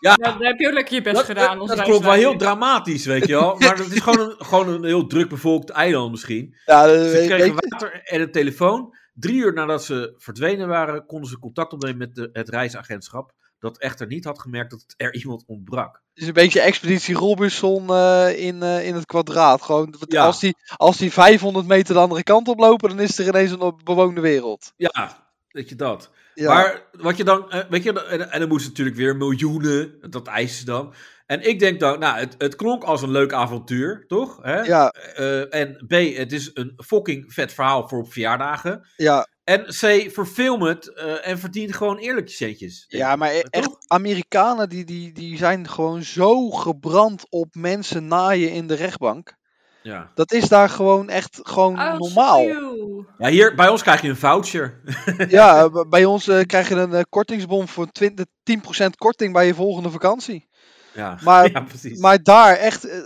Speaker 2: Ja, dan heb je ook lekker je best
Speaker 4: dat,
Speaker 2: gedaan.
Speaker 4: dat,
Speaker 2: als
Speaker 4: dat klopt wel
Speaker 2: reisleider.
Speaker 4: heel dramatisch, weet je wel. Maar dat is gewoon een, gewoon een heel druk bevolkt eiland misschien.
Speaker 3: ja, dat
Speaker 4: Ze
Speaker 3: Eh, weet-
Speaker 4: kregen
Speaker 3: weet je.
Speaker 4: water en een telefoon. Drie uur nadat ze verdwenen waren, konden ze contact opnemen met de, het reisagentschap. Dat echter niet had gemerkt dat er iemand ontbrak.
Speaker 3: Het is een beetje expeditie Robinson eh, in, eh, in het kwadraat. Gewoon, want
Speaker 4: Ja.
Speaker 3: als, die, als die 500 meter de andere kant op lopen, dan is er ineens een op- bewoonde wereld.
Speaker 4: Ja, weet je dat.
Speaker 3: Ja.
Speaker 4: Maar wat je dan, eh, weet je, en, en dan moesten natuurlijk weer miljoenen, dat eisen ze dan. En ik denk dan, nou, het, het klonk als een leuk avontuur, toch? Hè?
Speaker 3: ja,
Speaker 4: Eh, en B, het is een fucking vet verhaal voor op verjaardagen.
Speaker 3: ja.
Speaker 4: En C, verfilm het eh, en verdien gewoon eerlijk je centjes.
Speaker 3: Ja, maar e-
Speaker 4: toch?
Speaker 3: echt, Amerikanen die, die, die zijn gewoon zo gebrand op mensen naaien in de rechtbank.
Speaker 4: Ja.
Speaker 3: Dat is daar gewoon echt gewoon
Speaker 2: Oh,
Speaker 3: normaal.
Speaker 2: eeuw.
Speaker 4: ja, hier bij ons krijg je een voucher.
Speaker 3: Ja, b- bij ons eh, krijg je een eh, kortingsbon voor 20, 10% korting bij je volgende vakantie.
Speaker 4: Ja,
Speaker 3: Maar-
Speaker 4: ja precies.
Speaker 3: Maar daar echt... eh,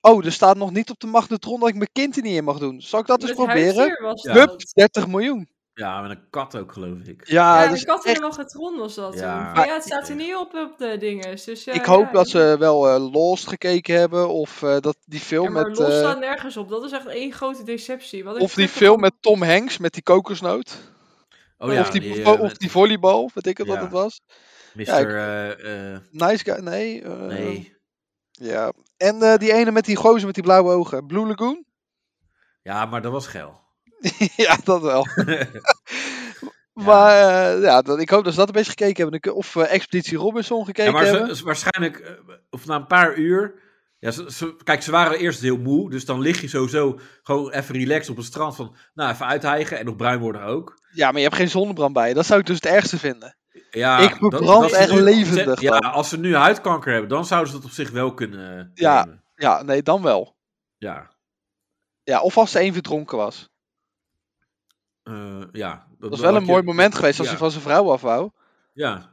Speaker 3: oh, er staat nog niet op de magnetron dat ik mijn kind er niet in mag doen. Zal ik dat eens
Speaker 2: Met
Speaker 3: proberen?
Speaker 2: huisdier was
Speaker 4: Ja.
Speaker 2: dat.
Speaker 3: Hup, 30 miljoen.
Speaker 4: Ja, met een kat ook, geloof ik.
Speaker 3: Ja,
Speaker 2: Ja,
Speaker 3: dus
Speaker 2: de kat in
Speaker 3: echt-
Speaker 2: de magnetron was dat.
Speaker 4: Ah, Ja.
Speaker 2: Ja.
Speaker 4: Maar-
Speaker 2: ja, het staat er niet op op de dinges. Dus, ja,
Speaker 3: ik hoop
Speaker 2: ja.
Speaker 3: dat ze wel eh, Lost gekeken hebben. Of eh, dat die film
Speaker 2: Ja, maar
Speaker 3: met...
Speaker 2: los
Speaker 3: eh,
Speaker 2: staat nergens op. Dat is echt één grote deceptie. Wat ik
Speaker 3: of die
Speaker 2: terug heb-
Speaker 3: film met Tom Hanks, met die kokosnoot.
Speaker 4: Oh ja,
Speaker 3: of, die,
Speaker 4: die,
Speaker 3: vo-
Speaker 4: eh,
Speaker 3: of
Speaker 4: met
Speaker 3: die volleybal, weet ik het
Speaker 4: Ja.
Speaker 3: wat het was.
Speaker 4: Mr.
Speaker 3: ja, ik-
Speaker 4: eh, eh,
Speaker 3: Nice guy, nee. eh,
Speaker 4: nee.
Speaker 3: Ja. En eh, die ene met die gozer met die blauwe ogen. Blue Lagoon?
Speaker 4: Ja, maar dat was geil.
Speaker 3: ja, dat wel. Maar eh, ja, dat, ik hoop dat ze dat een beetje gekeken hebben. Dan kun- Of eh, Expeditie Robinson
Speaker 4: Ja,
Speaker 3: gekeken
Speaker 4: maar
Speaker 3: hebben.
Speaker 4: ze, ze- waarschijnlijk, eh, of na een paar uur... Ja, ze, ze- kijk, ze waren eerst heel moe. Dus dan lig je sowieso gewoon even relaxed op het strand. Van, nou, even uithijgen en nog bruin worden ook.
Speaker 3: Ja, maar je hebt geen zonnebrand bij je. Dat zou ik dus het ergste vinden.
Speaker 4: Ja,
Speaker 3: Ik verbrand
Speaker 4: dat- dat ze
Speaker 3: echt
Speaker 4: nu-
Speaker 3: levendig
Speaker 4: Ja,
Speaker 3: dan.
Speaker 4: als ze nu huidkanker hebben, dan zouden ze dat op zich wel kunnen. eh,
Speaker 3: Ja.
Speaker 4: nemen.
Speaker 3: Ja, nee, dan wel.
Speaker 4: Ja,
Speaker 3: Ja, of als ze één verdronken was.
Speaker 4: eh, ja.
Speaker 3: Dat was wel een mooi moment geweest als
Speaker 4: ja.
Speaker 3: hij van zijn vrouw af wou.
Speaker 4: Ja,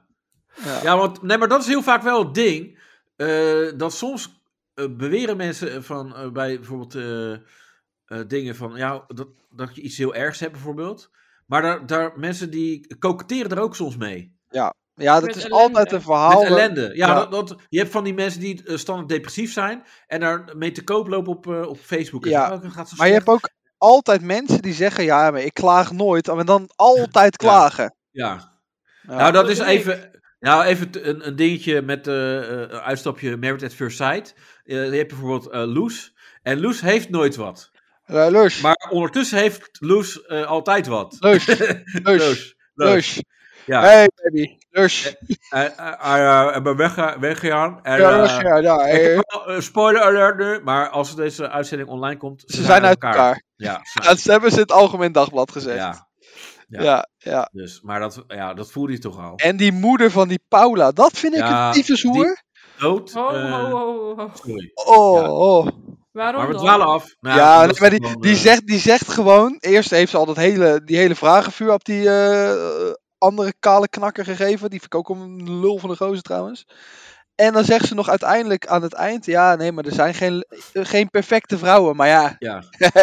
Speaker 3: Ja.
Speaker 4: Ja, want nee, maar dat is heel vaak wel het ding. eh, dat soms eh, beweren mensen van eh, bij bijvoorbeeld eh, eh, dingen van ja, dat, dat je iets heel ergs hebt, bijvoorbeeld. Maar daar, daar mensen die koketteren er ook soms mee.
Speaker 3: Ja, dat
Speaker 2: Met
Speaker 3: is
Speaker 2: ellende.
Speaker 3: altijd een verhaal.
Speaker 4: Met ellende. Ja,
Speaker 3: ja.
Speaker 4: Dat, dat, je hebt van die mensen die eh, standaard depressief zijn en daar mee te koop lopen op, eh, op Facebook. En
Speaker 3: Ja,
Speaker 4: zo, oh, dat gaat zo
Speaker 3: Maar je hebt
Speaker 4: slecht.
Speaker 3: ook altijd mensen die zeggen, ja, maar ik klaag nooit. En dan altijd klagen.
Speaker 4: Ja.
Speaker 3: Ja.
Speaker 4: Nou, dat is
Speaker 2: Dat ben ik.
Speaker 4: even. Nou, even t- een, een dingetje met eh, eh, een uitstapje Married at First Sight. Eh, je hebt bijvoorbeeld eh, Loes. En Loes heeft nooit wat.
Speaker 3: Eh, Lus,
Speaker 4: Maar ondertussen heeft Loes eh, altijd wat.
Speaker 3: Lus, Lus,
Speaker 4: Loes.
Speaker 3: Lus.
Speaker 4: Ja. Eh,
Speaker 3: Hey baby, Lus.
Speaker 4: Hij uh, ben wegge- weggegaan. En,
Speaker 3: Ja,
Speaker 4: eh,
Speaker 3: Lus, ja, ja.
Speaker 4: ik
Speaker 3: eh,
Speaker 4: heb wel, eh, spoiler alert nu, maar als deze uitzending online komt,
Speaker 3: Ze zijn uit elkaar.
Speaker 4: Ja, ze zijn
Speaker 3: Dat hebben ze in het Algemeen Dagblad gezegd. Ja,
Speaker 4: ja,
Speaker 3: ja.
Speaker 4: ja. dus, maar dat, ja, dat voelde je toch al.
Speaker 3: En die moeder van die Paula, dat vind ik
Speaker 4: Ja,
Speaker 3: een tyfushoer.
Speaker 4: Dood.
Speaker 2: Ho,
Speaker 4: eh,
Speaker 2: ho, ho, ho.
Speaker 4: sorry.
Speaker 3: Oh,
Speaker 4: Ja.
Speaker 3: oh.
Speaker 2: Waarom
Speaker 4: Maar we
Speaker 2: dan?
Speaker 4: dwalen af. Nou,
Speaker 3: ja,
Speaker 4: dat is
Speaker 3: maar die,
Speaker 4: gewoon,
Speaker 3: die,
Speaker 4: eh,
Speaker 3: zegt, die zegt gewoon. Eerst heeft ze al dat hele, die hele vragenvuur op die eh, andere kale knakker gegeven. Die vind ik ook een lul van de gozer trouwens. En dan zegt ze nog uiteindelijk aan het eind: Ja, nee, maar er zijn geen, eh, geen perfecte vrouwen. Maar ja,
Speaker 4: Ja,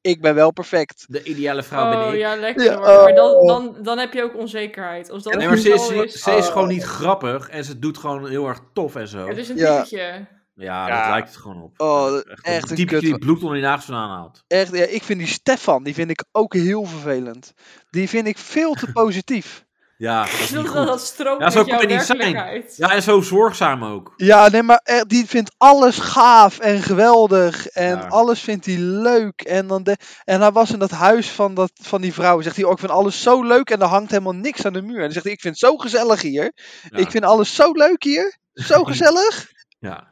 Speaker 3: ik ben wel perfect.
Speaker 4: de ideale vrouw ben
Speaker 2: Oh
Speaker 4: ik.
Speaker 2: ja, lekker
Speaker 3: Ja,
Speaker 2: hoor. Maar dan,
Speaker 3: oh.
Speaker 2: dan, dan heb je ook onzekerheid. Als dat
Speaker 4: Nee,
Speaker 2: het
Speaker 4: maar ze is,
Speaker 2: geval
Speaker 4: ze,
Speaker 2: is, Oh.
Speaker 4: is gewoon niet grappig en ze doet gewoon heel erg tof en zo.
Speaker 2: het is een
Speaker 3: Ja.
Speaker 2: dingetje.
Speaker 4: Ja,
Speaker 3: Ja.
Speaker 4: dat lijkt het gewoon op.
Speaker 3: Oh,
Speaker 4: Ja,
Speaker 3: dat- echt een
Speaker 4: typisch
Speaker 3: kut-
Speaker 4: die bloed onder je nagels vandaan haalt.
Speaker 3: Echt, ja, ik vind die Stefan, die vind ik ook heel vervelend. Die vind ik veel te positief.
Speaker 4: Ja, dat
Speaker 2: Ik
Speaker 4: is
Speaker 2: wil
Speaker 4: niet
Speaker 2: dat
Speaker 4: goed.
Speaker 2: dat strookt
Speaker 4: Ja,
Speaker 2: met
Speaker 4: zo kan
Speaker 2: jouw
Speaker 4: je niet zijn.
Speaker 2: werkelijkheid.
Speaker 4: Ja, en zo zorgzaam ook.
Speaker 3: Ja, nee, maar echt, die vindt alles gaaf en geweldig. En
Speaker 4: Ja.
Speaker 3: alles vindt hij leuk. En, dan de, en hij was in dat huis van, dat, van die vrouw. Zegt hij, oh, ik vind alles zo leuk. En er hangt helemaal niks aan de muur. En dan zegt hij, ik vind het zo gezellig hier.
Speaker 4: Ja,
Speaker 3: Ik vind alles zo leuk hier. Zo gezellig.
Speaker 4: ja.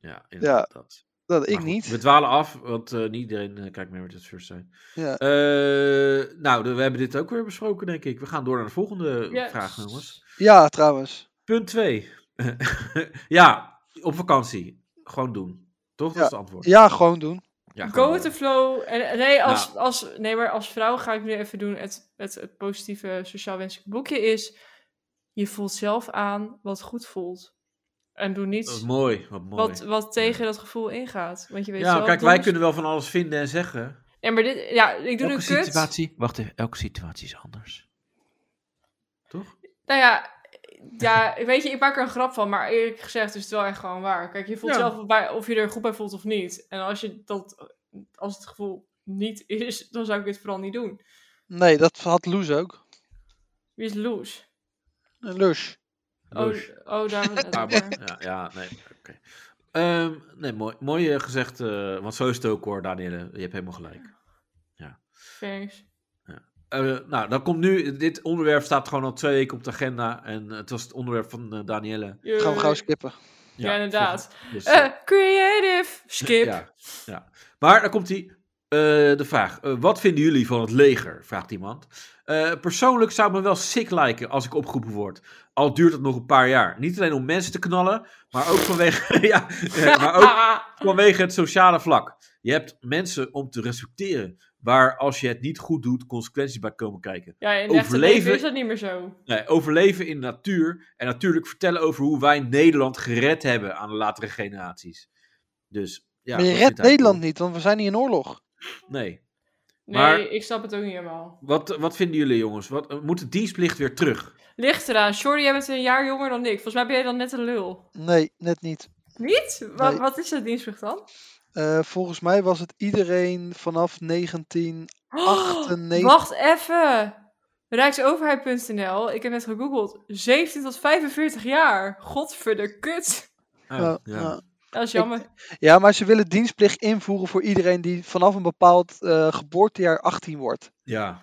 Speaker 4: ja inderdaad. dat.
Speaker 3: Dat ik
Speaker 4: Maar goed, We
Speaker 3: niet.
Speaker 4: dwalen af, want eh, niet iedereen eh, kijkt meer met het first zijn.
Speaker 3: Ja.
Speaker 4: nou, de- we hebben dit ook weer besproken, denk ik. We gaan door naar de volgende
Speaker 2: Yes.
Speaker 4: vraag, jongens.
Speaker 3: Ja, trouwens.
Speaker 4: Punt 2. ja, op vakantie. Gewoon doen. Toch? Dat is het antwoord.
Speaker 3: Ja, gewoon doen.
Speaker 4: Ja, gewoon
Speaker 2: Go with
Speaker 4: doen.
Speaker 2: the flow. En, en nee, als,
Speaker 4: Nou.
Speaker 2: als, nee, maar als vrouw ga ik nu even doen. Het, het, het positieve sociaal wenselijk boekje is... Je voelt zelf aan wat goed voelt. En doe
Speaker 4: Wat
Speaker 2: niets
Speaker 4: eh, mooi, wat mooi.
Speaker 2: wat, wat tegen dat gevoel ingaat. Want je weet
Speaker 4: ja,
Speaker 2: zelf...
Speaker 4: kijk, wij
Speaker 2: donders-
Speaker 4: kunnen wel van alles vinden en zeggen.
Speaker 2: Ja, maar dit... Ja, ik doe nu kut.
Speaker 4: wacht even, elke situatie is anders. Toch?
Speaker 2: Nou ja, ja, weet je, ik maak er een grap van, maar eerlijk gezegd is het wel echt gewoon waar. Kijk, je voelt
Speaker 4: Ja.
Speaker 2: zelf bij, of je er goed bij voelt of niet. En als, je dat, als het gevoel niet is, dan zou ik dit vooral niet doen.
Speaker 3: Nee, dat had Loes ook.
Speaker 2: Wie is Loes?
Speaker 3: En Loes.
Speaker 2: Oh, oh, daar was het
Speaker 4: Ah,
Speaker 2: over.
Speaker 4: maar- ja, ja, nee. oké. Ehm, nee, mooi, mooi eh, gezegd, eh, want zo is het ook hoor, Danielle. Je hebt helemaal gelijk.
Speaker 2: Thanks.
Speaker 4: Eh, nou, dan komt nu, dit onderwerp staat gewoon al twee weken op de agenda. En het was het onderwerp van eh, Danielle.
Speaker 3: Gaan we
Speaker 2: Yay.
Speaker 3: gauw skippen.
Speaker 2: Ja, inderdaad.
Speaker 4: Dus, eh,
Speaker 2: Eh, creative. Skip.
Speaker 4: Ja, ja. Maar dan komt die, de vraag. Eh, wat vinden jullie van het leger? Vraagt iemand. Eh, persoonlijk zou het me wel sick lijken als ik opgeroepen word. Al duurt het nog een paar jaar. Niet alleen om mensen te knallen, maar ook vanwege, ja, eh, maar ook vanwege het sociale vlak. Je hebt mensen om te respecteren. Waar als je het niet goed doet, consequenties bij komen kijken.
Speaker 2: ja, in het echte leven
Speaker 4: Overleven.
Speaker 2: is dat niet meer zo.
Speaker 4: Nee, overleven in de natuur. En natuurlijk vertellen over hoe wij Nederland gered hebben aan de latere generaties. Dus ja.
Speaker 3: maar je
Speaker 4: dat
Speaker 3: redt
Speaker 4: vindt hij
Speaker 3: Nederland
Speaker 4: cool.
Speaker 3: niet, want we zijn niet in oorlog.
Speaker 4: Nee.
Speaker 2: Nee,
Speaker 4: Maar-
Speaker 2: ik snap het ook niet helemaal.
Speaker 4: Wat, wat vinden jullie, jongens? Wat, eh, moet de dienstplicht weer terug?
Speaker 2: Ligt eraan. Shorty, jij bent een jaar jonger dan ik. Volgens mij ben jij dan net een lul.
Speaker 3: Nee, net niet.
Speaker 2: Niet? Wa-
Speaker 3: Nee.
Speaker 2: Wat is dat dienstplicht dan?
Speaker 3: Eh, volgens mij was het iedereen vanaf 19 98.
Speaker 2: Wacht even. Rijksoverheid.nl. Ik heb net gegoogeld. 17 tot 45 jaar. Godverder kut.
Speaker 4: Oh,
Speaker 3: Ja,
Speaker 4: ja.
Speaker 3: ja.
Speaker 2: Dat is jammer.
Speaker 3: Ja, maar ze willen dienstplicht invoeren voor iedereen die vanaf een bepaald eh, geboortejaar 18 wordt.
Speaker 4: Ja.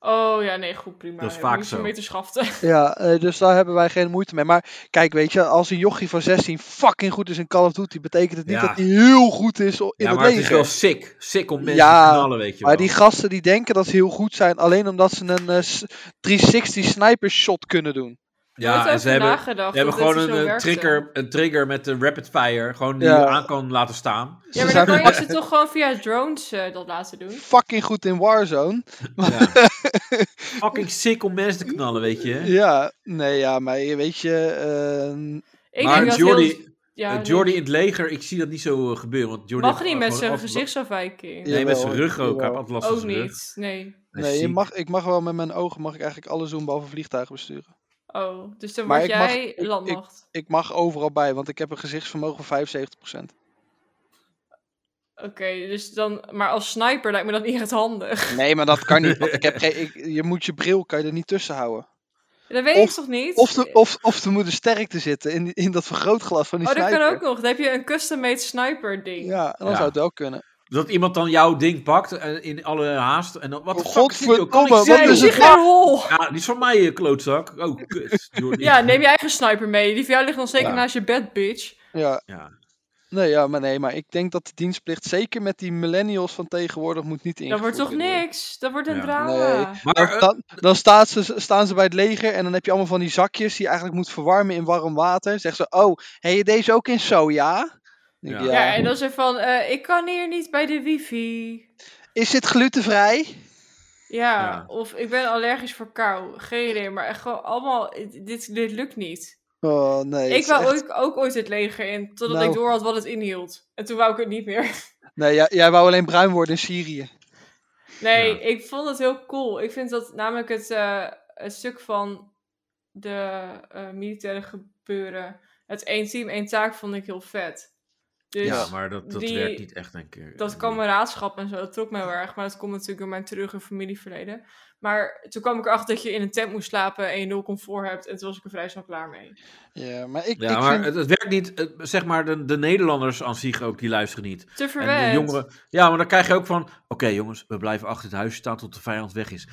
Speaker 2: Oh ja, nee, goed, prima.
Speaker 4: Dat is
Speaker 2: Ja,
Speaker 4: vaak
Speaker 2: moet je
Speaker 4: zo.
Speaker 2: mee te schaften.
Speaker 3: Ja, eh, dus daar hebben wij geen moeite mee. Maar kijk, weet je, als een jochie van 16 fucking goed is in Call of Duty, betekent het niet
Speaker 4: Ja.
Speaker 3: dat hij heel goed is o- in
Speaker 4: Ja,
Speaker 3: het
Speaker 4: maar het is
Speaker 3: leger.
Speaker 4: wel sick. Sick om mensen
Speaker 3: Ja,
Speaker 4: te knallen, weet je
Speaker 3: maar
Speaker 4: wel.
Speaker 3: die gasten die denken dat ze heel goed zijn, alleen omdat ze een eh, s- 360 sniper shot kunnen doen.
Speaker 2: Nooit
Speaker 4: ja, en
Speaker 2: over
Speaker 4: ze hebben,
Speaker 2: nagedacht
Speaker 4: ze hebben
Speaker 2: dat dit
Speaker 4: gewoon
Speaker 2: zo
Speaker 4: een, eh,
Speaker 2: werkte.
Speaker 4: trigger, een trigger met de rapid fire. Gewoon die
Speaker 3: Ja.
Speaker 4: je aan kan laten staan.
Speaker 2: Ja, maar
Speaker 3: Ze
Speaker 2: dan kan
Speaker 3: zijn
Speaker 2: je ze toch gewoon via drones eh, dat laten doen.
Speaker 3: fucking goed in Warzone.
Speaker 4: Ja. Fucking sick om mensen te knallen, weet je.
Speaker 3: Ja, nee, ja, maar je weet je, eh,
Speaker 2: Ik
Speaker 4: maar
Speaker 2: denk dat
Speaker 4: Jordi,
Speaker 2: heel- ja,
Speaker 4: eh,
Speaker 2: nee.
Speaker 4: Jordi in het leger, ik zie dat niet zo eh, gebeuren. Want Jordi
Speaker 2: mag
Speaker 4: heeft
Speaker 2: niet
Speaker 4: gewoon
Speaker 2: met zijn
Speaker 4: altijd-
Speaker 2: gezichtsafwijking.
Speaker 3: Ja,
Speaker 4: Nee, met zijn
Speaker 3: Jawel,
Speaker 4: rug ook. Hij heeft
Speaker 3: jawel.
Speaker 4: altijd last van
Speaker 2: Ook
Speaker 4: zijn rug.
Speaker 2: niet, nee.
Speaker 4: Hij is
Speaker 3: nee, je
Speaker 4: ziek.
Speaker 3: mag, ik mag wel met mijn ogen mag ik eigenlijk alles doen behalve vliegtuigen besturen.
Speaker 2: Oh, dus dan
Speaker 3: Maar
Speaker 2: word
Speaker 3: ik mag-
Speaker 2: jij
Speaker 3: ik-
Speaker 2: landmacht.
Speaker 3: Ik mag overal bij, want ik heb een gezichtsvermogen van 75%.
Speaker 2: Oké, dus dan... Maar als sniper lijkt me dat niet echt handig.
Speaker 3: Nee, maar dat kan niet, want ik heb geen, ik, je moet je bril kan je er niet tussen houden.
Speaker 2: Dat weet
Speaker 3: Of-
Speaker 2: ik toch niet?
Speaker 3: Of, de, of, of er moet een sterkte zitten in, die- in dat vergrootglas van die
Speaker 2: oh, dat
Speaker 3: sniper.
Speaker 2: kan ook nog. Dan heb je een custom-made sniper ding.
Speaker 3: Ja, dan
Speaker 4: Ja.
Speaker 3: zou het wel kunnen.
Speaker 4: Dat iemand dan jouw ding pakt eh, in alle haast. En dan, wat de
Speaker 3: Oh,
Speaker 4: fuck is dit, joh? Kan ik
Speaker 3: godverdomme,
Speaker 2: Ja,
Speaker 3: wat
Speaker 4: zien?
Speaker 2: ik
Speaker 3: is
Speaker 2: zie
Speaker 3: het
Speaker 2: geen hol.
Speaker 4: Ja, die is van mij, eh, klootzak. Oh, kut. Jordi.
Speaker 2: Ja, neem je eigen sniper mee. Die van jou ligt nog zeker
Speaker 4: Ja.
Speaker 2: naast je bed, bitch.
Speaker 3: Ja.
Speaker 4: Ja.
Speaker 3: Nee, ja, maar nee, maar ik denk dat de dienstplicht zeker met die millennials van tegenwoordig moet niet
Speaker 2: Dat
Speaker 3: ingevoerd
Speaker 2: wordt toch
Speaker 3: kunnen worden.
Speaker 2: niks? Dat wordt een
Speaker 4: Ja.
Speaker 2: drama.
Speaker 3: Nee.
Speaker 4: Maar
Speaker 3: Dan,
Speaker 4: eh,
Speaker 3: dan, dan staat ze, staan ze bij het leger en dan heb je allemaal van die zakjes die je eigenlijk moet verwarmen in warm water. Zegt ze, oh, heb je deze ook in soja? Dan denk ik,
Speaker 4: Ja.
Speaker 2: Ja,
Speaker 3: Ja.
Speaker 2: en dan is er van, eh, ik kan hier niet bij de wifi.
Speaker 3: Is dit glutenvrij?
Speaker 2: Ja,
Speaker 4: Ja.
Speaker 2: of ik ben allergisch voor kou. Geen idee, maar echt gewoon allemaal, dit, dit lukt niet.
Speaker 3: Oh nee. het
Speaker 2: ik
Speaker 3: is
Speaker 2: wou
Speaker 3: echt-
Speaker 2: ook, ook ooit het leger in, totdat
Speaker 3: Nou.
Speaker 2: ik door had wat het inhield. En toen wou ik het niet meer.
Speaker 3: Nee, jij, jij wou alleen bruin worden in Syrië.
Speaker 2: Nee,
Speaker 4: Ja.
Speaker 2: ik vond het heel cool. Ik vind dat namelijk het, eh, het stuk van de eh, militaire gebeuren, het één team, één taak, vond ik heel vet. Dus
Speaker 4: ja, maar dat, dat
Speaker 2: die-
Speaker 4: werkt niet echt, denk ik.
Speaker 2: dat kameraadschap en zo, dat trok mij heel erg. Maar dat komt natuurlijk door mijn treurige familieverleden. Maar toen kwam ik erachter dat je in een tent moest slapen en je nul comfort hebt. En toen was ik er vrij snel klaar mee.
Speaker 3: Ja, maar ik,
Speaker 4: Ja,
Speaker 3: ik
Speaker 4: maar
Speaker 3: vind...
Speaker 4: het, het werkt niet. eh, zeg maar, de, de Nederlanders aan zich ook, die luisteren niet.
Speaker 2: Te
Speaker 4: En de
Speaker 2: verwend.
Speaker 4: jongeren. Ja, maar dan krijg je ook van. Oké, jongens, we blijven achter het huis staan tot de vijand weg is.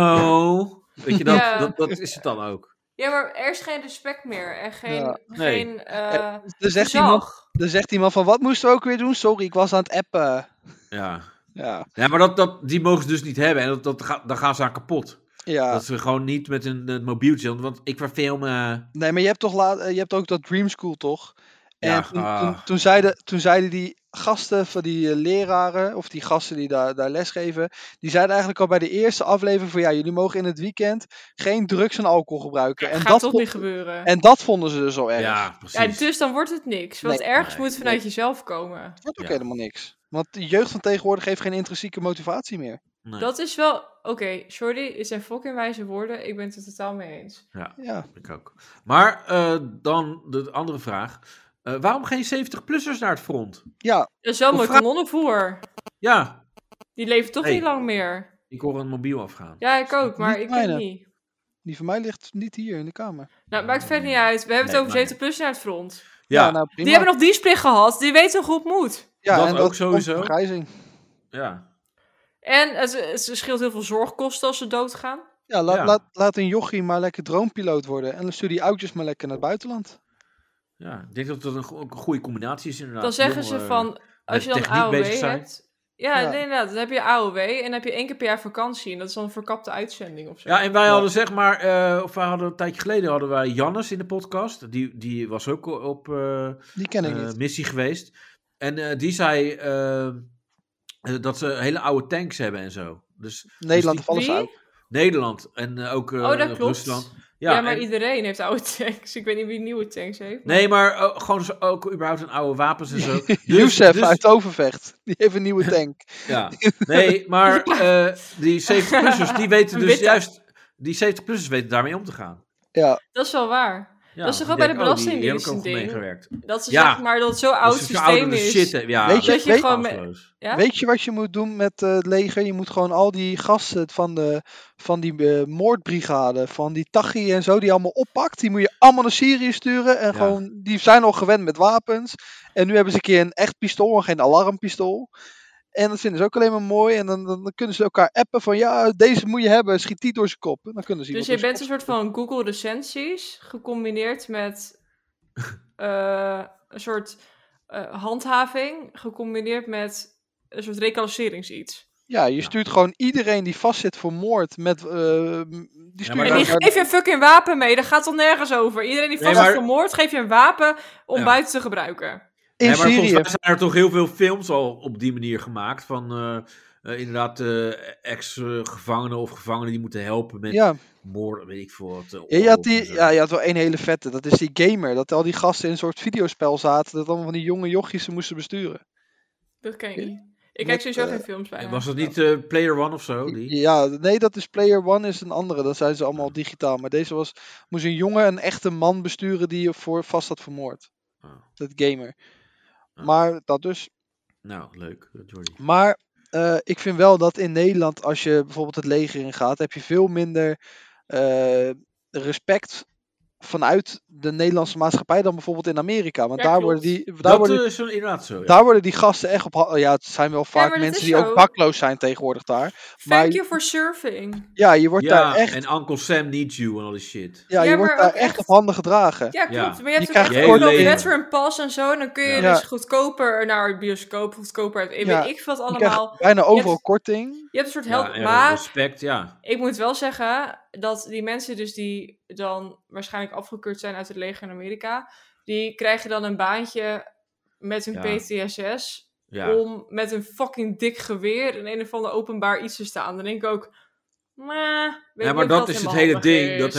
Speaker 4: Hoezo? Weet je, dat,
Speaker 2: Ja.
Speaker 4: dat, dat is het dan ook.
Speaker 2: Ja, maar er is geen respect meer. En geen,
Speaker 3: Ja.
Speaker 4: Nee.
Speaker 2: geen eh
Speaker 3: Er zegt, iemand,
Speaker 2: gezag.
Speaker 3: er zegt iemand van, wat moesten we ook weer doen? Sorry, ik was aan het appen.
Speaker 4: Ja,
Speaker 3: Ja,
Speaker 4: ja maar dat, dat, die mogen ze dus niet hebben. En dat, dat, ga- dan gaan ze aan kapot.
Speaker 3: ja.
Speaker 4: Dat ze gewoon niet met een, een mobieltje. want- Want ik verveel me.
Speaker 3: Nee, maar je hebt toch laat, eh, je hebt ook dat Dream School toch? En
Speaker 4: Ja,
Speaker 3: toen,
Speaker 4: ah.
Speaker 3: toen, toen, zeiden, toen zeiden die gasten van die eh, leraren, of die gasten die daar, daar lesgeven, die zeiden eigenlijk al bij de eerste aflevering van ja, jullie mogen in het weekend geen drugs en alcohol gebruiken. en,
Speaker 2: Gaat
Speaker 3: dat
Speaker 2: toch
Speaker 3: vo-
Speaker 2: niet gebeuren.
Speaker 3: en dat vonden ze dus al erg.
Speaker 4: Ja, precies.
Speaker 2: ja, dus dan wordt het niks. Want
Speaker 3: Nee.
Speaker 2: ergens
Speaker 4: Nee.
Speaker 2: moet het vanuit jezelf komen.
Speaker 3: Dat wordt ook
Speaker 4: Ja.
Speaker 3: helemaal niks. Want de jeugd van tegenwoordig heeft geen intrinsieke motivatie meer.
Speaker 4: Nee.
Speaker 2: Dat is wel... Oké, sorry, het zijn fucking wijze woorden. Ik ben het er totaal mee eens.
Speaker 4: Ja,
Speaker 3: Ja.
Speaker 4: ik ook. Maar eh, dan de andere vraag. Eh, waarom geen 70-plussers naar het front?
Speaker 3: Ja,
Speaker 2: Er is wel
Speaker 4: Of
Speaker 2: mooi
Speaker 4: vraag-
Speaker 2: kanonnenvoer.
Speaker 4: Ja,
Speaker 2: Die leven toch
Speaker 4: Nee.
Speaker 2: niet lang meer.
Speaker 4: ik hoor een mobiel afgaan.
Speaker 2: Ja, ik ook, maar
Speaker 3: Niet
Speaker 2: ik weet
Speaker 3: mijne.
Speaker 2: niet.
Speaker 3: die van mij ligt niet hier in de kamer.
Speaker 2: Nou, het maakt verder niet uit. We hebben
Speaker 4: Nee,
Speaker 2: het
Speaker 4: maar-
Speaker 2: over 70 plus naar het front.
Speaker 4: Ja,
Speaker 3: nou prima.
Speaker 2: Die hebben nog dienstplicht gehad. Die weten hoe het moet.
Speaker 3: ja,
Speaker 4: dat
Speaker 3: en
Speaker 4: ook
Speaker 3: komt
Speaker 4: sowieso.
Speaker 3: van vergrijzing.
Speaker 4: ja.
Speaker 2: En het, het scheelt heel veel zorgkosten als ze doodgaan.
Speaker 3: Ja, laat,
Speaker 4: Ja.
Speaker 3: Laat, laat een jochie maar lekker droompiloot worden. En dan stuur die oudjes maar lekker naar het buitenland.
Speaker 4: ja. Ik denk dat dat een, go- ook een goede combinatie is inderdaad. eh,
Speaker 2: dan zeggen ze
Speaker 4: Jongeren-
Speaker 2: van, als je dan
Speaker 4: Nou, techniek
Speaker 2: AOW
Speaker 4: bezig zijn.
Speaker 2: hebt... Ja,
Speaker 3: Ja.
Speaker 2: nee, inderdaad. Dan heb je AOW en dan heb je één keer per jaar vakantie. En dat is dan een verkapte uitzending of zo.
Speaker 4: Ja, en wij
Speaker 3: Ja.
Speaker 4: hadden zeg maar, eh, of wij hadden een tijdje geleden hadden wij Jannes in de podcast. Die, die was ook op eh,
Speaker 3: Die ken ik
Speaker 4: eh,
Speaker 3: niet.
Speaker 4: missie geweest. En eh, die zei eh, eh, dat ze hele oude tanks hebben en zo. Dus
Speaker 3: Nederland
Speaker 4: die-
Speaker 3: vallen ze
Speaker 2: Wie?
Speaker 3: uit.
Speaker 4: Nederland en eh, ook eh,
Speaker 2: Oh, dat klopt.
Speaker 4: Rusland. Ja,
Speaker 2: Ja, maar
Speaker 4: en-
Speaker 2: iedereen heeft oude tanks. Ik weet niet wie nieuwe tanks heeft.
Speaker 4: Nee, maar eh, gewoon zo- ook überhaupt een oude wapens en zo. Dus-
Speaker 3: Youssef
Speaker 4: dus-
Speaker 3: uit Overvecht. Die heeft een nieuwe tank.
Speaker 4: Ja. Nee, maar eh, die 70-plussers, die weten
Speaker 2: Een
Speaker 4: dus
Speaker 2: witte.
Speaker 4: juist... Die 70-plussers weten daarmee om te gaan.
Speaker 3: Ja,
Speaker 2: Dat is wel waar.
Speaker 4: Ja,
Speaker 2: Dat is toch
Speaker 4: die
Speaker 2: ook bij de
Speaker 4: denken, oh, die- die
Speaker 2: Belastingdienst
Speaker 4: hebben ook
Speaker 2: een
Speaker 4: al
Speaker 2: ding?
Speaker 4: meegewerkt.
Speaker 2: Dat ze
Speaker 4: Ja.
Speaker 2: zeggen maar dat het zo'n oud
Speaker 4: Dus als je
Speaker 2: systeem
Speaker 4: ouder
Speaker 2: is.
Speaker 4: shit hebt, ja,
Speaker 3: Weet je-
Speaker 4: dat
Speaker 2: dat
Speaker 4: is
Speaker 2: je
Speaker 3: weet-
Speaker 2: gewoon... met-
Speaker 4: kansloos.
Speaker 2: Ja?
Speaker 3: weet je wat je moet doen met eh, het leger? Je moet gewoon al die gasten van, de, van die eh, moordbrigade, van die Tachi en zo, die allemaal oppakt. Die moet je allemaal naar Syrië sturen. En
Speaker 4: Ja.
Speaker 3: gewoon, die zijn al gewend met wapens. En nu hebben ze een keer een echt pistool en geen alarmpistool. En dat vinden ze ook alleen maar mooi. En dan, dan, dan kunnen ze elkaar appen van ja, deze moet je hebben. Schiet die door zijn kop. En dan kunnen ze
Speaker 2: Dus
Speaker 3: iemand
Speaker 2: je
Speaker 3: door
Speaker 2: bent een soort van Google recensies gecombineerd met eh, een soort eh, handhaving, gecombineerd met een soort recalciterings iets.
Speaker 3: zijn kop- Ja, je stuurt gewoon iedereen die vastzit voor moord met... eh, die stuurt
Speaker 4: maar
Speaker 2: En die
Speaker 4: dat-
Speaker 3: naar-
Speaker 2: geef je een fucking wapen mee, daar gaat het nergens over. Iedereen die
Speaker 4: Nee,
Speaker 2: vast wordt
Speaker 4: maar-
Speaker 2: vermoord, geef je een wapen om
Speaker 4: Ja.
Speaker 2: buiten te gebruiken.
Speaker 3: in
Speaker 4: Nee, maar volgens
Speaker 3: Syrië.
Speaker 4: mij zijn er toch heel veel films al op die manier gemaakt. Van eh, eh, inderdaad eh, ex-gevangenen of gevangenen die moeten helpen met
Speaker 3: Ja.
Speaker 4: moord, weet ik veel wat. eh,
Speaker 3: Ja, je had,
Speaker 4: oorlog en zo.
Speaker 3: die, ja, je had wel één hele vette. Dat is die gamer. Dat al die gasten in een soort videospel zaten. Dat allemaal van die jonge jochies ze moesten besturen.
Speaker 2: Dat ken ik
Speaker 3: Ja.
Speaker 2: niet. Ik
Speaker 3: Met,
Speaker 2: kijk sowieso
Speaker 3: eh,
Speaker 2: geen films bij.
Speaker 4: En was dat niet eh, Player One of zo? Die?
Speaker 3: Ja, nee, dat is Player One is een andere. Dat zijn ze allemaal digitaal. Maar deze was, moest een jongen een echte man besturen die je voor, vast had vermoord.
Speaker 4: Ah.
Speaker 3: Dat gamer.
Speaker 4: Ah.
Speaker 3: Maar dat dus.
Speaker 4: Nou, leuk, eh, Jordi.
Speaker 3: Maar eh, ik vind wel dat in Nederland, als je bijvoorbeeld het leger in gaat, heb je veel minder eh, respect vanuit de Nederlandse maatschappij dan bijvoorbeeld in Amerika. Want
Speaker 2: Ja,
Speaker 3: daar
Speaker 2: klopt.
Speaker 3: worden die. Daar
Speaker 4: Dat
Speaker 3: worden
Speaker 4: eh, is een- inderdaad zo. Ja.
Speaker 3: Daar worden die gasten echt op. ha- oh Ja, het zijn wel vaak
Speaker 2: maar dat
Speaker 3: mensen
Speaker 2: is
Speaker 3: die
Speaker 2: zo.
Speaker 3: ook dakloos zijn tegenwoordig daar.
Speaker 2: Thank
Speaker 3: maar-
Speaker 2: you for surfing.
Speaker 3: Ja, je wordt
Speaker 4: Ja,
Speaker 3: daar echt.
Speaker 4: en Uncle Sam needs you en al die shit.
Speaker 2: Ja,
Speaker 3: Ja, je
Speaker 2: maar
Speaker 3: wordt daar
Speaker 2: ook
Speaker 3: echt
Speaker 2: echt-
Speaker 3: op handen gedragen.
Speaker 2: Ja,
Speaker 4: Ja.
Speaker 2: klopt. Maar
Speaker 3: Je
Speaker 2: je hebt ook
Speaker 3: krijgt
Speaker 2: echt
Speaker 3: gewoon
Speaker 2: gewoon een
Speaker 4: leven.
Speaker 2: veteran pass en zo. En dan kun je
Speaker 3: Ja.
Speaker 2: dus goedkoper naar het bioscoop, goedkoper uit. Ik
Speaker 3: Ja.
Speaker 2: weet ik veel wat
Speaker 3: Je
Speaker 2: allemaal.
Speaker 3: krijgt bijna overal
Speaker 2: hebt-
Speaker 3: korting.
Speaker 2: Je hebt een soort help.
Speaker 4: Ja, en
Speaker 2: maar
Speaker 4: respect, ja.
Speaker 2: ik moet wel zeggen dat die mensen dus die dan waarschijnlijk afgekeurd zijn uit het leger in Amerika, die krijgen dan een baantje met hun
Speaker 4: Ja.
Speaker 2: PTSS
Speaker 4: ja.
Speaker 2: om met een fucking dik geweer in een of ander openbaar iets te staan. Dan denk ik ook, "Meh, weet
Speaker 4: Ja,
Speaker 2: ik
Speaker 4: maar
Speaker 2: of
Speaker 4: dat is het
Speaker 2: helemaal
Speaker 4: hele
Speaker 2: handig
Speaker 4: ding.
Speaker 2: is."
Speaker 4: Dat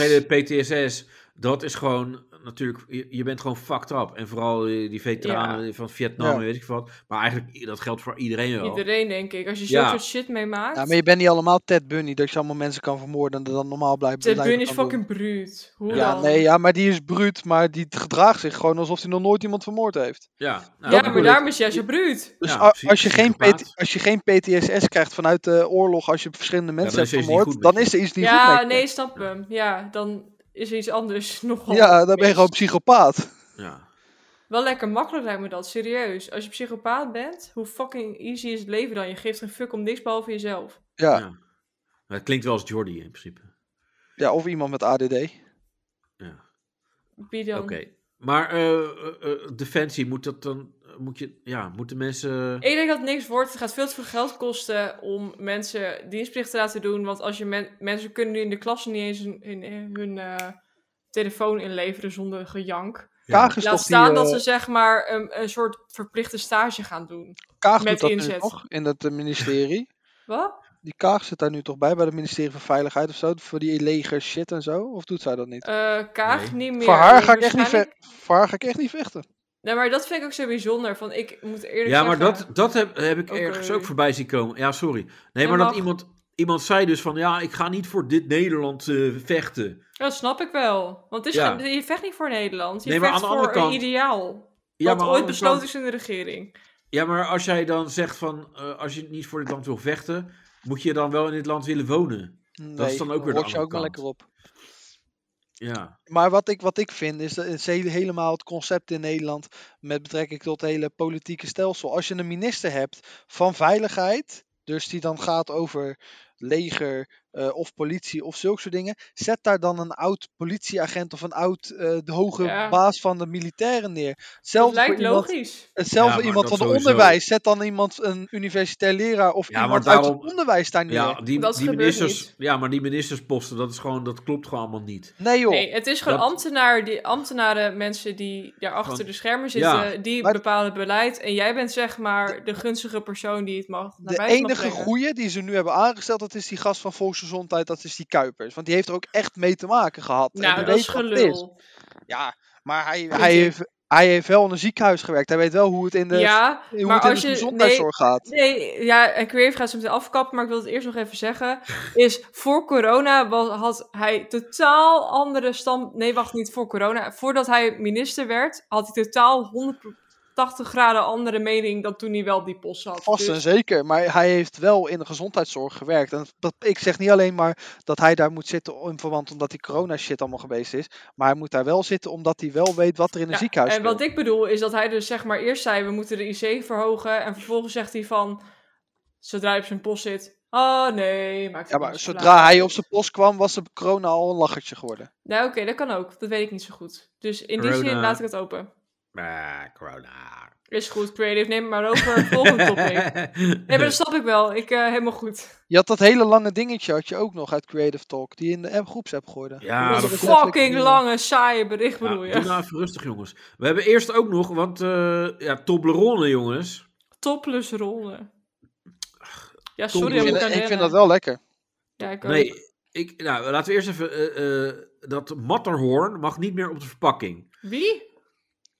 Speaker 4: hele PTSS, dat is gewoon natuurlijk, je, je bent gewoon fucked up. En vooral eh, die veteranen van Vietnam
Speaker 3: Ja.
Speaker 4: en weet ik wat. Maar eigenlijk, i- dat geldt voor iedereen wel.
Speaker 2: Iedereen, denk ik. Als je
Speaker 4: Ja.
Speaker 2: zo'n soort shit meemaakt.
Speaker 3: Ja, maar je bent niet allemaal Ted Bunny, dat je allemaal mensen kan vermoorden en er dan normaal blijft
Speaker 2: Ted
Speaker 3: blijven
Speaker 2: Bundy is
Speaker 3: kan
Speaker 2: fucking bruut. Hoe
Speaker 3: doen. Ja,
Speaker 2: dan?
Speaker 3: nee, ja, maar die is bruut, maar die gedraagt zich gewoon alsof hij nog nooit iemand vermoord heeft.
Speaker 4: Ja, nou,
Speaker 2: ja,
Speaker 4: dat
Speaker 2: maar
Speaker 4: bedoel ik.
Speaker 2: daarom is jij zo bruut.
Speaker 3: Dus
Speaker 4: Ja,
Speaker 3: a-
Speaker 4: psy-
Speaker 3: als, je geen
Speaker 4: psychopaat.
Speaker 3: PT als je geen PTSS krijgt vanuit de oorlog, als je verschillende mensen
Speaker 4: dan is er
Speaker 3: hebt
Speaker 4: iets niet
Speaker 3: vermoord,
Speaker 4: goed met
Speaker 3: dan
Speaker 4: je.
Speaker 3: is er iets niet goed met
Speaker 2: Ja,
Speaker 3: je.
Speaker 2: nee, snap hem. Ja, dan is er iets anders nogal.
Speaker 3: Ja, dan ben je
Speaker 2: mis.
Speaker 3: gewoon psychopaat.
Speaker 4: Ja.
Speaker 2: Wel lekker makkelijk lijkt me dat, serieus. Als je psychopaat bent, hoe fucking easy is het leven dan? Je geeft een fuck om niks behalve jezelf.
Speaker 3: Ja,
Speaker 4: Ja. Maar het klinkt wel als Jordi in principe.
Speaker 3: ja of iemand met ADD.
Speaker 4: Ja.
Speaker 2: Wie dan?
Speaker 4: Oké. Maar eh, eh, eh, defensie, moet dat dan, moet je, ja, moeten mensen...
Speaker 2: Ik denk dat het niks wordt. Het gaat veel te veel geld kosten om mensen dienstplicht te laten doen. Want als je men- mensen kunnen nu in de klas niet eens hun, hun, hun, eh, telefoon inleveren zonder gejank.
Speaker 4: Ja.
Speaker 3: Kaag is
Speaker 2: Laat
Speaker 3: Dus toch
Speaker 2: staan
Speaker 3: die,
Speaker 2: dat
Speaker 3: eh,
Speaker 2: ze zeg maar een, een soort verplichte stage gaan doen.
Speaker 3: Kaag
Speaker 2: met
Speaker 3: doet dat nu
Speaker 2: inzet.
Speaker 3: toch in het eh, ministerie.
Speaker 2: Wat?
Speaker 3: Die Kaag zit daar nu toch bij, bij het ministerie van Veiligheid of zo, voor die leger shit en zo? Of doet zij dat niet?
Speaker 2: Eh Kaag
Speaker 4: Nee.
Speaker 2: niet meer.
Speaker 3: voor, haar ga
Speaker 2: maar
Speaker 3: ik echt niet
Speaker 2: waarschijnlijk-
Speaker 3: ve- voor haar ga ik echt niet vechten.
Speaker 2: Nee, maar dat vind ik ook zo bijzonder. Van ik moet eerlijk
Speaker 4: Ja, maar
Speaker 2: zeggen.
Speaker 4: dat, dat heb, heb ik
Speaker 2: Oké.
Speaker 4: ergens ook voorbij zien komen. Ja, sorry. Nee,
Speaker 2: Ja,
Speaker 4: maar dat
Speaker 2: mag.
Speaker 4: iemand, iemand zei dus van, ja, ik ga niet voor dit Nederland eh, vechten.
Speaker 2: Dat snap ik wel. Want het is
Speaker 4: Ja.
Speaker 2: ge- je vecht niet voor Nederland. Je
Speaker 4: Nee, maar
Speaker 2: vecht
Speaker 4: aan de
Speaker 2: voor
Speaker 4: andere kant-
Speaker 2: een ideaal.
Speaker 4: Ja, maar
Speaker 2: dat
Speaker 4: aan
Speaker 2: ooit
Speaker 4: de andere
Speaker 2: besloten
Speaker 4: kant-
Speaker 2: is in de regering.
Speaker 4: Ja, maar als jij dan zegt van, eh, als je niet voor dit land wil vechten, moet je dan wel in dit land willen wonen.
Speaker 3: Nee,
Speaker 4: is dan ook weer de
Speaker 3: rot
Speaker 4: andere
Speaker 3: je ook maar
Speaker 4: kant.
Speaker 3: lekker op.
Speaker 4: Ja,
Speaker 3: Maar wat ik, wat ik vind, is, dat is hele- helemaal het concept in Nederland met betrekking tot het hele politieke stelsel. Als je een minister hebt van veiligheid, dus die dan gaat over leger eh, of politie of zulke soort dingen, zet daar dan een oud politieagent of een oud eh, de hoge
Speaker 2: Ja.
Speaker 3: baas van de militairen neer.
Speaker 2: Dat
Speaker 3: Zelfs voor
Speaker 2: lijkt
Speaker 3: iemand,
Speaker 2: logisch.
Speaker 3: Hetzelfde
Speaker 4: Ja, maar
Speaker 3: iemand
Speaker 4: dat
Speaker 3: van het
Speaker 4: sowieso.
Speaker 3: onderwijs. Zet dan iemand, een universitair leraar of
Speaker 4: Ja, maar
Speaker 3: iemand uit
Speaker 4: daarom-
Speaker 3: het onderwijs daar neer.
Speaker 4: ja, die,
Speaker 2: Dat
Speaker 4: die
Speaker 2: gebeurt
Speaker 4: ministers,
Speaker 2: niet.
Speaker 4: ja, maar die ministersposten, dat, is gewoon, dat klopt gewoon allemaal niet.
Speaker 3: Nee joh.
Speaker 2: Nee, het is gewoon
Speaker 4: Dat-
Speaker 2: ambtenaar, die, ambtenaren, mensen die daar achter
Speaker 4: Gewoon-
Speaker 2: de schermen
Speaker 4: Ja.
Speaker 2: zitten, die
Speaker 3: Maar-
Speaker 2: bepalen het beleid. En jij bent zeg maar de gunstige persoon die het mag. naar
Speaker 3: de
Speaker 2: buiten mag
Speaker 3: enige
Speaker 2: brengen.
Speaker 3: goeie die ze nu hebben aangesteld, dat is die gast van Volksgezondheid, dat is die Kuipers. Want die heeft er ook echt mee te maken gehad. En
Speaker 2: Nou,
Speaker 3: die
Speaker 2: dat
Speaker 3: weet
Speaker 2: is
Speaker 3: wat het
Speaker 2: gelul.
Speaker 3: Ja, maar hij,
Speaker 2: Vind
Speaker 3: hij,
Speaker 2: ik.
Speaker 3: heeft, hij heeft wel in een ziekenhuis gewerkt. Hij weet wel hoe het in de,
Speaker 2: ja,
Speaker 3: hoe
Speaker 2: maar
Speaker 3: het in
Speaker 2: als
Speaker 3: de
Speaker 2: je-
Speaker 3: gezondheidszorg gaat.
Speaker 2: nee, ja, en Creative gaat ze meteen afkappen, maar ik wil het eerst nog even zeggen. Is voor corona was, had hij totaal andere stand. Nee, wacht, niet voor corona. Voordat hij minister werd, had hij totaal 180 graden andere mening dan toen hij wel op die post zat.
Speaker 3: Vast en
Speaker 2: Dus-
Speaker 3: zeker, maar hij heeft wel in de gezondheidszorg gewerkt. En dat, ik zeg niet alleen maar dat hij daar moet zitten in verband omdat die corona shit allemaal geweest is. Maar hij moet daar wel zitten omdat hij wel weet wat er in een
Speaker 2: Ja,
Speaker 3: ziekenhuis
Speaker 2: En wat ik bedoel is dat hij dus zeg maar eerst zei we moeten de IC verhogen en vervolgens zegt hij van Zodra je op zijn post zit. Oh nee, maakt
Speaker 3: Ja,
Speaker 2: het
Speaker 3: maar
Speaker 2: niet
Speaker 3: zodra hij
Speaker 2: uit.
Speaker 3: op zijn post kwam, was de corona al een lachertje geworden.
Speaker 2: Nou, oké, dat kan ook. Dat weet ik niet zo goed. Dus in die zin
Speaker 4: Corona.
Speaker 2: laat ik het open.
Speaker 4: Ah, corona.
Speaker 2: Is goed, creative. Neem het maar over. Volgende topic. Nee, maar dat snap ik wel. Ik eh, helemaal goed.
Speaker 3: Je had dat hele lange dingetje had je ook nog uit Creative Talk, die je in de app groepsapp gooide.
Speaker 4: Ja,
Speaker 2: dat
Speaker 4: dat
Speaker 2: is
Speaker 3: komt-
Speaker 2: een fucking lange, saaie bericht
Speaker 4: Ja,
Speaker 2: bedoel je.
Speaker 4: Doe nou even rustig, jongens. We hebben eerst ook nog, want eh, ja, Toblerone, jongens.
Speaker 2: Topless rollen. Ja,
Speaker 4: Tom,
Speaker 2: sorry,
Speaker 3: ik,
Speaker 2: dat
Speaker 4: je
Speaker 2: moet
Speaker 3: vind,
Speaker 2: aan
Speaker 3: ik vind
Speaker 2: wennen.
Speaker 3: dat wel lekker.
Speaker 2: Ja, ik ook.
Speaker 4: Nee, ik, nou, laten we eerst even eh, eh, dat Matterhorn mag niet meer op de verpakking.
Speaker 2: Wie?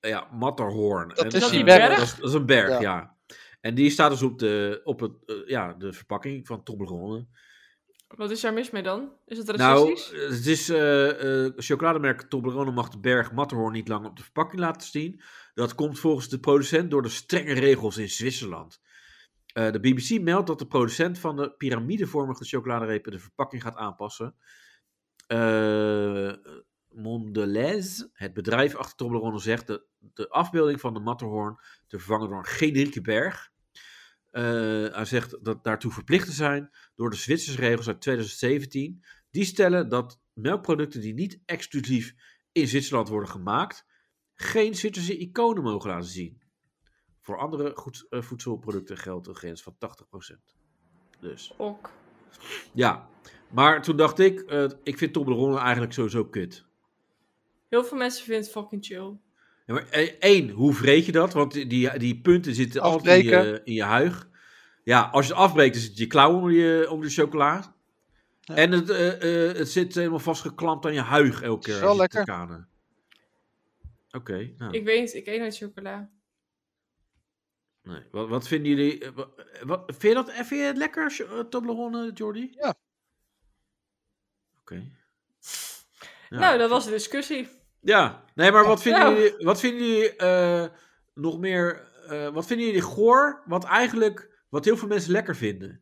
Speaker 4: Eh, ja, Matterhorn.
Speaker 3: Dat is
Speaker 2: dat
Speaker 3: die
Speaker 2: die
Speaker 3: berg.
Speaker 2: berg?
Speaker 4: Dat is, dat is een berg,
Speaker 3: Ja.
Speaker 4: ja. En die staat dus op de, op het, eh, ja, de verpakking van Toblerone.
Speaker 2: Wat is daar mis mee dan? Is het
Speaker 4: Nou,
Speaker 2: racistisch?
Speaker 4: eh, het is eh, eh, chocolademerk Toblerone mag de berg Matterhorn niet langer op de verpakking laten zien. Dat komt volgens de producent door de strenge regels in Zwitserland. Eh, de BBC meldt dat de producent van de piramidevormige chocoladerepen de verpakking gaat aanpassen. Eh Mondelez, het bedrijf achter Toblerone, zegt de, de afbeelding van de Matterhorn te vervangen door een generieke berg. Eh, hij zegt dat daartoe verplicht te zijn door de Zwitserse regels uit 2017. Die stellen dat melkproducten die niet exclusief in Zwitserland worden gemaakt, geen Zwitserse iconen mogen laten zien. Voor andere goed, eh, voedselproducten geldt een grens van 80%. Dus
Speaker 2: Ok.
Speaker 4: ja, maar toen dacht ik, eh, ik vind Toblerone eigenlijk sowieso kut.
Speaker 2: Heel veel mensen vinden het fucking chill.
Speaker 4: Ja, maar eh, één, hoe vreet je dat? Want die- die, die punten zitten altijd in je,
Speaker 3: Afbreken.
Speaker 4: in je huig. Ja, als je het afbreekt, dan zit je klauw om, je, om de chocola.
Speaker 3: Ja.
Speaker 4: En het, eh, eh, het zit helemaal vastgeklampt aan je huig elke keer.
Speaker 3: Is
Speaker 4: als
Speaker 3: wel
Speaker 4: je het
Speaker 3: lekker.
Speaker 4: te kanen. Oké, nou.
Speaker 2: Ik weet niet, ik eet nooit chocola.
Speaker 4: Nee. Wat, wat vinden jullie... eh, wa- eh, wat, vind, je dat, eh, vind je het lekker, cho- eh, Toblerone, Jordi?
Speaker 3: Ja.
Speaker 4: Oké. Ja.
Speaker 2: Nou, dat was de discussie.
Speaker 4: Ja, nee, maar wat vinden
Speaker 2: Nou.
Speaker 4: jullie, wat vinden jullie eh, nog meer, eh, wat vinden jullie goor, wat eigenlijk, wat heel veel mensen lekker vinden?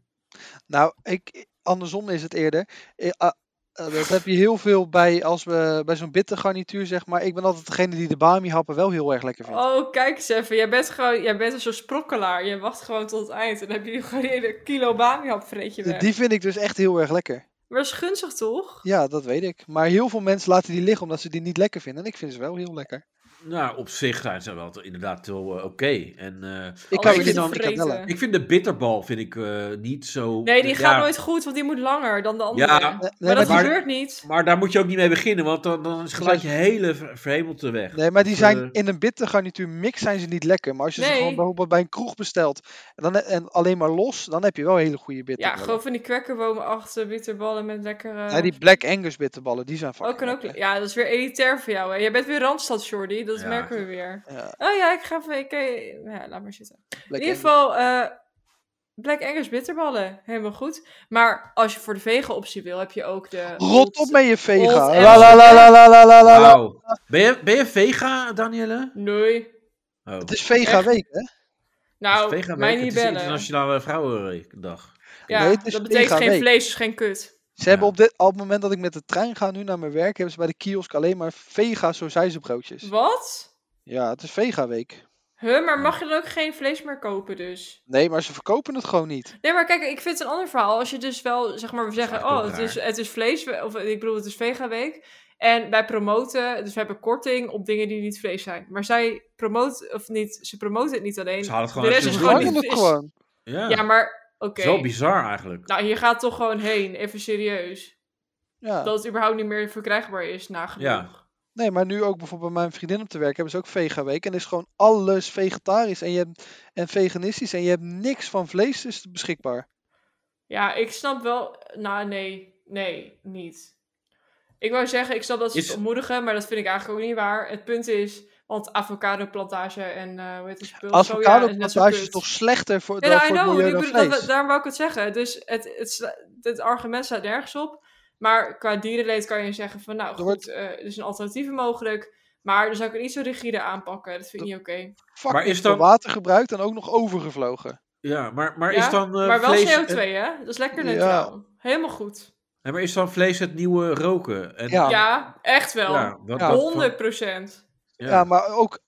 Speaker 3: Nou, ik, andersom is het eerder. Eh, ah, eh, dat heb je heel veel bij, als we, bij zo'n bittergarnituur, zeg maar. Ik ben altijd degene die de bami happen wel heel erg lekker vindt.
Speaker 2: Oh, kijk eens even. Jij bent gewoon, jij bent een soort sprokkelaar. Je wacht gewoon tot het eind. En dan heb je gewoon een hele kilo bamiap vreet je weg.
Speaker 3: Die vind ik dus echt heel erg lekker.
Speaker 2: Maar is gunstig toch?
Speaker 3: Ja, dat weet ik. Maar heel veel mensen laten die liggen omdat ze die niet lekker vinden. En ik vind ze wel heel lekker.
Speaker 4: Nou, op zich zijn ze wel te- inderdaad wel eh, oké. En eh,
Speaker 3: Ik
Speaker 2: Alles
Speaker 3: hou
Speaker 4: is
Speaker 3: niet van ik hou wel
Speaker 2: Oh, vreten.
Speaker 3: aan.
Speaker 4: ik vind de bitterbal vind ik eh, niet zo.
Speaker 2: Nee, die
Speaker 4: ja,
Speaker 2: gaat nooit goed, want die moet langer dan de andere.
Speaker 4: Ja,
Speaker 2: maar
Speaker 3: Nee, nee,
Speaker 2: dat
Speaker 4: maar-
Speaker 2: gebeurt niet.
Speaker 4: Maar daar moet je ook niet mee beginnen, want dan, dan is gelijk je hele ver- verhemelte weg.
Speaker 3: Nee, maar die
Speaker 4: Dus,
Speaker 3: zijn
Speaker 4: eh,
Speaker 3: in een bitter garnituur mix zijn ze niet lekker. Maar als je ze
Speaker 2: Nee.
Speaker 3: gewoon bijvoorbeeld bij een kroeg bestelt en, dan, en alleen maar los, dan heb je wel hele goede
Speaker 2: Ja,
Speaker 3: bitterballen.
Speaker 2: gewoon van die kwekkerbomen achter, bitterballen met lekkere...
Speaker 3: Ja, die Black Angus bitterballen, die zijn vaak.
Speaker 2: Oh, kan ook... Ja, dat is weer elitair voor jou, hè. Jij bent weer Randstad, Jordi. Dat
Speaker 4: Ja.
Speaker 2: merken we weer.
Speaker 3: Ja,
Speaker 2: Oh ja, ik ga even... Ik, ja, laat maar zitten.
Speaker 3: Black
Speaker 2: In ieder geval, eh, Black Angus bitterballen. Helemaal goed. Maar als je voor de vega optie wil, heb je ook de...
Speaker 3: Angus. Rot op met je vega.
Speaker 2: eh, Old
Speaker 3: La la la la la la la la. la.
Speaker 4: wauw. Ben je, ben je vega, Danielle?
Speaker 2: Nee.
Speaker 4: Oh.
Speaker 3: Het is vega
Speaker 2: Echt?
Speaker 3: week, hè?
Speaker 4: Het is
Speaker 2: Nou,
Speaker 4: vega
Speaker 2: mij
Speaker 4: week,
Speaker 2: niet
Speaker 4: Het is
Speaker 2: bellen.
Speaker 4: Internationale Vrouwendag.
Speaker 2: Ja,
Speaker 3: Nee, het is
Speaker 2: dat betekent
Speaker 3: vega
Speaker 2: geen
Speaker 3: week.
Speaker 2: vlees, dus geen kut.
Speaker 3: Ze hebben
Speaker 4: Ja.
Speaker 3: op, dit, op het moment dat ik met de trein ga nu naar mijn werk, hebben ze bij de kiosk alleen maar vega broodjes.
Speaker 2: Wat?
Speaker 3: Ja, het is vega week.
Speaker 2: Huh, maar mag je dan ook geen vlees meer kopen dus?
Speaker 3: Nee, maar ze verkopen het gewoon niet.
Speaker 2: Nee, maar kijk, ik vind het een ander verhaal. Als je dus wel, zeg maar, we zeggen,
Speaker 4: eigenlijk
Speaker 2: oh,
Speaker 4: wel
Speaker 2: het
Speaker 4: raar.
Speaker 2: is, het is vlees, of ik bedoel, het is vega week. En wij promoten, dus we hebben korting op dingen die niet vlees zijn. Maar zij promoten, of niet, ze promoten het niet alleen.
Speaker 4: Ze halen het gewoon
Speaker 2: De
Speaker 4: uit
Speaker 2: rest
Speaker 4: de
Speaker 2: is
Speaker 3: Ze
Speaker 2: gewoon
Speaker 4: verpakking.
Speaker 3: verkopen
Speaker 2: niet
Speaker 3: het
Speaker 2: fris.
Speaker 3: gewoon.
Speaker 4: Ja,
Speaker 2: Ja, maar, oké.
Speaker 4: het is wel bizar eigenlijk.
Speaker 2: Nou, hier gaat toch gewoon heen, even serieus.
Speaker 3: Ja.
Speaker 2: Dat het überhaupt niet meer verkrijgbaar is, nagenoeg.
Speaker 4: Ja.
Speaker 3: Nee, maar nu ook bijvoorbeeld bij mijn vriendin op te werk hebben ze ook vega week. En is gewoon alles vegetarisch en, je hebt, en veganistisch. En je hebt niks van vlees is beschikbaar.
Speaker 2: Ja, ik snap wel. Nou, nee, nee, niet. Ik wou zeggen, ik snap dat ze
Speaker 4: Is-
Speaker 2: het ontmoedigen, maar dat vind ik eigenlijk ook niet waar. Het punt is, want avocado plantage en eh hoe heet die spul?
Speaker 3: Avocado
Speaker 2: Soja is net zo
Speaker 3: plantage is
Speaker 2: kut.
Speaker 3: toch slechter voor,
Speaker 2: Ja,
Speaker 3: dan
Speaker 2: nou, I
Speaker 3: voor het
Speaker 2: know,
Speaker 3: milieu
Speaker 2: ik
Speaker 3: dan
Speaker 2: bedoel- dat-
Speaker 3: vlees?
Speaker 2: daarom wou ik het zeggen. Dus het, het, sla- het argument staat nergens op. Maar qua dierenleed kan je zeggen van, nou
Speaker 3: Er
Speaker 2: goed,
Speaker 3: wordt-
Speaker 2: eh, er is een alternatief mogelijk. Maar dan zou ik het niet zo rigide aanpakken. Dat vind ik niet oké.
Speaker 3: Fuck,
Speaker 4: Maar
Speaker 3: maar
Speaker 4: is dan-
Speaker 3: water gebruikt en ook nog overgevlogen.
Speaker 4: Ja, maar, maar
Speaker 2: Nou. Ja,
Speaker 4: is dan eh,
Speaker 2: maar wel
Speaker 4: vlees...
Speaker 2: CO2, hè? Dat is lekker
Speaker 3: Ja.
Speaker 2: neutraal. Helemaal goed.
Speaker 4: Nee, maar is dan vlees het nieuwe roken? En,
Speaker 3: Ja,
Speaker 2: Ja, echt wel.
Speaker 4: Oh, ja, dat- dat-
Speaker 2: 100 procent.
Speaker 4: ja.
Speaker 3: Ja, maar ook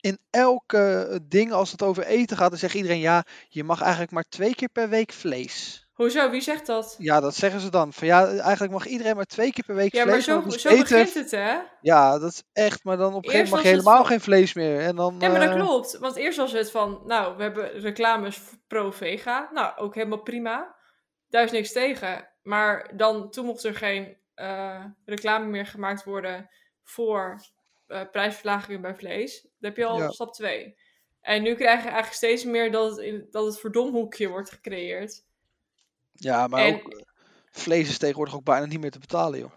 Speaker 3: in elke ding, als het over eten gaat, dan zegt iedereen ja, je mag eigenlijk maar twee keer per week vlees.
Speaker 2: Hoezo? Wie zegt dat?
Speaker 3: Ja, dat zeggen ze dan. Van ja, eigenlijk mag iedereen maar twee keer per week
Speaker 2: Ja, maar
Speaker 3: vlees.
Speaker 2: zo,
Speaker 3: want ons
Speaker 2: zo
Speaker 3: eten-
Speaker 2: begint het, hè?
Speaker 3: Ja, dat is echt. Maar dan op een gegeven
Speaker 2: Eerst
Speaker 3: moment mag je
Speaker 2: was het
Speaker 3: helemaal geen vlees meer. En dan,
Speaker 2: Ja, maar dat
Speaker 3: eh,
Speaker 2: klopt. Want eerst was het van, nou, we hebben reclames pro-vega. Nou, ook helemaal prima. Daar is niks tegen. Maar dan, toen mocht er geen eh, reclame meer gemaakt worden voor eh, prijsverlagingen bij vlees. Dan heb je al
Speaker 3: Ja.
Speaker 2: stap 2. En nu krijg je eigenlijk steeds meer dat het, in- dat het verdomhoekje wordt gecreëerd.
Speaker 3: Ja, maar
Speaker 2: en
Speaker 3: ook vlees is tegenwoordig ook bijna niet meer te betalen, joh.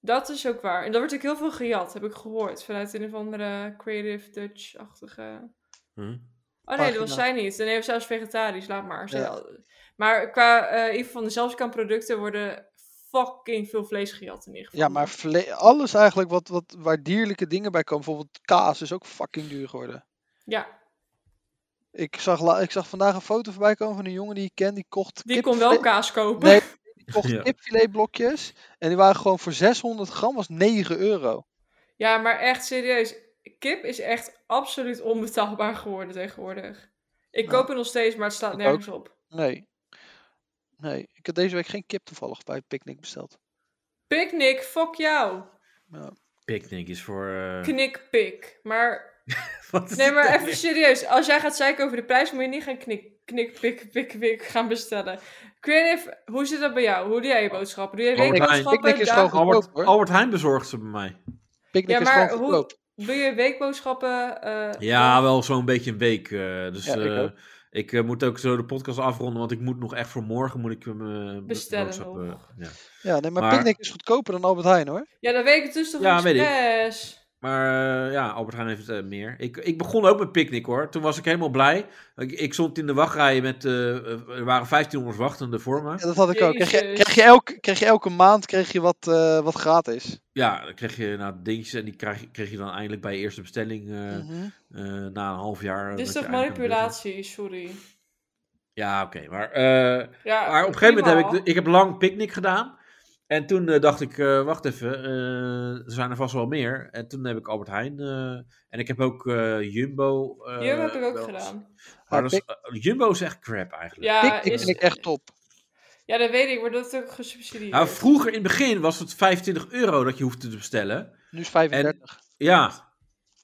Speaker 2: dat is ook waar. En daar wordt ook heel veel gejat, heb ik gehoord. Vanuit een of andere creative Dutch-achtige...
Speaker 4: Hm?
Speaker 2: Oh nee, dat was
Speaker 3: pagina.
Speaker 2: zij niet. Dan heeft zelfs vegetarisch, laat maar. Zij
Speaker 3: Ja.
Speaker 2: al- Maar qua eh in ieder geval de zelfskant producten worden fucking veel vlees gejat in ieder geval.
Speaker 3: Ja, maar vle- alles eigenlijk wat, wat, waar dierlijke dingen bij komen. Bijvoorbeeld kaas is ook fucking duur geworden.
Speaker 2: Ja,
Speaker 3: Ik zag, la- ik zag vandaag een foto voorbij komen van een jongen die ik ken. Die kocht
Speaker 2: die kon
Speaker 3: kipfilet-
Speaker 2: wel kaas kopen.
Speaker 3: Nee, die kocht
Speaker 6: Ja.
Speaker 3: kipfiletblokjes. En die waren gewoon voor 600 gram was 9 euro.
Speaker 2: Ja, maar echt serieus. Kip is echt absoluut onbetaalbaar geworden tegenwoordig. Ik
Speaker 3: Ja.
Speaker 2: koop het nog steeds, maar het staat
Speaker 3: Ik
Speaker 2: nergens op.
Speaker 3: Nee. Nee, ik heb deze week geen kip toevallig bij Picnic besteld.
Speaker 2: Picnic, fuck jou.
Speaker 4: Picnic is voor... eh,
Speaker 2: Knikpik. Maar
Speaker 4: wat is
Speaker 2: nee,
Speaker 4: het
Speaker 2: maar
Speaker 4: nou?
Speaker 2: even serieus. Als jij gaat zeiken over de prijs, moet je niet gaan knik, knik, pik, pik, pik gaan bestellen. Creative, hoe zit dat bij jou? Hoe doe jij je boodschappen? Doe jij
Speaker 6: Albert Heijn.
Speaker 2: weekboodschappen?
Speaker 3: Picnic is gewoon
Speaker 2: Dag-
Speaker 6: Albert,
Speaker 3: goedkoop, hoor.
Speaker 6: Albert Heijn bezorgt ze bij mij.
Speaker 3: Picnic
Speaker 2: Ja,
Speaker 3: is
Speaker 2: maar
Speaker 3: gewoon
Speaker 2: hoe-
Speaker 3: goedkoop.
Speaker 2: Doe je weekboodschappen? eh,
Speaker 4: Ja, wel zo'n beetje een week. eh, dus
Speaker 3: Ja, ik
Speaker 4: eh,
Speaker 3: ook.
Speaker 4: ik eh, moet ook zo de podcast afronden, want ik moet nog echt voor morgen moet ik hem
Speaker 2: Bestellen nog.
Speaker 4: nog. Ja.
Speaker 3: Ja, nee, maar,
Speaker 4: Maar-
Speaker 3: Picnic is goedkoper dan Albert Heijn hoor.
Speaker 2: Ja, dan weet ik het dus toch
Speaker 4: Ja, weet ik.
Speaker 2: expres.
Speaker 4: Maar eh, ja, Albert Heijn heeft eh, meer. Ik, ik begon ook met picknick hoor. Toen was ik helemaal blij. Ik, ik stond in de wachtrij met. eh, er waren 1500 wachtende voor me.
Speaker 3: Ja, dat had ik ook. Kreeg je,
Speaker 2: Jezus.
Speaker 3: kreeg je, elke, kreeg je elke maand kreeg je wat, eh, wat gratis.
Speaker 4: Ja, dan kreeg je nou dingetjes en die kreeg, je- kreeg je dan eindelijk bij je eerste bestelling eh,
Speaker 3: Mhm.
Speaker 4: eh, na een half jaar. eh,
Speaker 2: Dit Dus is
Speaker 4: dat je
Speaker 2: toch
Speaker 4: eindelijk aan de beurt bent.
Speaker 2: manipulatie, sorry.
Speaker 4: Ja, oké. maar eh,
Speaker 2: Ja,
Speaker 4: Maar op een gegeven moment heb
Speaker 2: prima.
Speaker 4: ik, de- ik heb lang picknick gedaan. En toen eh, dacht ik, eh, wacht even, eh, er zijn er vast wel meer. En toen heb ik Albert Heijn. eh, en ik heb ook eh, Jumbo. eh,
Speaker 2: Jumbo heb ik ook
Speaker 4: wel eens.
Speaker 2: gedaan.
Speaker 4: Maar
Speaker 3: Ja,
Speaker 4: dat is- eh, Jumbo is echt crap eigenlijk.
Speaker 2: Ja,
Speaker 3: Picnic
Speaker 2: is,
Speaker 3: vind ik echt top.
Speaker 2: ja, dat weet ik, maar dat is ook gesubsidieerd.
Speaker 4: Nou, vroeger in het begin was het 25 euro dat je hoefde te bestellen.
Speaker 3: Nu is 35.
Speaker 4: Ja.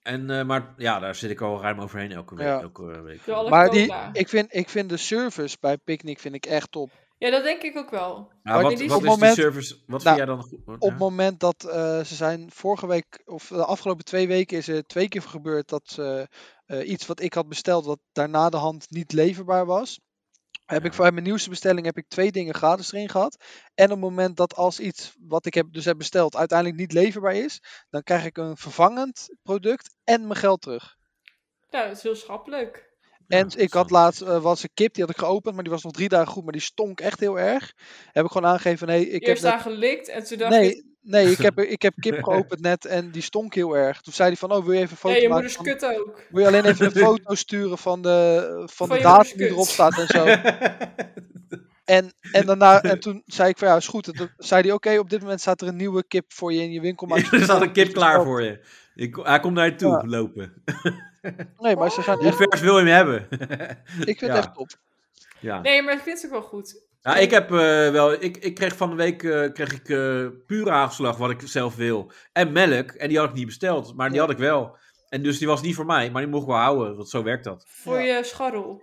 Speaker 4: En, eh, maar ja, daar zit ik al ruim overheen elke week.
Speaker 3: Ja.
Speaker 4: Elke week.
Speaker 2: Door alle
Speaker 3: maar die,
Speaker 2: cola.
Speaker 3: ik, vind, ik vind de service bij Picnic vind ik echt top.
Speaker 2: Ja, dat denk ik ook wel.
Speaker 4: Maar
Speaker 2: op
Speaker 4: wat, wat is
Speaker 3: moment-
Speaker 4: die service? Wat
Speaker 3: Nou,
Speaker 4: vind jij dan goed? Ja.
Speaker 3: Op het moment dat eh, ze zijn vorige week, of de afgelopen twee weken is er twee keer gebeurd dat ze, eh, iets wat ik had besteld, wat daarna de hand niet leverbaar was. Heb ik
Speaker 4: Ja.
Speaker 3: voor mijn nieuwste bestelling heb ik twee dingen gratis erin gehad. En op het moment dat als iets wat ik heb, dus heb besteld uiteindelijk niet leverbaar is, dan krijg ik een vervangend product en mijn geld terug.
Speaker 2: Nou, dat is heel schappelijk.
Speaker 4: Ja,
Speaker 3: en ik had
Speaker 4: interessant.
Speaker 3: laatst eh, was een kip, die had ik geopend, maar die was nog drie dagen goed, maar die stonk echt heel erg. Heb ik gewoon aangegeven, nee, ik heb
Speaker 2: Eerst
Speaker 3: net-
Speaker 2: daar gelikt en toen dacht ik,
Speaker 3: Nee, nee ik, heb, ik heb kip geopend net en die stonk heel erg. Toen zei hij van, oh, wil je even een foto
Speaker 2: nee, je
Speaker 3: maken?
Speaker 2: moeders
Speaker 3: van-
Speaker 2: kut ook.
Speaker 3: Wil je alleen even een foto sturen van de, van de
Speaker 2: je
Speaker 3: datum
Speaker 2: moeders
Speaker 3: die erop
Speaker 2: kut.
Speaker 3: staat en zo. En, en, daarna, en toen zei ik van, ja, is goed. En toen zei hij, oké, op dit moment staat er een nieuwe kip voor je in je winkel. Maar als je
Speaker 4: er staat een kip
Speaker 3: niet
Speaker 4: klaar
Speaker 3: bestelt-
Speaker 4: voor je. Ik, hij komt naar je toe
Speaker 3: Ja.
Speaker 4: lopen.
Speaker 3: Nee, maar ze zijn
Speaker 4: Hoe
Speaker 3: echt,
Speaker 4: vers wil je hem hebben?
Speaker 3: ik vind
Speaker 4: Ja.
Speaker 3: het echt top.
Speaker 4: Ja.
Speaker 2: Nee, maar ik vind het ook wel goed.
Speaker 4: Ja, ik heb eh, wel. Ik, ik kreeg van de week eh, kreeg ik, eh pure hagelslag, wat ik zelf wil. En melk. En die had ik niet besteld, maar die
Speaker 3: Ja.
Speaker 4: had ik wel. En dus die was niet voor mij, maar die mocht ik wel houden. Want zo werkt dat.
Speaker 2: Voor
Speaker 3: Ja.
Speaker 2: je scharrel.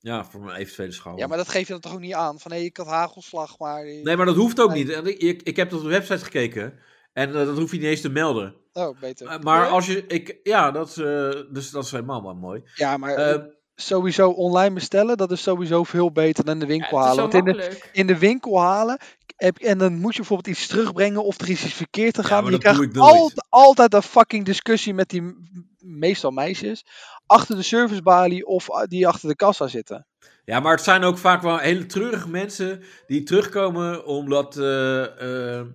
Speaker 4: Ja, voor mijn eventuele schouw.
Speaker 3: Ja, maar dat geef je dan toch ook niet aan? Van, hé, ik had hagelslag, maar... die-
Speaker 4: Nee, maar dat hoeft ook
Speaker 3: Nee.
Speaker 4: niet. En Ik, ik, ik heb dat op de website gekeken. En eh, dat hoef je niet eens te melden.
Speaker 3: Oh, beter.
Speaker 4: Eh, maar
Speaker 2: Ja?
Speaker 4: als je. Ik, ja, dat, is, eh, dus dat is helemaal wel mooi.
Speaker 3: Ja, maar
Speaker 4: Eh,
Speaker 3: sowieso online bestellen, dat is sowieso veel beter dan in de
Speaker 2: Ja, het
Speaker 3: winkel
Speaker 2: is
Speaker 3: halen.
Speaker 2: zo
Speaker 3: Want in de,
Speaker 2: makkelijk.
Speaker 3: in de winkel halen. Heb, en dan moet je bijvoorbeeld iets terugbrengen of er is iets verkeerd te
Speaker 4: Ja,
Speaker 3: gaan.
Speaker 4: maar
Speaker 3: je
Speaker 4: dat
Speaker 3: krijgt
Speaker 4: doe ik nooit.
Speaker 3: altijd, altijd een fucking discussie met die m- meestal meisjes. Achter de servicebalie of a- die achter de kassa zitten.
Speaker 4: Ja, maar het zijn ook vaak wel hele treurige mensen die terugkomen omdat eh, eh,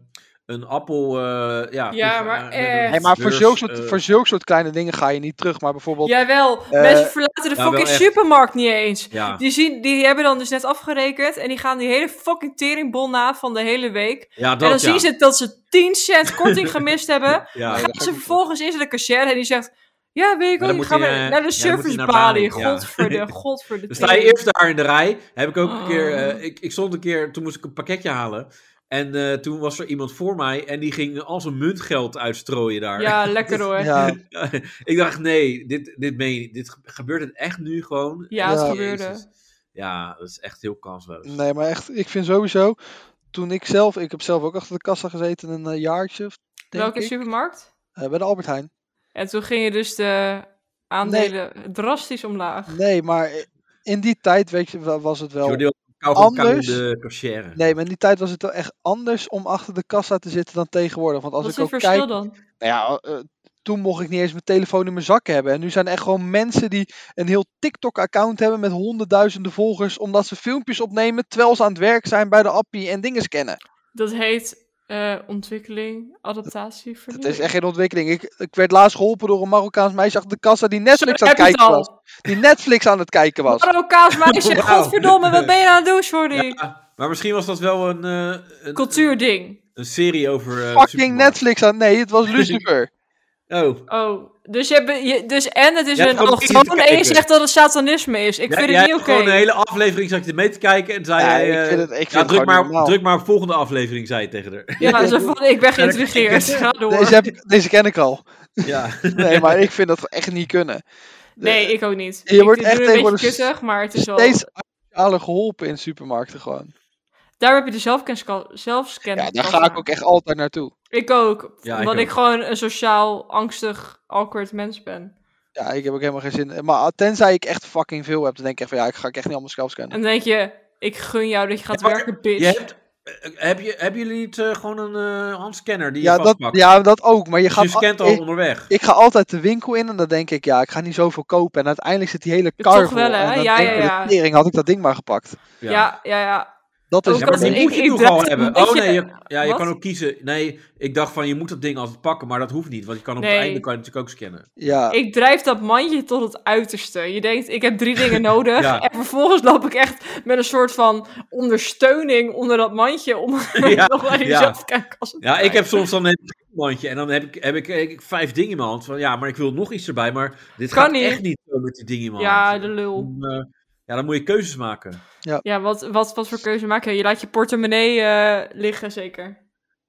Speaker 4: een appel. eh, ja,
Speaker 2: Ja,
Speaker 4: toch,
Speaker 2: maar
Speaker 4: eh, met
Speaker 2: echt.
Speaker 4: een
Speaker 3: Hey, maar voor
Speaker 4: beurs,
Speaker 3: zulke, soort,
Speaker 4: eh,
Speaker 3: voor zulke soort kleine dingen ga je niet terug. Maar bijvoorbeeld,
Speaker 2: Jawel,
Speaker 3: Eh,
Speaker 2: mensen verlaten de
Speaker 4: ja, wel
Speaker 2: fucking
Speaker 4: echt.
Speaker 2: supermarkt niet eens.
Speaker 4: ja,
Speaker 2: Die, zien, die hebben dan dus net afgerekend en die gaan die hele fucking teringbol na van de hele week.
Speaker 4: ja, dat
Speaker 2: en dan
Speaker 4: ja.
Speaker 2: zien ze dat ze 10 cent korting gemist hebben.
Speaker 4: Ja,
Speaker 2: Gaan
Speaker 3: dat ga ik
Speaker 2: ze
Speaker 3: niet
Speaker 2: vervolgens is er de cashier en die zegt: Ja, weet
Speaker 4: Maar
Speaker 2: ik ook
Speaker 4: dan
Speaker 2: niet.
Speaker 4: moet
Speaker 2: Ga
Speaker 4: hij,
Speaker 2: maar
Speaker 4: eh,
Speaker 2: naar
Speaker 4: ja,
Speaker 2: de
Speaker 4: dan moet
Speaker 2: service
Speaker 4: hij naar
Speaker 2: balie.
Speaker 4: Bali, ja.
Speaker 2: Godverde, godverde.
Speaker 4: Dan sta je eerst daar in de rij. Heb ik ook een keer.
Speaker 2: Oh.
Speaker 4: eh, ik, ik stond een keer. Toen moest ik een pakketje halen. En eh, toen was er iemand voor mij. En die ging al zijn muntgeld uitstrooien daar.
Speaker 2: Ja, lekker hoor. Ja,
Speaker 3: Ja,
Speaker 4: ik dacht, nee, dit, dit, meen je niet. dit ge- gebeurt het echt nu gewoon.
Speaker 2: het
Speaker 3: Ja.
Speaker 2: gebeurde.
Speaker 4: Jezus. Ja, dat is echt heel kansloos.
Speaker 3: nee, maar echt, ik vind sowieso. Toen ik zelf, ik heb zelf ook achter de kassa gezeten een eh, jaartje. of- Denk
Speaker 2: Welke
Speaker 3: ik,
Speaker 2: supermarkt?
Speaker 3: eh, bij de Albert Heijn.
Speaker 2: En toen ging je dus de aandelen drastisch omlaag.
Speaker 3: Nee, maar in die tijd weet je, wa- was het wel.
Speaker 4: Jordi had een kauwgom
Speaker 3: Anders-
Speaker 4: in de cashier.
Speaker 3: Nee, maar in die tijd was het wel echt anders om achter de kassa te zitten dan tegenwoordig. Want als
Speaker 2: Wat is
Speaker 3: ik
Speaker 2: het
Speaker 3: ook
Speaker 2: verschil
Speaker 3: kijk,
Speaker 2: dan?
Speaker 3: Nou ja, eh, toen mocht ik niet eens mijn telefoon in mijn zak hebben. En nu zijn er echt gewoon mensen die een heel TikTok-account hebben met honderdduizenden volgers. Omdat ze filmpjes opnemen terwijl ze aan het werk zijn bij de appie en dingen scannen.
Speaker 2: Dat heet eh, ontwikkeling, adaptatie,
Speaker 3: Dat
Speaker 2: vernieuwing.
Speaker 3: is echt geen ontwikkeling. Ik, ik werd laatst geholpen door een Marokkaans meisje achter de kassa die Netflix
Speaker 2: Zo
Speaker 3: aan het
Speaker 2: heb je
Speaker 3: kijken
Speaker 2: al.
Speaker 3: was. Die Netflix aan het kijken was.
Speaker 2: Marokkaans meisje,
Speaker 4: Wauw.
Speaker 2: godverdomme, wat ben je aan het doen, sorry.
Speaker 4: Maar misschien was dat wel een, eh, een,
Speaker 2: Cultuurding.
Speaker 4: een serie over. eh,
Speaker 3: Fucking
Speaker 4: supermarkt.
Speaker 3: Netflix aan. Nee, het was Lucifer.
Speaker 4: Oh,
Speaker 2: Oh, dus, je hebt, je, dus en het is
Speaker 4: Je hebt gewoon dingen
Speaker 2: een
Speaker 4: te
Speaker 2: allochtoon en je
Speaker 4: kijken.
Speaker 2: zegt dat het satanisme is. Ik
Speaker 4: Ja,
Speaker 2: vind
Speaker 4: jij
Speaker 2: het niet
Speaker 4: hebt
Speaker 2: oké.
Speaker 4: gewoon een hele aflevering zat je mee te kijken en zei
Speaker 3: Ja,
Speaker 4: hij,
Speaker 3: ik
Speaker 4: eh,
Speaker 3: vind het- ik vind
Speaker 4: ja,
Speaker 3: het
Speaker 4: druk,
Speaker 3: gewoon niet
Speaker 4: maar,
Speaker 3: normaal.
Speaker 4: druk maar op volgende aflevering, zei je tegen haar.
Speaker 2: Ja, zo van, ik ben geïntrigeerd. Ga door.
Speaker 3: Deze, heb ik- deze ken ik al.
Speaker 4: ja.
Speaker 3: Nee, maar ik vind dat echt niet kunnen.
Speaker 2: Nee, ik ook niet.
Speaker 3: Je
Speaker 2: ik
Speaker 3: wordt
Speaker 2: doe
Speaker 3: echt
Speaker 2: het een beetje
Speaker 3: tegenwoordig
Speaker 2: kuttig, maar het is wel...
Speaker 3: Steeds socialer geholpen in supermarkten gewoon.
Speaker 2: Daar heb je de zelfkenska- zelfscan.
Speaker 3: Ja, daar ga ik ook echt altijd naartoe.
Speaker 2: Ik ook,
Speaker 4: Ja, ik
Speaker 2: omdat ik,
Speaker 4: ook.
Speaker 2: gewoon een sociaal, angstig, awkward mens ben.
Speaker 3: Ja, ik heb ook helemaal geen zin. in. Maar tenzij ik echt fucking veel heb, dan denk ik echt van ja, ik ga ik echt niet allemaal zelf scannen.
Speaker 2: En dan denk je, ik gun jou dat je gaat
Speaker 4: Ja, maar
Speaker 2: werken, bitch.
Speaker 4: Je hebt, eh, heb je, hebben jullie niet eh, gewoon een eh, handscanner die
Speaker 3: Ja
Speaker 4: je
Speaker 3: dat,
Speaker 4: vastpakt?
Speaker 3: ja, dat ook. Maar je
Speaker 4: Dus je,
Speaker 3: gaat. al-
Speaker 4: scant al
Speaker 3: ik,
Speaker 4: onderweg.
Speaker 3: ik ga altijd de winkel in en dan denk ik, ja, ik ga niet zoveel kopen. En uiteindelijk zit die hele
Speaker 2: Ja,
Speaker 3: kar
Speaker 2: toch
Speaker 3: vol.
Speaker 2: wel, hè?
Speaker 3: En dan
Speaker 2: Ja,
Speaker 3: denk
Speaker 2: ja,
Speaker 3: ik,
Speaker 2: ja.
Speaker 3: de tering, had ik dat ding maar gepakt.
Speaker 2: ja. ja, ja,
Speaker 3: Dat is
Speaker 2: Ook
Speaker 4: Ja,
Speaker 3: het
Speaker 4: maar
Speaker 2: als-
Speaker 4: die
Speaker 3: probleem.
Speaker 2: ik-
Speaker 4: moet je
Speaker 2: ik
Speaker 4: toch al
Speaker 2: dacht een
Speaker 4: hebben.
Speaker 2: beetje-
Speaker 4: Oh nee, je, ja, je
Speaker 2: Wat?
Speaker 4: kan ook kiezen. Nee, ik dacht van je moet dat ding altijd pakken, maar dat hoeft niet. Want je kan op
Speaker 2: Nee.
Speaker 4: het einde kan je natuurlijk ook scannen.
Speaker 3: Ja,
Speaker 2: Ik drijf dat mandje tot het uiterste. Je denkt, ik heb drie dingen nodig.
Speaker 4: Ja.
Speaker 2: En vervolgens loop ik echt met een soort van ondersteuning onder dat mandje. Om
Speaker 4: Ja,
Speaker 2: nog naar die
Speaker 4: ja.
Speaker 2: zelfkennis-
Speaker 4: Ja, ik heb soms dan een mandje en dan heb ik, heb ik, heb ik vijf dingen in mijn hand. Van, ja, maar ik wil nog iets erbij, maar dit
Speaker 2: Kan
Speaker 4: gaat
Speaker 2: niet.
Speaker 4: echt niet zo met die dingen in mijn
Speaker 2: Ja,
Speaker 4: hand.
Speaker 2: de lul.
Speaker 4: Dan, eh, ja, dan moet je keuzes maken.
Speaker 2: Ja, wat, wat, wat voor keuze maak je? Je laat je portemonnee eh, liggen, zeker.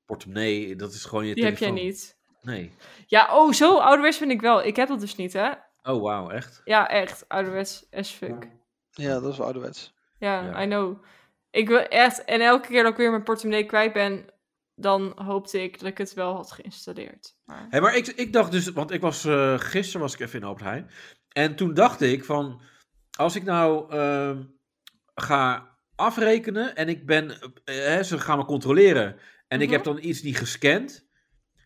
Speaker 4: Portemonnee, dat is gewoon je
Speaker 2: Die heb jij
Speaker 4: telefoon.
Speaker 2: niet.
Speaker 4: Nee.
Speaker 2: Ja, oh, zo ouderwets ben ik wel. Ik heb dat dus niet, hè?
Speaker 4: Oh, wauw, echt?
Speaker 2: Ja, echt. Ouderwets as fuck.
Speaker 3: ja, dat is wel ouderwets.
Speaker 2: Ja,
Speaker 4: Ja.
Speaker 2: I know. Ik wil echt... En elke keer dat ik weer mijn portemonnee kwijt ben... dan hoopte ik dat ik het wel had geïnstalleerd. Maar...
Speaker 4: Hé, maar ik, ik dacht dus, want ik was, eh, gisteren was ik even in Albert Heijn. En toen dacht ik van, als ik nou ehm, ga afrekenen en ik ben, eh, hè, ze gaan me controleren. En ik
Speaker 2: Mhm.
Speaker 4: heb dan iets niet gescand.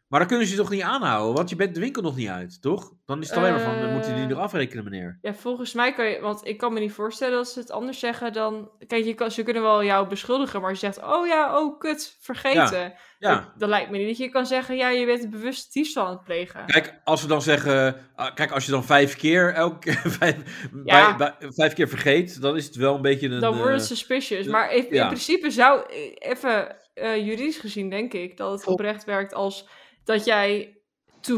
Speaker 4: Maar dan kunnen ze je toch niet aanhouden, want je bent de winkel nog niet uit, toch? Dan is het alleen maar van, dan moeten jullie
Speaker 2: Eh.
Speaker 4: er afrekenen, meneer.
Speaker 2: Ja, volgens mij kan je... Want ik kan me niet voorstellen dat ze het anders zeggen dan... Kijk, je kan, ze kunnen wel jou beschuldigen, maar je zegt... Oh ja, oh kut, vergeten.
Speaker 4: Ja.
Speaker 2: Dan lijkt me niet dat je kan zeggen... Ja, je bent bewust diefstal aan het plegen.
Speaker 4: Kijk, als we dan zeggen, ah, kijk, als je dan vijf keer, elke keer vijf,
Speaker 2: Ja.
Speaker 4: bij- bij- vijf keer vergeet, dan is het wel een beetje een...
Speaker 2: Dan wordt het
Speaker 4: eh,
Speaker 2: suspicious.
Speaker 4: eh,
Speaker 2: Maar in, in
Speaker 4: ja.
Speaker 2: principe zou, eh, even eh, juridisch gezien, denk ik dat het
Speaker 3: Klopt.
Speaker 2: oprecht werkt als dat jij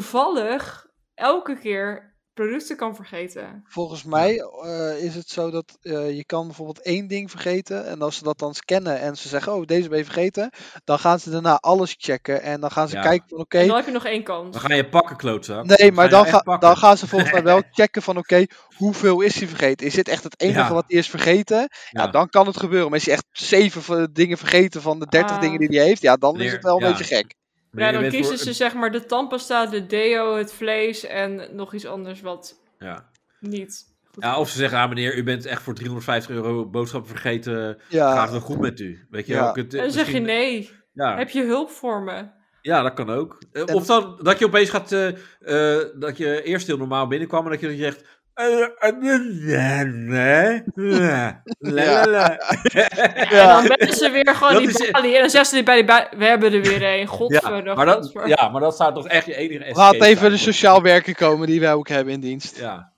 Speaker 2: toevallig elke keer producten kan vergeten.
Speaker 3: Volgens mij eh, is het zo dat eh, je kan bijvoorbeeld één ding vergeten. En als ze dat dan scannen en ze zeggen, oh, deze ben je vergeten. Dan gaan ze daarna alles checken. En dan gaan ze
Speaker 4: Ja.
Speaker 3: kijken van, oké,
Speaker 2: En dan heb je nog één kans.
Speaker 4: Dan ga je pakken, klootzak.
Speaker 3: Nee, maar
Speaker 4: je nou
Speaker 3: dan,
Speaker 4: echt
Speaker 3: ga,
Speaker 4: pakken.
Speaker 3: dan gaan ze volgens mij wel checken van oké, hoeveel is hij vergeten? Is dit echt het enige
Speaker 4: Ja.
Speaker 3: wat hij is vergeten? Ja.
Speaker 4: Ja.
Speaker 3: dan kan het gebeuren. Maar is hij echt zeven van- dingen vergeten van de dertig
Speaker 2: Ah.
Speaker 3: dingen die hij heeft? Ja, dan is
Speaker 4: Leer,
Speaker 3: het wel een
Speaker 4: ja.
Speaker 3: beetje gek.
Speaker 4: Meneer,
Speaker 2: ja,
Speaker 4: je
Speaker 2: dan
Speaker 4: bent
Speaker 2: kiezen
Speaker 4: voor-
Speaker 2: ze zeg maar de tandpasta, de deo, het vlees en nog iets anders wat
Speaker 4: Ja.
Speaker 2: niet goed
Speaker 4: ja, of ze zeggen, ah meneer, u bent echt voor 350 euro boodschappen vergeten. Gaat
Speaker 3: Ja,
Speaker 4: het wel goed met u? Weet je
Speaker 3: Ja.
Speaker 4: wel? ik het-
Speaker 2: En dan zeg je
Speaker 4: misschien-
Speaker 2: nee,
Speaker 4: Ja,
Speaker 2: heb je hulp voor me?
Speaker 4: ja, dat kan ook. Eh,
Speaker 3: En-
Speaker 4: Of dan dat je opeens gaat, eh, eh, dat je eerst heel normaal binnenkwam en dat je dan zegt... eh, eh, eh, eh, eh, eh, la, la, la.
Speaker 2: En
Speaker 3: ja.
Speaker 2: dan bellen ze weer gewoon
Speaker 4: Dat
Speaker 2: die
Speaker 4: is-
Speaker 2: balie en dan zeggen ze die bij die balie, we hebben er weer één. Godver,
Speaker 4: Ja, maar dat,
Speaker 2: godver.
Speaker 4: ja, maar dat zou toch echt je enige
Speaker 3: Laat
Speaker 4: escape
Speaker 3: even de
Speaker 4: zijn.
Speaker 3: sociaal werker komen die wij ook hebben in dienst.
Speaker 4: Ja.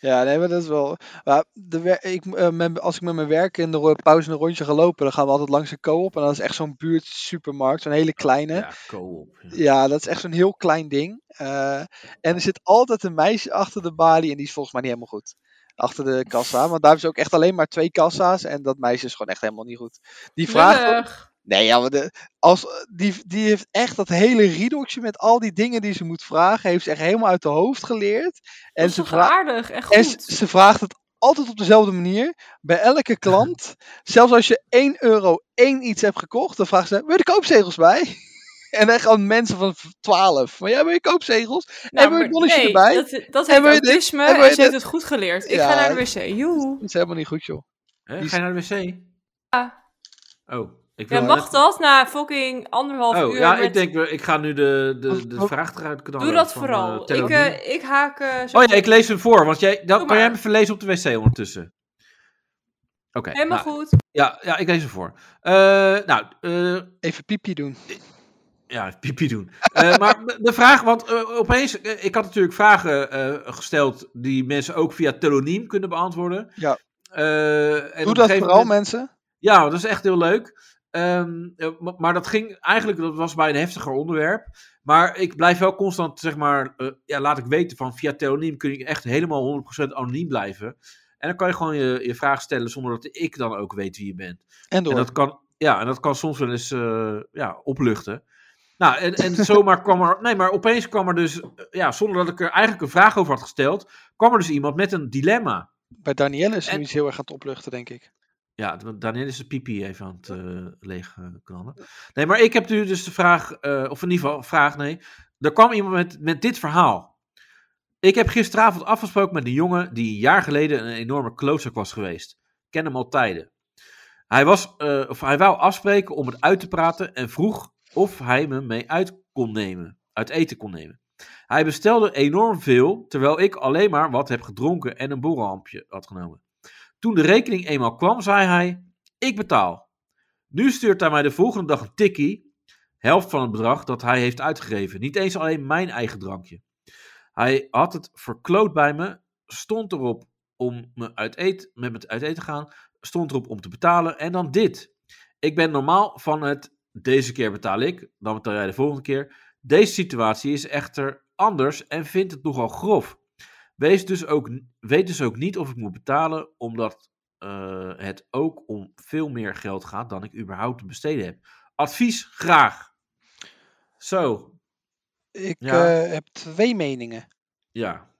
Speaker 3: Ja, nee, maar dat is wel. Maar de wer- ik, eh, met- als ik met mijn werk in de ro- pauze een rondje ga lopen, dan gaan we altijd langs een co-op. En dat is echt zo'n buurt supermarkt, zo'n hele kleine.
Speaker 4: Ja, co-op. ja.
Speaker 3: Ja, dat is echt zo'n heel klein ding. Eh, en er zit altijd een meisje achter de balie en die is volgens mij niet helemaal goed. Achter de kassa. Want daar hebben ze ook echt alleen maar twee kassa's. En dat meisje is gewoon echt helemaal niet goed. Die vraagt. ook-
Speaker 2: Lullig.
Speaker 3: Nee, ja, maar de, als, die, die heeft echt dat hele riedokje met al die dingen die ze moet vragen. Heeft ze echt helemaal uit de hoofd geleerd.
Speaker 2: Dat
Speaker 3: En
Speaker 2: is
Speaker 3: ze,
Speaker 2: toch
Speaker 3: vraagt
Speaker 2: aardig en
Speaker 3: en ze,
Speaker 2: goed.
Speaker 3: ze vraagt het altijd op dezelfde manier. Bij elke klant. Zelfs als je 1 euro één iets hebt gekocht, dan vraagt ze: Wil je de koopzegels bij? En dan gaan mensen van 12. Maar ja, wil je koopzegels? en wil je
Speaker 2: Nou, maar-
Speaker 3: het bolletje
Speaker 2: nee,
Speaker 3: erbij? Dat...
Speaker 2: Dat, dat
Speaker 3: En
Speaker 2: heet
Speaker 3: wil je dit?
Speaker 2: autisme
Speaker 3: En
Speaker 2: en,
Speaker 3: wil je
Speaker 2: ze heeft het goed geleerd. Ik
Speaker 3: Ja.
Speaker 2: ga naar de wc. Joe.
Speaker 3: is helemaal niet goed, joh.
Speaker 4: Hè,
Speaker 3: Die
Speaker 4: Ga je naar de wc?
Speaker 2: Ja.
Speaker 4: Oh, ik wil
Speaker 2: Ja, mag dat na fucking anderhalf
Speaker 4: Oh,
Speaker 2: uur?
Speaker 4: ja,
Speaker 2: met-
Speaker 4: ik denk, eh, ik ga nu de, de, de
Speaker 3: Wat-
Speaker 4: vraag eruit knallen.
Speaker 2: Doe dat
Speaker 4: van, eh,
Speaker 2: vooral. ik,
Speaker 4: Theodien.
Speaker 2: eh, ik haak... eh, zo
Speaker 4: Oh ja, ik lees hem voor, want jij, dan,
Speaker 2: Doe
Speaker 4: kan jij
Speaker 2: maar.
Speaker 4: hem verlezen op de wc ondertussen. Oké,
Speaker 2: Helemaal
Speaker 4: nou,
Speaker 2: goed.
Speaker 4: ja, ja, ik lees hem voor. Eh, nou, eh,
Speaker 3: Even piepje doen.
Speaker 4: ja, pipi doen. Eh, maar de vraag, want eh, opeens, eh, ik had natuurlijk vragen eh, gesteld die mensen ook via teloniem kunnen beantwoorden.
Speaker 3: Ja.
Speaker 4: Eh, en op een
Speaker 3: Doe dat
Speaker 4: gegeven
Speaker 3: vooral,
Speaker 4: moment-
Speaker 3: mensen.
Speaker 4: Ja, dat is echt heel leuk. Ehm, eh, ma- maar dat ging eigenlijk, dat was bij een heftiger onderwerp. Maar ik blijf wel constant, zeg maar, eh, ja, laat ik weten van via Theoniem kun je echt helemaal 100% anoniem blijven. En dan kan je gewoon je, je vraag stellen zonder dat ik dan ook weet wie je bent.
Speaker 3: En door.
Speaker 4: En dat kan, ja, en dat kan soms wel eens eh, ja, opluchten. Nou, en, en zomaar kwam er, nee, maar opeens kwam er dus, eh, ja, zonder dat ik er eigenlijk een vraag over had gesteld, kwam er dus iemand met een dilemma.
Speaker 3: Bij Danielle is nu
Speaker 4: En-
Speaker 3: iets heel erg aan het opluchten, denk ik.
Speaker 4: Ja, want Daniel is de pipi even aan het eh, leeg eh, knallen. Nee, maar ik heb nu dus de vraag, eh, of in ieder geval, vraag nee. Er kwam iemand met, met dit verhaal. Ik heb gisteravond afgesproken met een jongen die een jaar geleden een enorme klootzak was geweest. Ik ken hem al tijden. Hij, was, eh, of hij wou afspreken om het uit te praten en vroeg of hij me mee uit kon nemen. Uit eten kon nemen. Hij bestelde enorm veel, terwijl ik alleen maar wat heb gedronken en een borrelhampje had genomen. Toen de rekening eenmaal kwam, zei hij: Ik betaal. Nu stuurt hij mij de volgende dag een tikkie, helft van het bedrag dat hij heeft uitgegeven. Niet eens alleen mijn eigen drankje. Hij had het verkloot bij me, stond erop om me uit eet, met me uit eten te gaan, stond erop om te betalen en dan dit. Ik ben normaal van het deze keer betaal ik, dan betaal jij de volgende keer. Deze situatie is echter anders en vindt het nogal grof. Wees dus ook, weet dus ook niet of ik moet betalen, omdat eh, het ook om veel meer geld gaat dan ik überhaupt te besteden heb. Advies graag. Zo,
Speaker 3: Ik
Speaker 4: Ja.
Speaker 3: eh, heb twee meningen.
Speaker 4: ja.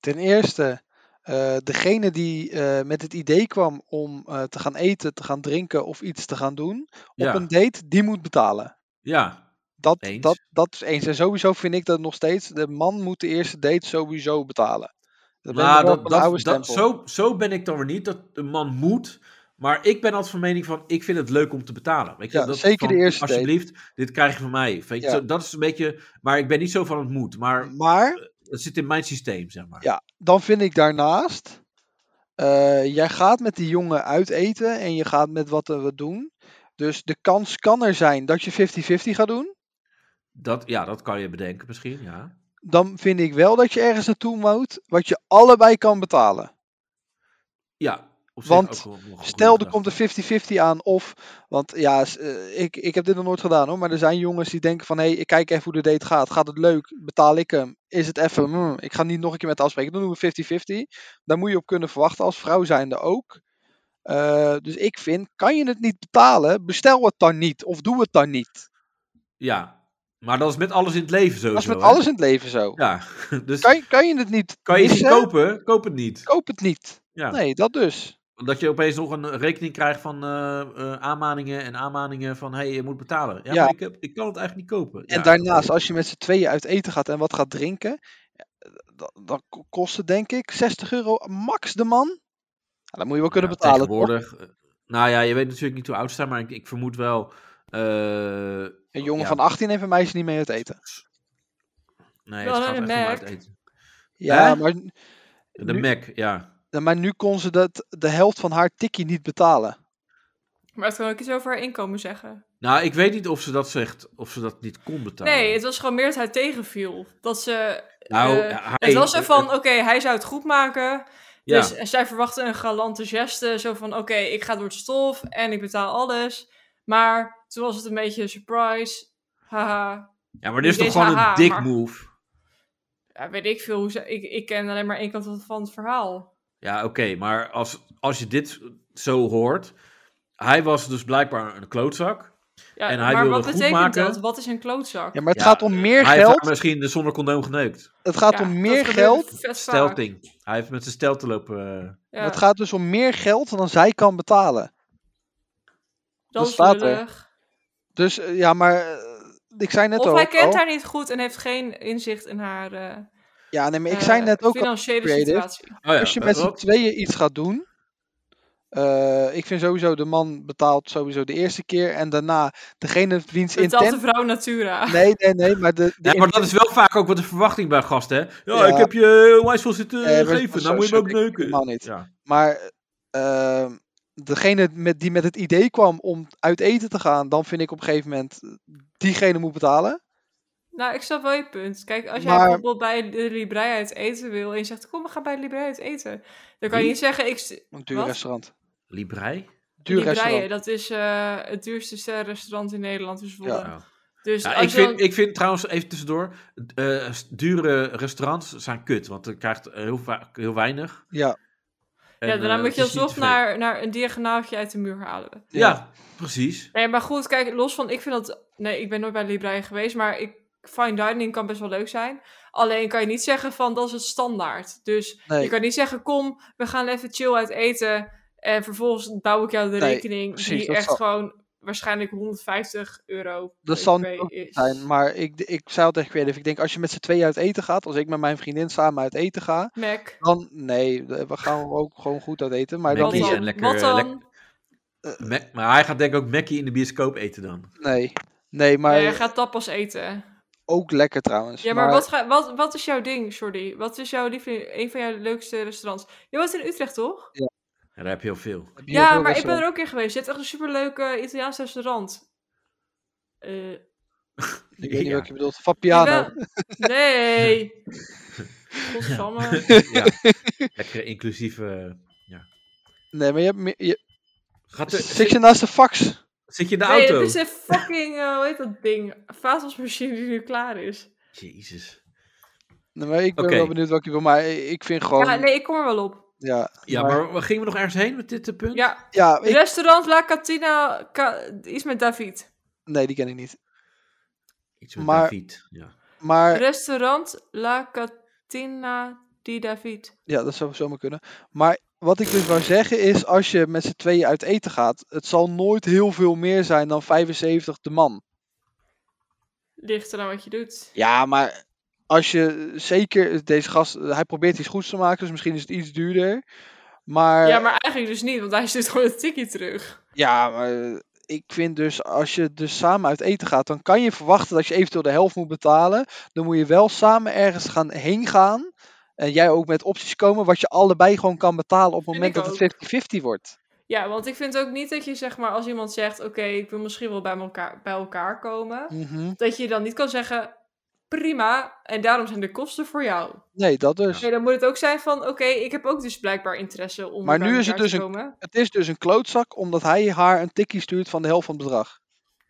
Speaker 3: Ten eerste, eh, degene die eh, met het idee kwam om eh, te gaan eten, te gaan drinken of iets te gaan doen
Speaker 4: Ja,
Speaker 3: op een date, die moet betalen.
Speaker 4: ja,
Speaker 3: Dat,
Speaker 4: Eens.
Speaker 3: dat, dat is eens. En sowieso vind ik dat nog steeds, de man moet de eerste date sowieso betalen. Dat ben ik
Speaker 4: Nou,
Speaker 3: wel
Speaker 4: dat,
Speaker 3: van de oude
Speaker 4: dat, dat,
Speaker 3: stempel.
Speaker 4: zo, zo ben ik dan weer niet dat een man moet. Maar ik ben altijd van mening van, ik vind het leuk om te betalen. Weet je,
Speaker 3: Ja,
Speaker 4: dat
Speaker 3: zeker de
Speaker 4: van,
Speaker 3: eerste date.
Speaker 4: Alsjeblieft, dit krijg je van mij. Weet je,
Speaker 3: Ja.
Speaker 4: zo- dat is een beetje, maar ik ben niet zo van het moet. Maar
Speaker 3: Maar
Speaker 4: dat zit in mijn systeem, zeg maar.
Speaker 3: ja, dan vind ik daarnaast, eh, jij gaat met die jongen uit eten en je gaat met wat we doen. Dus de kans kan er zijn dat je 50-50 gaat doen.
Speaker 4: Dat, ja, dat kan je bedenken misschien, ja.
Speaker 3: dan vind ik wel dat je ergens naartoe moet wat je allebei kan betalen.
Speaker 4: Ja, op zich
Speaker 3: Want
Speaker 4: ook wel- wel een goede
Speaker 3: Stel, er
Speaker 4: gedachte.
Speaker 3: komt een 50-50 aan of, want ja, s- eh, ik, ik heb dit nog nooit gedaan hoor, maar er zijn jongens die denken van, hé, hey, ik kijk even hoe de date gaat. Gaat het leuk? Betaal ik hem? Is het even, mm, ik ga niet nog een keer met haar afspreken. Dan doen we 50-50. Daar moet je op kunnen verwachten als vrouw zijnde ook. Eh, dus ik vind, kan je het niet betalen, bestel het dan niet of doe het dan niet.
Speaker 4: Ja, maar dat is met alles in het leven zo.
Speaker 3: Dat is met alles in het leven zo.
Speaker 4: Ja, dus kan
Speaker 3: Kan,
Speaker 4: je,
Speaker 3: je- kan je het niet
Speaker 4: het niet
Speaker 3: missen?
Speaker 4: kopen, koop het niet.
Speaker 3: Koop het niet.
Speaker 4: Ja.
Speaker 3: Nee, dat dus.
Speaker 4: Dat je opeens nog een rekening krijgt van eh, eh, aanmaningen en aanmaningen van hé, hey, je moet betalen. Ja,
Speaker 3: Ja.
Speaker 4: maar ik, heb, ik kan het eigenlijk niet kopen.
Speaker 3: En
Speaker 4: Ja,
Speaker 3: daarnaast, als je met z'n tweeën uit eten gaat en wat gaat drinken, dan, dan ko- kost het denk ik 60 euro max de man. Nou, dan moet je wel kunnen
Speaker 4: ja,
Speaker 3: betalen. toch?
Speaker 4: Tegenwoordig, eh, nou ja, je weet natuurlijk niet hoe oud ze zijn, maar ik, ik vermoed wel. eh,
Speaker 3: Een jongen
Speaker 4: ja.
Speaker 3: van 18 heeft een meisje niet mee uit eten.
Speaker 4: nee,
Speaker 2: Wel
Speaker 4: het
Speaker 2: naar
Speaker 4: gaat
Speaker 2: de
Speaker 4: echt niet om
Speaker 2: Mac.
Speaker 4: uit eten.
Speaker 3: Ja,
Speaker 4: Hè?
Speaker 3: maar,
Speaker 4: De
Speaker 3: Nu-
Speaker 4: Mac, ja.
Speaker 3: maar nu kon ze dat, de helft van haar tikkie niet betalen.
Speaker 2: Maar het kan ook iets over haar inkomen zeggen.
Speaker 4: Nou, ik weet niet of ze dat zegt, of ze dat niet kon betalen.
Speaker 2: Nee, het was gewoon meer dat hij tegenviel. Dat ze...
Speaker 4: nou,
Speaker 2: eh,
Speaker 4: hij-
Speaker 2: het was er
Speaker 4: eh,
Speaker 2: van, oké, hij zou het goed maken.
Speaker 4: Ja.
Speaker 2: Dus eh, zij verwachten een galante geste, zo van oké, ik ga door het stof en ik betaal alles. Maar toen was het een beetje een surprise. Haha,
Speaker 4: ja, maar dit is
Speaker 2: dit
Speaker 4: toch
Speaker 2: is
Speaker 4: gewoon een
Speaker 2: haha,
Speaker 4: dick
Speaker 2: maar-
Speaker 4: move?
Speaker 2: ja, weet ik veel, hoe ze, ik, ik ken alleen maar één kant van- van het verhaal.
Speaker 4: Ja, oké, maar als, als je dit zo hoort. Hij was dus blijkbaar een klootzak.
Speaker 2: Ja,
Speaker 4: En hij
Speaker 2: maar
Speaker 4: wilde
Speaker 2: wat
Speaker 4: goed
Speaker 2: betekent
Speaker 4: maken.
Speaker 2: dat? Wat is een klootzak?
Speaker 3: Ja, maar het
Speaker 4: Ja,
Speaker 3: gaat om meer
Speaker 4: Hij heeft haar
Speaker 3: geld.
Speaker 4: misschien de zonder condoom geneukt.
Speaker 3: Het gaat
Speaker 2: Ja,
Speaker 3: om
Speaker 2: dat
Speaker 3: meer
Speaker 2: gebeurt
Speaker 3: geld.
Speaker 2: vet vaak.
Speaker 4: Stelting. Hij heeft met zijn stel te lopen. eh,
Speaker 2: Ja,
Speaker 3: Het gaat dus om meer geld dan zij kan betalen.
Speaker 2: dat is
Speaker 3: staat er.
Speaker 2: lullig.
Speaker 3: Dus eh, ja, maar eh, ik zei net
Speaker 2: Of
Speaker 3: ook oh,
Speaker 2: hij kent
Speaker 3: al-
Speaker 2: haar niet goed en heeft geen inzicht in haar eh,
Speaker 3: Ja, nee, maar ik zei
Speaker 2: eh,
Speaker 3: net ook al,
Speaker 2: financiële
Speaker 3: creative.
Speaker 2: situatie.
Speaker 4: Oh ja,
Speaker 3: als je
Speaker 4: eh,
Speaker 3: met z'n
Speaker 4: wat?
Speaker 3: tweeën iets gaat doen. eh, ik vind sowieso de man betaalt sowieso de eerste keer en daarna degene wiens
Speaker 2: Betaalt de
Speaker 3: intent.
Speaker 2: vrouw Natura.
Speaker 3: Nee, nee, nee, maar de, de
Speaker 4: Ja, maar dat is wel vaak ook wat de verwachting bij gasten, hè? Ja,
Speaker 3: Ja.
Speaker 4: ik heb je eh, onwijs veel zitten
Speaker 2: Eh,
Speaker 3: Nee, maar dat
Speaker 4: geven,
Speaker 3: is
Speaker 4: nou
Speaker 3: zo-
Speaker 4: moet je me
Speaker 3: zo
Speaker 4: ook
Speaker 3: dik
Speaker 4: neuken.
Speaker 3: helemaal niet.
Speaker 4: Ja.
Speaker 3: Maar ehm, degene met, die met het idee kwam om uit eten te gaan, dan vind ik op een gegeven moment eh, diegene moet betalen.
Speaker 2: Nou, ik snap wel je punt. Kijk, als jij
Speaker 3: Maar-
Speaker 2: bijvoorbeeld bij de Libraia uit eten wil en je zegt, kom, we gaan bij de Libraia uit eten. Dan kan je
Speaker 4: Wie?
Speaker 2: niet zeggen, ik... st-
Speaker 3: Een duur
Speaker 2: Wat?
Speaker 3: restaurant.
Speaker 4: Librei?
Speaker 3: Duur
Speaker 2: Libraia,
Speaker 3: restaurant.
Speaker 2: dat is eh, het duurste sterrenrestaurant in Nederland, dus Zwolle.
Speaker 4: Ja.
Speaker 2: Dus
Speaker 4: Oh. Ja,
Speaker 2: als
Speaker 4: ik,
Speaker 2: je dan-
Speaker 4: vind, ik vind trouwens, even tussendoor, eh, s- dure restaurants zijn kut, want je krijgt eh, heel, vaak heel weinig.
Speaker 3: Ja,
Speaker 4: En,
Speaker 2: ja, daarna
Speaker 4: eh,
Speaker 2: moet je
Speaker 4: het is niet
Speaker 2: alsnog
Speaker 4: te veel.
Speaker 2: naar, naar een diagonaaltje uit de muur halen.
Speaker 4: Ja, precies.
Speaker 2: Nee, maar goed, kijk, los van, ik vind dat... Nee, ik ben nooit bij de Libraia geweest, maar ik... Fine dining kan best wel leuk zijn. Alleen kan je niet zeggen van, dat is het standaard. Dus
Speaker 3: nee.
Speaker 2: Je kan niet zeggen, kom, we gaan even chill uit eten. En vervolgens bouw ik jou de
Speaker 3: Nee,
Speaker 2: rekening.
Speaker 3: precies,
Speaker 2: die
Speaker 3: dat
Speaker 2: echt
Speaker 3: zal-
Speaker 2: gewoon waarschijnlijk 150 euro
Speaker 3: Dat
Speaker 2: per
Speaker 3: zal
Speaker 2: EP
Speaker 3: niet
Speaker 2: is.
Speaker 3: zijn, maar ik, ik zei altijd creative. Ik denk, als je met z'n tweeën uit eten gaat, als ik met mijn vriendin samen uit eten ga,
Speaker 2: Mac.
Speaker 3: dan nee, we gaan ook gewoon goed uit eten. Maar
Speaker 4: Nee,
Speaker 3: dan
Speaker 2: Wat
Speaker 4: die
Speaker 3: is
Speaker 4: zijn
Speaker 2: dan?
Speaker 3: het
Speaker 4: lekker,
Speaker 2: Wat dan?
Speaker 4: lekker- Mac- maar hij gaat denk ik ook Mackie in de bioscoop eten dan.
Speaker 3: nee. Nee, maar
Speaker 2: Nee, je gaat eh, tapas eten.
Speaker 3: ook lekker trouwens.
Speaker 2: Ja, maar, Wat, ga, wat, wat is jouw ding, sorry? Wat is jouw lieveling, een van jouw leukste restaurants? Je woont in Utrecht, toch?
Speaker 4: Ja, daar heb je heel veel.
Speaker 3: heb je
Speaker 2: Ja,
Speaker 3: veel
Speaker 2: maar ik ben
Speaker 3: restaurants?
Speaker 2: er ook in geweest. Je hebt echt een superleuke Italiaans restaurant. Eh,
Speaker 3: Ik weet niet
Speaker 4: Ja.
Speaker 3: wat je bedoelt. Fabiano.
Speaker 2: jawel. Nee. Godsamme.
Speaker 4: Ja, lekker inclusief. eh,
Speaker 3: Nee, maar je hebt meer, je,
Speaker 4: gaat er-
Speaker 3: zit je naast de fax?
Speaker 4: zit je in de
Speaker 2: nee,
Speaker 4: auto?
Speaker 2: het is een fucking, eh, hoe heet dat ding? Vaatwasmachine die nu klaar is.
Speaker 4: Jezus.
Speaker 3: Nee, maar ik ben
Speaker 4: Oké.
Speaker 3: wel benieuwd wat je wil, maar ik ik vind gewoon...
Speaker 2: Ja, nee, ik kom er wel op.
Speaker 3: Ja,
Speaker 4: Ja,
Speaker 3: maar,
Speaker 4: maar, gingen we nog ergens heen met dit eh, punt?
Speaker 2: Ja,
Speaker 3: ja ik-
Speaker 2: restaurant La Catina, Ca- iets met David.
Speaker 3: nee, die ken ik niet.
Speaker 4: Iets met
Speaker 3: Maar-
Speaker 4: David. Ja.
Speaker 3: Maar
Speaker 2: Restaurant La Catina di David.
Speaker 3: ja, dat zou zomaar kunnen. Maar wat ik dus wou zeggen is, als je met z'n tweeën uit eten gaat, het zal nooit heel veel meer zijn dan 75 de man.
Speaker 2: Ligt er aan wat je doet.
Speaker 3: Ja, maar als je zeker deze gast, hij probeert iets goeds te maken, dus misschien is het iets duurder. Maar
Speaker 2: Ja, maar eigenlijk dus niet, want hij stuurt gewoon het tikkie terug.
Speaker 3: Ja, maar eh, ik vind dus als je dus samen uit eten gaat, dan kan je verwachten dat je eventueel de helft moet betalen. Dan moet je wel samen ergens gaan heen gaan. En jij ook met opties komen wat je allebei gewoon kan betalen op het
Speaker 2: Vind
Speaker 3: moment
Speaker 2: ik
Speaker 3: dat het 50-50 wordt.
Speaker 2: Ja, want ik vind ook niet dat je zeg maar als iemand zegt, oké, ik wil misschien wel bij elkaar, bij elkaar komen.
Speaker 3: Mhm.
Speaker 2: Dat je dan niet kan zeggen, prima, en daarom zijn de kosten voor jou.
Speaker 3: Nee, dat dus.
Speaker 2: Nee, dan moet het ook zijn van, oké, ik heb ook dus blijkbaar interesse om
Speaker 3: Maar
Speaker 2: bij
Speaker 3: nu is
Speaker 2: elkaar
Speaker 3: het
Speaker 2: te
Speaker 3: dus
Speaker 2: komen.
Speaker 3: Het is dus een klootzak omdat hij haar een tikkie stuurt van de helft van het bedrag.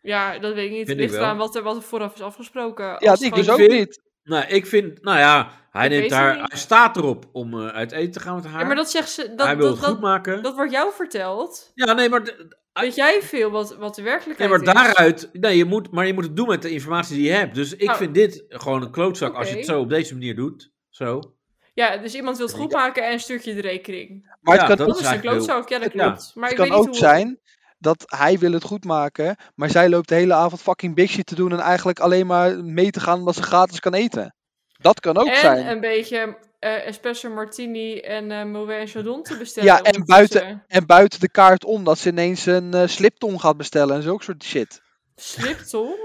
Speaker 2: Ja, dat weet ik niet. Het
Speaker 4: Vind ik
Speaker 2: ligt
Speaker 4: wel.
Speaker 2: eraan wat er, wat er vooraf is afgesproken. Als
Speaker 3: Ja,
Speaker 2: het
Speaker 3: ik
Speaker 2: gewoon-
Speaker 3: dus ook
Speaker 4: weer-
Speaker 3: niet.
Speaker 4: Nou, ik vind, nou ja, hij,
Speaker 2: Ik
Speaker 4: neemt
Speaker 2: weet het
Speaker 4: haar,
Speaker 2: niet.
Speaker 4: hij staat erop om eh, uit eten te gaan met haar.
Speaker 2: Ja, maar dat zegt ze.
Speaker 4: hij
Speaker 2: Dat,
Speaker 4: wil
Speaker 2: dat,
Speaker 4: het goed
Speaker 2: dat,
Speaker 4: maken.
Speaker 2: dat wordt jou verteld.
Speaker 4: ja, nee, maar, d-
Speaker 2: Weet jij veel wat, wat de
Speaker 4: nee,
Speaker 2: werkelijkheid
Speaker 4: maar
Speaker 2: is?
Speaker 4: daaruit, nee, je moet, maar je moet het doen met de informatie die je hebt. Dus ik
Speaker 2: Nou.
Speaker 4: vind dit gewoon een klootzak als je het
Speaker 2: Oké.
Speaker 4: zo op deze manier doet. Zo.
Speaker 2: Ja, dus iemand wil het goed maken en stuurt je de rekening.
Speaker 3: Maar
Speaker 4: Ja,
Speaker 3: het
Speaker 4: dat
Speaker 3: kan
Speaker 2: Dat,
Speaker 4: is
Speaker 2: is een
Speaker 4: eigenlijk heel-
Speaker 2: klootzak, ja, dat
Speaker 4: Ja.
Speaker 2: klopt. Maar
Speaker 3: Het
Speaker 2: ik
Speaker 3: kan
Speaker 2: weet niet
Speaker 3: ook
Speaker 2: hoe...
Speaker 3: zijn dat hij wil het goed maken, maar zij loopt de hele avond fucking big shit te doen en eigenlijk alleen maar mee te gaan omdat ze gratis kan eten. Dat kan ook
Speaker 2: en ehm,
Speaker 3: zijn.
Speaker 2: een beetje eh espresso martini en eh Moët en Chandon te bestellen.
Speaker 3: Ja, en
Speaker 2: ondertussen.
Speaker 3: buiten- En buiten de kaart om dat ze ineens een eh, sliptong gaat bestellen en zulke soort shit.
Speaker 2: Sliptong?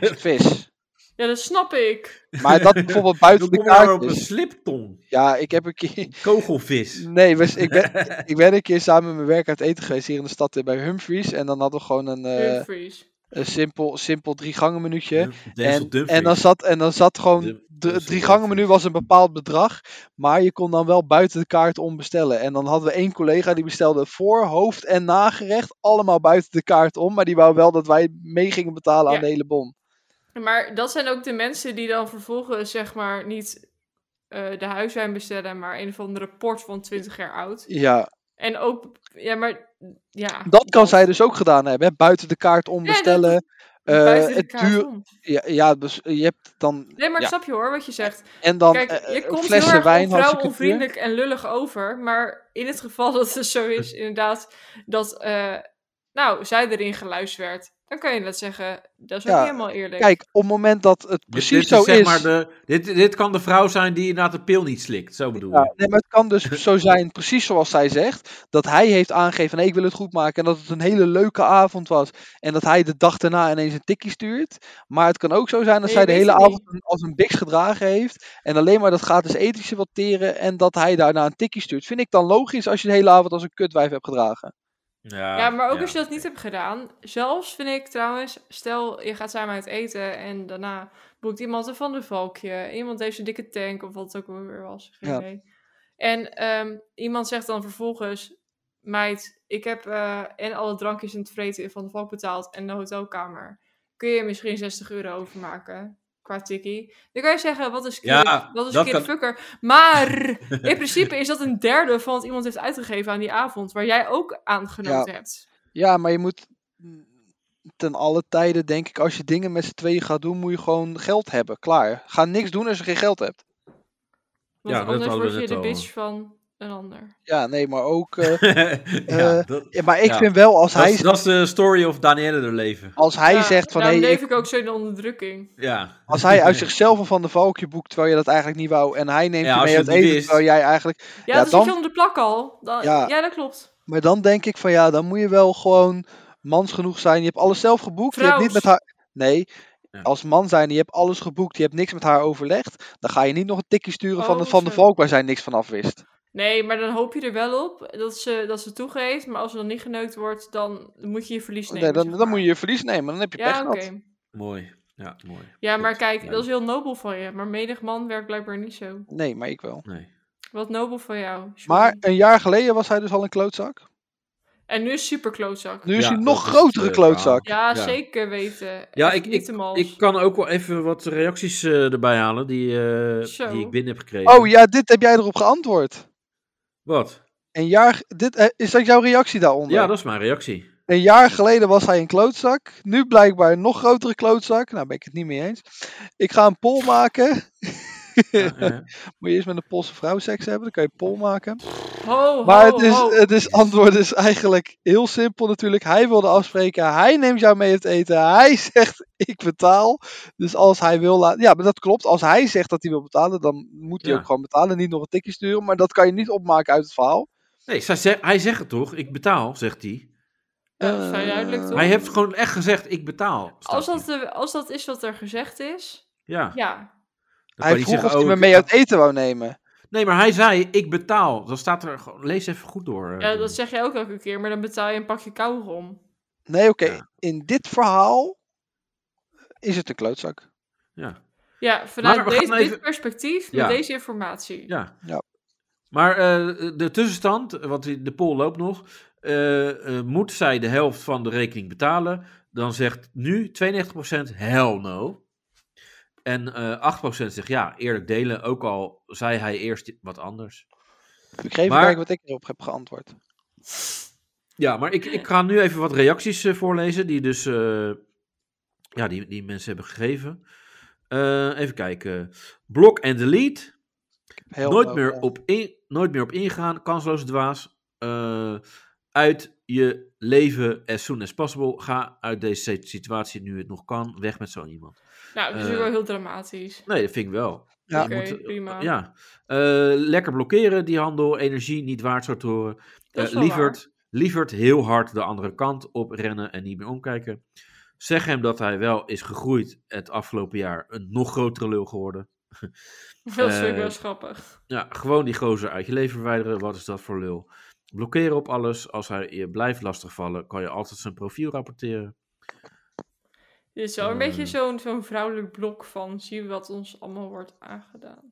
Speaker 3: Vis.
Speaker 2: Ja, dat snap ik.
Speaker 3: Maar dat bijvoorbeeld
Speaker 4: Dan
Speaker 3: buiten de
Speaker 4: kom je maar
Speaker 3: kaart
Speaker 4: op dus. een
Speaker 3: is.
Speaker 4: slipton.
Speaker 3: Ja, ik heb een keer...
Speaker 4: Kogelvis.
Speaker 3: Nee, we- ik ben, ik ben een keer samen met mijn werk uit eten geweest hier in de stad eh, bij Humphries. En dan hadden we gewoon een... eh,
Speaker 2: Humphries.
Speaker 3: Een simpel, simpel drie gangen minuutje.
Speaker 4: Denzel
Speaker 3: En,
Speaker 4: Dumfries.
Speaker 3: en, dan zat, en dan zat gewoon.
Speaker 4: Dum-
Speaker 3: De
Speaker 4: Denzel
Speaker 3: drie gangen menu
Speaker 4: Dumfries.
Speaker 3: was een bepaald bedrag. Maar je kon dan wel buiten de kaart om bestellen. En dan hadden we één collega die bestelde voor, hoofd en nagerecht. Allemaal buiten de kaart om. Maar die wou wel dat wij mee gingen betalen
Speaker 2: Ja.
Speaker 3: aan de hele bon.
Speaker 2: Maar dat zijn ook de mensen die dan vervolgens, zeg maar, niet eh, de huiswijn bestellen, maar een of andere port van 20 jaar oud.
Speaker 3: Ja,
Speaker 2: En ook, ja, maar, ja.
Speaker 3: dat kan zij dus ook gedaan hebben. Hè? Buiten de kaart om
Speaker 2: Ja, dat-
Speaker 3: bestellen. Eh,
Speaker 2: Buiten de
Speaker 3: het
Speaker 2: kaart
Speaker 3: duur,
Speaker 2: om.
Speaker 3: ja, ja, dus je hebt dan.
Speaker 2: Nee, maar
Speaker 3: Ja.
Speaker 2: ik snap je hoor, wat je zegt.
Speaker 3: En dan
Speaker 2: Kijk,
Speaker 3: eh,
Speaker 2: je
Speaker 3: eh,
Speaker 2: komt heel
Speaker 3: flessen
Speaker 2: erg
Speaker 3: wijn.
Speaker 2: wijn,
Speaker 3: hartstikke duur.
Speaker 2: onvriendelijk en lullig over. Maar in het geval dat het zo is, inderdaad, dat eh, nou, zij erin geluisterd werd. Dan kan je dat zeggen, dat is ook
Speaker 3: Ja,
Speaker 2: niet helemaal eerlijk.
Speaker 3: Kijk, op het moment dat het
Speaker 4: Dus Dit-
Speaker 3: precies
Speaker 4: dit
Speaker 3: zo
Speaker 4: is, zeg
Speaker 3: is.
Speaker 4: Maar de, dit, dit kan de vrouw zijn die inderdaad de pil niet slikt, zo bedoel
Speaker 3: Ja,
Speaker 4: ik.
Speaker 3: nee, maar het kan dus zo zijn, precies zoals zij zegt, dat hij heeft aangegeven, nee, ik wil het goed maken en dat het een hele leuke avond was en dat hij de dag daarna ineens een tikkie stuurt. Maar het kan ook zo zijn dat
Speaker 2: Nee,
Speaker 3: zij
Speaker 2: je
Speaker 3: de
Speaker 2: weet
Speaker 3: hele
Speaker 2: het
Speaker 3: avond een- als een biks gedragen heeft en alleen maar dat gratis etentje wil teren en dat hij daarna een tikkie stuurt. Vind ik dan logisch als je de hele avond als een kutwijf hebt gedragen?
Speaker 2: Ja, maar ook als je dat niet hebt gedaan. Zelfs vind ik trouwens, stel je gaat samen uit eten en daarna boekt iemand een van de valkje. Iemand heeft zijn dikke tank of wat het ook weer was. Geen
Speaker 3: Ja.
Speaker 2: idee. En ehm, iemand zegt dan vervolgens, meid, ik heb eh, en alle drankjes en het vreten van de valk betaald en de hotelkamer. Kun je misschien 60 euro overmaken? Qua tikkie. Dan kan je zeggen, wat is
Speaker 4: Ja,
Speaker 2: kind, wat is
Speaker 4: dat
Speaker 2: kind
Speaker 4: kan-
Speaker 2: fucker. Maar in principe is dat een derde van wat iemand heeft uitgegeven aan die avond. Waar jij ook aan genoten hebt.
Speaker 3: Ja, maar je moet mm, ten alle tijden, denk ik, als je dingen met z'n tweeën gaat doen, moet je gewoon geld hebben. Klaar. Ga niks doen als je geen geld hebt.
Speaker 2: Want
Speaker 4: Ja, dat
Speaker 2: anders
Speaker 4: hadden we
Speaker 2: word je
Speaker 4: net
Speaker 2: de
Speaker 4: al.
Speaker 2: bitch van een ander.
Speaker 3: Ja, nee, maar ook. eh,
Speaker 4: ja,
Speaker 3: Eh,
Speaker 4: dat,
Speaker 3: Ja, maar ik
Speaker 4: Ja.
Speaker 3: vind wel, als
Speaker 4: dat,
Speaker 3: hij,
Speaker 4: is, dat is de story of Danielle haar leven.
Speaker 3: als hij
Speaker 2: Ja, nou,
Speaker 3: zegt van...
Speaker 2: Daarom
Speaker 3: Hey,
Speaker 2: leef
Speaker 3: ik,
Speaker 2: ik ook zo in de onderdrukking.
Speaker 4: Ja.
Speaker 3: als hij uit zichzelf een Van de Valkje boekt, terwijl je dat eigenlijk niet wou... en hij neemt
Speaker 4: Ja,
Speaker 3: je
Speaker 4: als
Speaker 3: mee
Speaker 4: je
Speaker 3: uit
Speaker 4: het niet
Speaker 3: eten,
Speaker 4: wist.
Speaker 3: terwijl jij eigenlijk...
Speaker 2: Ja,
Speaker 3: Ja,
Speaker 2: dat
Speaker 3: dan-
Speaker 2: is je onder de plak al. Dan-
Speaker 3: Ja.
Speaker 2: ja. dat klopt.
Speaker 3: Maar dan denk ik van, ja, dan moet je wel gewoon mans genoeg zijn. Je hebt alles zelf geboekt, je hebt niet met haar... Nee,
Speaker 4: Ja.
Speaker 3: als man zijn, je hebt alles geboekt, je hebt niks met haar overlegd... dan ga je niet nog een tikje sturen van
Speaker 2: Oh,
Speaker 3: de Van de
Speaker 2: zo.
Speaker 3: Valk waar zij niks van af wist.
Speaker 2: Nee, maar dan hoop je er wel op dat ze, dat ze toegeeft. Maar als ze dan niet geneukt wordt, dan moet je je verlies nemen.
Speaker 3: nee, dan,
Speaker 2: zeg
Speaker 3: dan
Speaker 2: maar.
Speaker 3: moet je je verlies nemen, dan heb je pech
Speaker 2: Ja, oké.
Speaker 3: gehad.
Speaker 4: Mooi. Ja, mooi.
Speaker 2: Ja, maar
Speaker 4: Goed.
Speaker 2: kijk,
Speaker 4: Ja.
Speaker 2: dat is heel nobel van je. Maar menig man werkt blijkbaar niet zo.
Speaker 3: Nee, maar ik wel.
Speaker 4: Nee.
Speaker 2: Wat nobel van jou. sorry.
Speaker 3: Maar een jaar geleden was hij dus al een klootzak.
Speaker 2: En nu is super klootzak.
Speaker 3: Nu is
Speaker 4: Ja,
Speaker 3: hij een nog
Speaker 4: dat is,
Speaker 3: grotere
Speaker 4: eh,
Speaker 3: klootzak.
Speaker 2: Ja,
Speaker 4: Ja.
Speaker 2: zeker weten.
Speaker 4: Ja,
Speaker 2: Echt
Speaker 4: ik-
Speaker 2: niet te mals.
Speaker 4: Ik kan ook wel even wat reacties eh, erbij halen die, eh,
Speaker 2: Zo.
Speaker 4: die ik binnen heb gekregen.
Speaker 3: Oh ja, dit heb jij erop geantwoord.
Speaker 4: Wat?
Speaker 3: Een jaar, ge- dit, eh, is dat jouw reactie daaronder?
Speaker 4: Ja, dat is mijn reactie.
Speaker 3: Een jaar geleden was hij een klootzak. Nu blijkbaar een nog grotere klootzak. Nou ben ik het niet mee eens. Ik ga een poll maken.
Speaker 4: Ja, eh.
Speaker 3: Moet je eerst met een Poolse vrouw seks hebben, dan kan je een poll maken.
Speaker 4: Oh,
Speaker 2: Ho,
Speaker 3: Maar
Speaker 2: ho,
Speaker 3: het, is,
Speaker 2: ho.
Speaker 3: het is, antwoord is eigenlijk heel simpel natuurlijk. Hij wilde afspreken, hij neemt jou mee het eten. Hij zegt, ik betaal. Dus als hij wil laten... Ja, maar dat klopt. Als hij zegt dat hij wil betalen, dan moet hij
Speaker 4: Ja.
Speaker 3: ook gewoon betalen. Niet nog een tikje sturen, maar dat kan je niet opmaken uit het verhaal.
Speaker 4: Nee, zij zegt- hij zegt het toch? Ik betaal, zegt hij.
Speaker 2: Ja, dat is vrij duidelijk,
Speaker 3: Eh,
Speaker 2: toch?
Speaker 4: Hij heeft gewoon echt gezegd, ik betaal. staat
Speaker 2: Als dat,
Speaker 4: hier.
Speaker 2: de- als dat is wat er gezegd is,
Speaker 4: Ja.
Speaker 2: ja.
Speaker 4: Dan kan
Speaker 3: Hij
Speaker 4: niet
Speaker 3: vroeg
Speaker 4: zeggen,
Speaker 3: of hij
Speaker 4: oh,
Speaker 3: me
Speaker 4: ik
Speaker 3: mee
Speaker 4: betaal.
Speaker 3: uit eten wou nemen.
Speaker 4: Nee, maar hij zei, ik betaal. Dan staat er, gewoon- lees even goed door. eh,
Speaker 2: ja.
Speaker 4: Jeroen.
Speaker 2: Dat zeg jij ook elke keer, maar dan betaal je een pakje kauwgom.
Speaker 3: Nee, oké.
Speaker 4: Ja.
Speaker 3: In dit verhaal is het een klootzak.
Speaker 4: Ja.
Speaker 2: Ja, vanuit
Speaker 4: Maar we
Speaker 2: deze,
Speaker 4: gaan
Speaker 2: dit
Speaker 4: even-
Speaker 2: perspectief,
Speaker 4: Ja.
Speaker 2: met deze informatie.
Speaker 4: ja.
Speaker 3: Ja.
Speaker 4: Maar eh, de tussenstand, want die- de poll loopt nog. eh, eh, moet zij de helft van de rekening betalen? Dan zegt nu 92% hell no. En eh, 8% zegt ja, eerlijk delen. Ook al zei hij eerst wat anders.
Speaker 3: Ik ga even
Speaker 4: Maar-
Speaker 3: kijken wat ik erop heb geantwoord.
Speaker 4: Ja, maar ik, ik ga nu even wat reacties eh, voorlezen die dus eh, ja, die, die mensen hebben gegeven. Eh, even kijken. Block and delete.
Speaker 3: Heel
Speaker 4: nooit,
Speaker 3: low,
Speaker 4: meer
Speaker 3: ja.
Speaker 4: op in, nooit meer op ingaan. Kansloos dwaas. Eh, uit je leven as soon as possible. Ga uit deze situatie nu het nog kan. Weg met zo iemand.
Speaker 2: Nou, dat is
Speaker 4: Eh.
Speaker 2: wel heel dramatisch.
Speaker 4: Nee, dat vind ik wel.
Speaker 3: Ja.
Speaker 2: Oké,
Speaker 4: Je moet-
Speaker 2: prima.
Speaker 4: Ja. Eh, lekker blokkeren die handel. Energie niet waard zou toren.
Speaker 2: Dat is
Speaker 4: Eh,
Speaker 2: wel waar.
Speaker 4: Lievert, Lievert heel hard de andere kant op rennen en niet meer omkijken. Zeg hem dat hij wel is gegroeid het afgelopen jaar. Een nog grotere lul geworden.
Speaker 2: Dat is ook
Speaker 4: eh,
Speaker 2: wel eens grappig.
Speaker 4: Ja, gewoon die gozer uit je leven verwijderen. Wat is dat voor lul? Blokkeren op alles. Als hij je blijft lastigvallen, kan je altijd zijn profiel rapporteren.
Speaker 2: Dit is wel een
Speaker 4: Eh.
Speaker 2: beetje zo'n zo'n vrouwelijk blok van zie wat ons allemaal wordt aangedaan.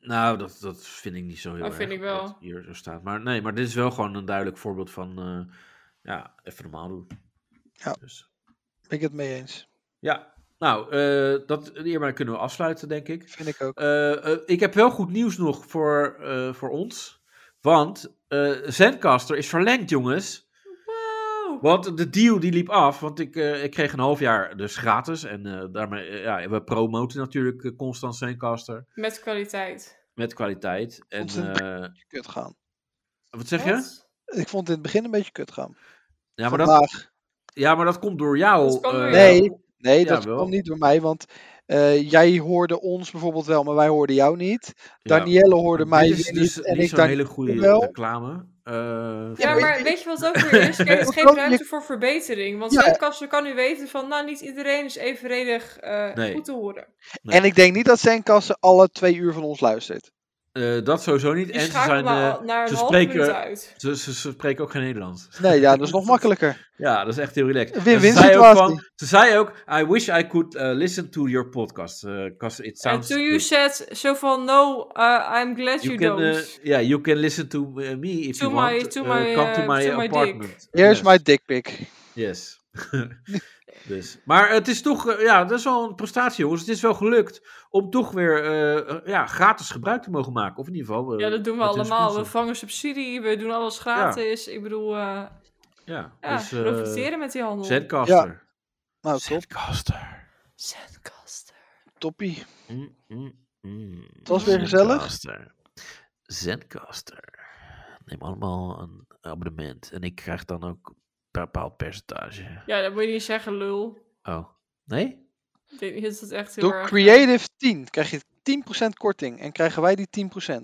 Speaker 4: Nou, dat, dat vind ik niet zo heel
Speaker 2: Dat
Speaker 4: erg.
Speaker 2: vind ik wel.
Speaker 4: wat hier zo staat. Maar nee, maar dit is wel gewoon een duidelijk voorbeeld van... eh, ja, even normaal doen.
Speaker 3: Ja.
Speaker 4: Dus,
Speaker 3: Ben ik het mee eens.
Speaker 4: ja. Nou, eh, dat, hiermee kunnen we afsluiten, denk ik.
Speaker 3: Vind ik ook.
Speaker 4: Eh, eh, ik heb wel goed nieuws nog voor, eh, voor ons. Want eh Zencaster is verlengd, jongens.
Speaker 2: Wow!
Speaker 4: Want de deal die liep af, want ik, eh, ik kreeg een half jaar dus gratis. En eh, daarmee, eh, ja, we promoten natuurlijk eh, constant Zencaster
Speaker 2: Met kwaliteit.
Speaker 4: met kwaliteit. En
Speaker 3: Ontzettend.
Speaker 4: eh,
Speaker 3: Kut gaan.
Speaker 4: wat zeg je?
Speaker 2: Wat?
Speaker 3: Ik vond het in het begin een beetje kut gaan.
Speaker 4: Ja maar, dat,
Speaker 3: Vandaag.
Speaker 4: ja, maar dat komt door jou.
Speaker 2: Dat kwam door
Speaker 4: eh,
Speaker 2: jou.
Speaker 3: Nee, nee, dat
Speaker 4: Jawel.
Speaker 3: kwam niet door mij, want eh, jij hoorde ons bijvoorbeeld wel, maar wij hoorden jou niet.
Speaker 4: ja.
Speaker 3: Danielle hoorde mij
Speaker 4: Dit is
Speaker 3: weer
Speaker 4: dus
Speaker 3: niet en
Speaker 4: niet
Speaker 3: ik
Speaker 4: zo'n
Speaker 3: dan...
Speaker 4: hele goede
Speaker 3: wel.
Speaker 4: reclame. eh,
Speaker 2: Ja,
Speaker 3: weet
Speaker 2: maar
Speaker 3: je-
Speaker 2: weet je wat het ook weer is? Kijk, het
Speaker 3: Hoe
Speaker 2: geeft
Speaker 3: kan je-
Speaker 2: ruimte voor verbetering. Want
Speaker 3: Ja.
Speaker 2: Zuidkasten kan nu weten van, nou, niet iedereen is evenredig eh,
Speaker 4: Nee.
Speaker 2: goed te horen.
Speaker 4: Nee.
Speaker 3: En ik denk niet dat Zenkassen alle twee uur van ons luistert.
Speaker 4: eh, dat sowieso niet.
Speaker 2: Je
Speaker 4: en ze,
Speaker 2: schakelt
Speaker 4: zijn,
Speaker 2: na-
Speaker 4: eh,
Speaker 2: naar een
Speaker 4: ze
Speaker 2: half
Speaker 4: spreken-
Speaker 2: minuut uit.
Speaker 4: ze, ze, ze spreken ook geen Nederlands.
Speaker 3: Nee, ja, dat is nog makkelijker.
Speaker 4: Ja, dat is echt heel relaxed.
Speaker 3: Een win-win
Speaker 4: En ze, zei ook
Speaker 3: situatie.
Speaker 4: van- ze zei ook, I wish I could eh, listen to your podcast, because it
Speaker 2: En
Speaker 4: sounds
Speaker 2: toen you
Speaker 4: good.
Speaker 2: said zo van, no, uh, I'm glad
Speaker 4: You
Speaker 2: you,
Speaker 4: can,
Speaker 2: don't.
Speaker 4: eh, yeah, you can listen to eh, me if
Speaker 2: To
Speaker 4: you
Speaker 2: my-
Speaker 4: want.
Speaker 2: to
Speaker 4: eh,
Speaker 2: my,
Speaker 4: come
Speaker 2: eh,
Speaker 4: to my
Speaker 2: to my dick.
Speaker 4: apartment.
Speaker 3: Here's
Speaker 4: yes.
Speaker 3: my dick pic.
Speaker 4: Yes. dus. Maar het is toch, eh, ja, dat is wel een prestatie jongens. Het is wel gelukt om toch weer eh, eh, ja, gratis gebruik te mogen maken. Of in ieder geval... eh,
Speaker 2: Ja, dat doen we
Speaker 4: met hun
Speaker 2: allemaal. We
Speaker 4: sponsor.
Speaker 2: vangen subsidie, we doen alles gratis. Ik bedoel, eh
Speaker 4: Ja,
Speaker 2: ja,
Speaker 4: dus... eh,
Speaker 2: profiteren met die handel.
Speaker 4: Zencaster.
Speaker 3: Nou, top.
Speaker 4: Zencaster.
Speaker 2: Zenkasten.
Speaker 3: Toppie.
Speaker 4: Mm, mm, mm.
Speaker 3: Het was weer gezellig.
Speaker 4: Zencaster. Zencaster. Neem allemaal een abonnement. En ik krijg dan ook een bepaald percentage.
Speaker 2: Ja, dat moet je niet zeggen, lul.
Speaker 4: Oh, nee?
Speaker 2: Ik denk niet dat het echt heel
Speaker 3: Door
Speaker 2: erg...
Speaker 3: Creative 10 krijg je 10% korting. En krijgen wij die 10%.
Speaker 2: Ja,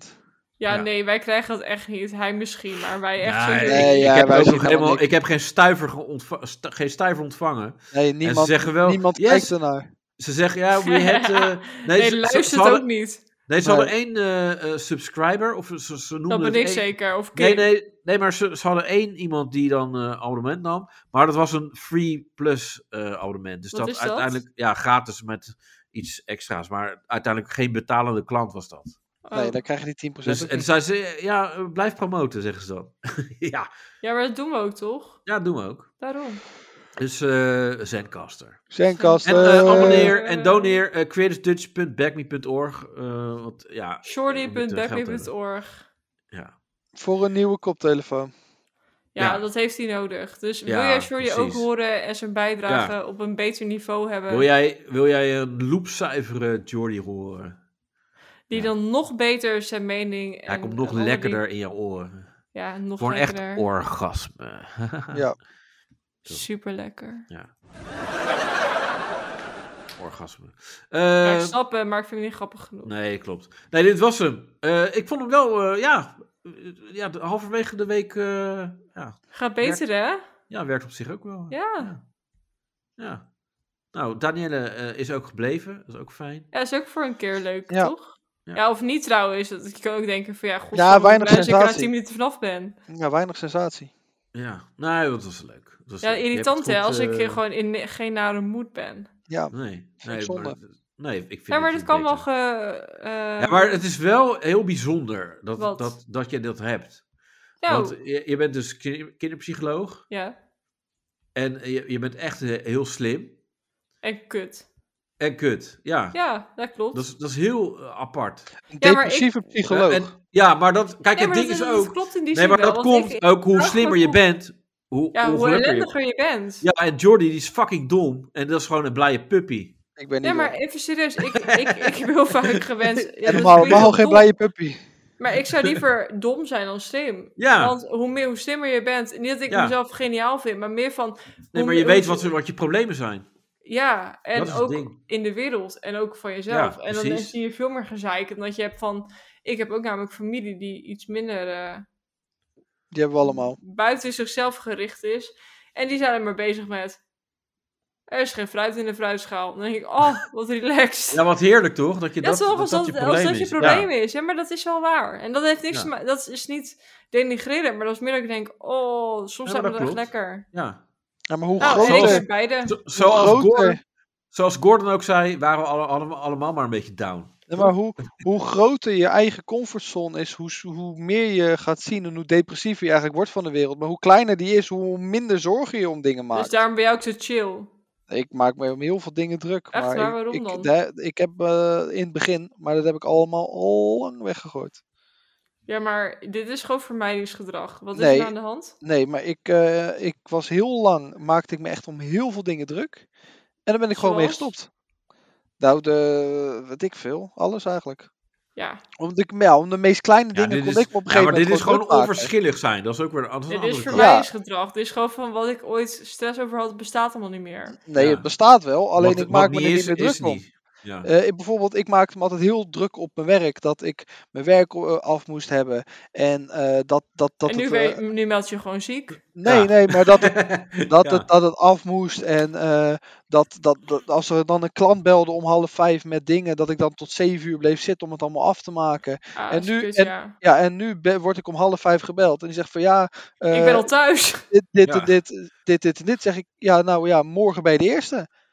Speaker 4: Ja.
Speaker 2: nee, wij krijgen dat echt niet. Hij misschien, maar wij echt
Speaker 4: Nee,
Speaker 2: sowieso
Speaker 3: Nee,
Speaker 4: ik,
Speaker 3: ja,
Speaker 4: ik heb
Speaker 3: wij
Speaker 4: ook nog
Speaker 3: zeggen
Speaker 4: helemaal,
Speaker 3: niks.
Speaker 4: ik heb geen stuiver, ge- ontva- stu- geen stuiver ontvangen.
Speaker 3: Nee,
Speaker 4: en
Speaker 3: niemand,
Speaker 4: ze zeggen wel,
Speaker 3: niemand
Speaker 4: yes.
Speaker 3: kijkt ernaar.
Speaker 4: Ze zeggen, ja, we had... eh,
Speaker 2: nee,
Speaker 4: ze- ze-
Speaker 2: luistert
Speaker 4: ze hadden-
Speaker 2: ook niet.
Speaker 4: Nee, ze
Speaker 3: Nee.
Speaker 4: hadden één eh, eh, subscriber, of ze, ze noemden
Speaker 2: Dat ben
Speaker 4: het
Speaker 2: ik
Speaker 4: één-
Speaker 2: zeker. Of
Speaker 4: Nee,
Speaker 2: Kim.
Speaker 4: nee, nee, maar ze, ze hadden één iemand die dan eh, abonnement nam. Maar dat was een free plus eh, abonnement. Dus
Speaker 2: Wat
Speaker 4: dat
Speaker 2: is dat?
Speaker 4: uiteindelijk, ja, gratis met iets extra's. Maar uiteindelijk geen betalende klant was dat.
Speaker 2: Oh.
Speaker 3: Nee, dan krijg je die 10%.
Speaker 4: Dus,
Speaker 3: ook
Speaker 4: en
Speaker 3: niet.
Speaker 4: zei ze, ja, eh, blijf promoten, zeggen ze dan. ja,
Speaker 2: Ja, maar dat doen we ook, toch?
Speaker 4: ja, doen we ook.
Speaker 2: Daarom.
Speaker 4: Dus eh Zencaster.
Speaker 3: Zenkast.
Speaker 4: En eh,
Speaker 3: eh,
Speaker 4: abonneer en doneer eh creatorsdutch.backme.org. eh, want ja,
Speaker 2: Shorty.backme.org.
Speaker 4: ja.
Speaker 3: Voor een nieuwe koptelefoon.
Speaker 2: Ja,
Speaker 4: Ja.
Speaker 2: dat heeft hij nodig. Dus wil
Speaker 4: Ja,
Speaker 2: jij Shorty ook
Speaker 4: precies.
Speaker 2: horen en zijn bijdrage op een beter niveau hebben,
Speaker 4: Wil jij, wil jij een loopcijferen Jordi horen?
Speaker 2: die
Speaker 4: ja.
Speaker 2: dan nog beter zijn mening...
Speaker 4: Hij
Speaker 2: en-
Speaker 4: komt nog
Speaker 2: en alle
Speaker 4: lekkerder
Speaker 2: dingen-
Speaker 4: in je oren.
Speaker 2: Ja, nog
Speaker 4: Voor een echt
Speaker 2: lekkerder.
Speaker 4: orgasme.
Speaker 3: Ja.
Speaker 2: Super lekker.
Speaker 4: orgasme.
Speaker 2: ik
Speaker 4: Eh
Speaker 2: snap hem, maar ik vind hem niet grappig genoeg.
Speaker 4: nee, klopt. Nee, dit was hem. Eh, ik vond hem wel, eh, ja, eh, ja, de- halverwege de week, eh, ja,
Speaker 2: Gaat beter, hè?
Speaker 4: ja, werkt op zich ook wel. Ja.
Speaker 2: Ja.
Speaker 4: Nou, Danielle eh, is ook gebleven. Dat is ook fijn.
Speaker 2: Ja, is ook voor een keer leuk,
Speaker 3: Ja.
Speaker 2: toch?
Speaker 4: Ja.
Speaker 2: Ja. of niet trouwens. Dat ik kan ook denken van ja, god,
Speaker 3: weinig
Speaker 2: als ik er na
Speaker 3: sensatie.
Speaker 2: 10 minuten vanaf ben.
Speaker 3: Ja, weinig sensatie.
Speaker 4: Ja. Nee, dat was leuk. Dat was
Speaker 2: Ja,
Speaker 4: leuk. Je hebt
Speaker 2: irritant
Speaker 4: het
Speaker 2: hè,
Speaker 4: goed,
Speaker 2: als ik
Speaker 4: eh,
Speaker 2: eh, gewoon in geen nare moed ben.
Speaker 3: Ja,
Speaker 4: Nee,
Speaker 3: ik
Speaker 4: nee,
Speaker 3: zonde.
Speaker 4: maar, nee, ik vind
Speaker 2: Ja, maar
Speaker 4: dit
Speaker 2: dat kan
Speaker 4: beter.
Speaker 2: wel ge... eh,
Speaker 4: Ja, maar het is wel heel bijzonder dat,
Speaker 2: Wat?
Speaker 4: dat, dat je dat hebt.
Speaker 2: nou,
Speaker 4: Want je, je bent dus kin- kinderpsycholoog
Speaker 2: ja,
Speaker 4: en je, je bent echt eh, heel slim
Speaker 2: en kut.
Speaker 4: en kut. Ja,
Speaker 2: Ja, dat klopt.
Speaker 4: Dat, is, dat is heel eh, apart.
Speaker 3: een
Speaker 2: Ja, maar
Speaker 3: depressieve
Speaker 4: Ja,
Speaker 3: psycholoog.
Speaker 4: en- ja, maar dat, kijk,
Speaker 2: Ja,
Speaker 4: het
Speaker 2: maar
Speaker 4: ding
Speaker 2: dat,
Speaker 4: is
Speaker 2: dat
Speaker 4: ook,
Speaker 2: klopt in die
Speaker 4: nee,
Speaker 2: zin
Speaker 4: maar dat
Speaker 2: wel, want
Speaker 4: komt
Speaker 2: ik-
Speaker 4: ook hoe
Speaker 2: vraag me
Speaker 4: slimmer je
Speaker 2: af-
Speaker 4: bent, hoe
Speaker 2: ja, hoe
Speaker 4: ongelukkiger je
Speaker 2: ellendiger je bent.
Speaker 4: Ja, en Jordi die is fucking dom en dat is gewoon een blije puppy.
Speaker 3: Ik ben niet
Speaker 2: Nee, maar
Speaker 3: dom.
Speaker 2: even serieus, ik, ik, ik heb heel vaak gewenst... Ja, dus dat is
Speaker 3: Helemaal,
Speaker 2: weer
Speaker 3: helemaal
Speaker 2: heel
Speaker 3: geen
Speaker 2: dom,
Speaker 3: blije puppy.
Speaker 2: Maar ik zou liever dom zijn dan slim.
Speaker 4: Ja,
Speaker 2: Want hoe, meer, hoe slimmer je bent, niet dat ik
Speaker 4: Ja.
Speaker 2: mezelf geniaal vind, maar meer van...
Speaker 4: nee,
Speaker 2: hoe
Speaker 4: maar je
Speaker 2: meer-
Speaker 4: weet wat, wat je problemen zijn.
Speaker 2: Ja,
Speaker 4: Dat
Speaker 2: en
Speaker 4: is het
Speaker 2: ook
Speaker 4: ding.
Speaker 2: in de wereld en ook van jezelf.
Speaker 4: Ja,
Speaker 2: en dan
Speaker 4: precies.
Speaker 2: is je veel meer gezeik. En dat je hebt van. Ik heb ook namelijk familie die iets minder eh,
Speaker 3: Die hebben we allemaal.
Speaker 2: buiten zichzelf gericht is. En die zijn er maar bezig met. Er is geen fruit in de fruitschaal. Dan denk ik, oh, wat relaxed.
Speaker 4: Ja, wat heerlijk toch? Dat je
Speaker 2: dat,
Speaker 4: dat,
Speaker 2: is wel
Speaker 4: dat,
Speaker 2: als
Speaker 4: dat
Speaker 2: dat,
Speaker 4: je
Speaker 2: als
Speaker 4: probleem
Speaker 2: dat je
Speaker 4: is.
Speaker 2: probleem
Speaker 4: Ja.
Speaker 2: is. Ja, maar dat is wel waar. En dat heeft niks
Speaker 4: Ja.
Speaker 2: te ma- Dat is niet denigreren, maar dat is meer dat ik denk, oh, soms
Speaker 4: maar
Speaker 2: zijn we
Speaker 4: dat
Speaker 2: dat echt
Speaker 4: klopt.
Speaker 2: lekker.
Speaker 4: Ja.
Speaker 3: Ja, maar hoe
Speaker 2: Nou,
Speaker 3: groter...
Speaker 2: zeker
Speaker 4: Zoals-
Speaker 2: beide.
Speaker 4: Zo-
Speaker 3: hoe
Speaker 4: zoals,
Speaker 3: groter-
Speaker 4: Gordon, zoals Gordon ook zei, waren we alle, alle- allemaal maar een beetje down.
Speaker 3: Nee, maar hoe, hoe groter je eigen comfortzone is, hoe, s- hoe meer je gaat zien en hoe depressiever je eigenlijk wordt van de wereld. Maar hoe kleiner die is, hoe minder zorgen je om dingen maakt.
Speaker 2: Dus daarom ben jij ook zo chill.
Speaker 3: Ik maak me om heel veel dingen druk.
Speaker 2: Echt
Speaker 3: maar
Speaker 2: waar?
Speaker 3: ik-
Speaker 2: Waarom
Speaker 3: ik,
Speaker 2: dan?
Speaker 3: da- ik heb eh, in het begin, maar dat heb ik allemaal al lang weggegooid.
Speaker 2: Ja, maar dit is gewoon vermijdingsgedrag. Wat is
Speaker 3: Nee.
Speaker 2: er aan de hand?
Speaker 3: Nee, maar ik, eh, ik was heel lang, maakte ik me echt om heel veel dingen druk. En dan ben ik gewoon mee
Speaker 2: Zoals?
Speaker 3: gestopt. Nou, de, weet ik veel, alles eigenlijk.
Speaker 2: Ja,
Speaker 3: Om de, ja, om de meest kleine
Speaker 4: Ja,
Speaker 3: dingen
Speaker 4: dit
Speaker 3: kon
Speaker 4: is-
Speaker 3: ik me op een
Speaker 4: Ja,
Speaker 3: gegeven
Speaker 4: maar dit
Speaker 3: moment
Speaker 4: is gewoon
Speaker 3: druk maken.
Speaker 4: onverschillig zijn. Dat is ook weer dat is een
Speaker 2: dit
Speaker 4: andere
Speaker 2: is
Speaker 4: kant.
Speaker 2: vermijdingsgedrag. Dit is gewoon van wat ik ooit stress over had, bestaat allemaal niet meer.
Speaker 3: Nee,
Speaker 4: Ja.
Speaker 3: het bestaat wel, alleen
Speaker 4: Wat-
Speaker 3: ik maak
Speaker 4: wat
Speaker 3: me er niet
Speaker 4: is,
Speaker 3: meer
Speaker 4: is
Speaker 3: druk om.
Speaker 4: niet. Ja.
Speaker 3: Eh, ik- bijvoorbeeld, ik maakte me altijd heel druk op mijn werk. Dat ik mijn werk eh, af moest hebben. En eh, dat, dat, dat
Speaker 2: en nu,
Speaker 3: het... eh,
Speaker 2: weer- nu meld je gewoon ziek.
Speaker 3: nee,
Speaker 4: ja.
Speaker 3: nee, maar dat, het, dat,
Speaker 4: Ja.
Speaker 3: het, dat het af moest. En eh, dat, dat, dat als er dan een klant belde om half vijf met dingen... dat ik dan tot zeven uur bleef zitten om het allemaal af te maken.
Speaker 2: Ah,
Speaker 3: En
Speaker 2: dat is
Speaker 3: nu-
Speaker 2: kut,
Speaker 3: en-
Speaker 2: ja.
Speaker 3: Ja, en nu be- word ik om half vijf gebeld. En die zegt van ja...
Speaker 2: ik
Speaker 3: eh,
Speaker 2: ben al thuis.
Speaker 3: dit, dit,
Speaker 4: Ja.
Speaker 3: en dit, dit, dit, en dit. Zeg ik, ja, nou ja, morgen bij de eerste.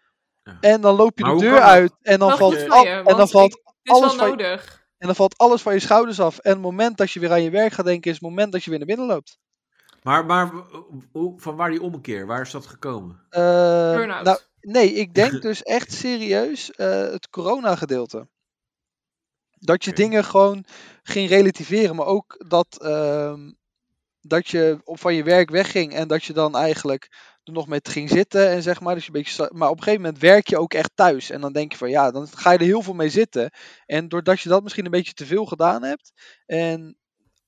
Speaker 4: Ja.
Speaker 3: En dan loop je
Speaker 4: Maar
Speaker 3: de
Speaker 4: hoe
Speaker 3: deur
Speaker 4: kan dat?
Speaker 3: uit en dan,
Speaker 2: Wel
Speaker 3: valt,
Speaker 2: goed voor
Speaker 3: al-
Speaker 2: je,
Speaker 3: en, dan
Speaker 2: want
Speaker 3: valt,
Speaker 2: ik- Dit is
Speaker 3: alles
Speaker 2: wel
Speaker 3: van je-
Speaker 2: nodig.
Speaker 3: en dan valt alles van je schouders af. En het moment dat je weer aan je werk gaat denken, is het moment dat je weer naar binnen loopt.
Speaker 4: Maar, maar hoe- van waar die ommekeer? Waar is dat gekomen? Nou,
Speaker 3: Eh,
Speaker 2: Burn-out.
Speaker 3: nou, nee, ik denk dus echt serieus eh, het corona-gedeelte. Dat je
Speaker 4: Oké.
Speaker 3: dingen gewoon ging relativeren, maar ook dat, ehm, dat je op, van je werk wegging en dat je dan eigenlijk er nog met ging zitten en zeg maar. Dus je een beetje, sta- maar op een gegeven moment werk je ook echt thuis en dan denk je van ja, dan ga je er heel veel mee zitten. En doordat je dat misschien een beetje te veel gedaan hebt en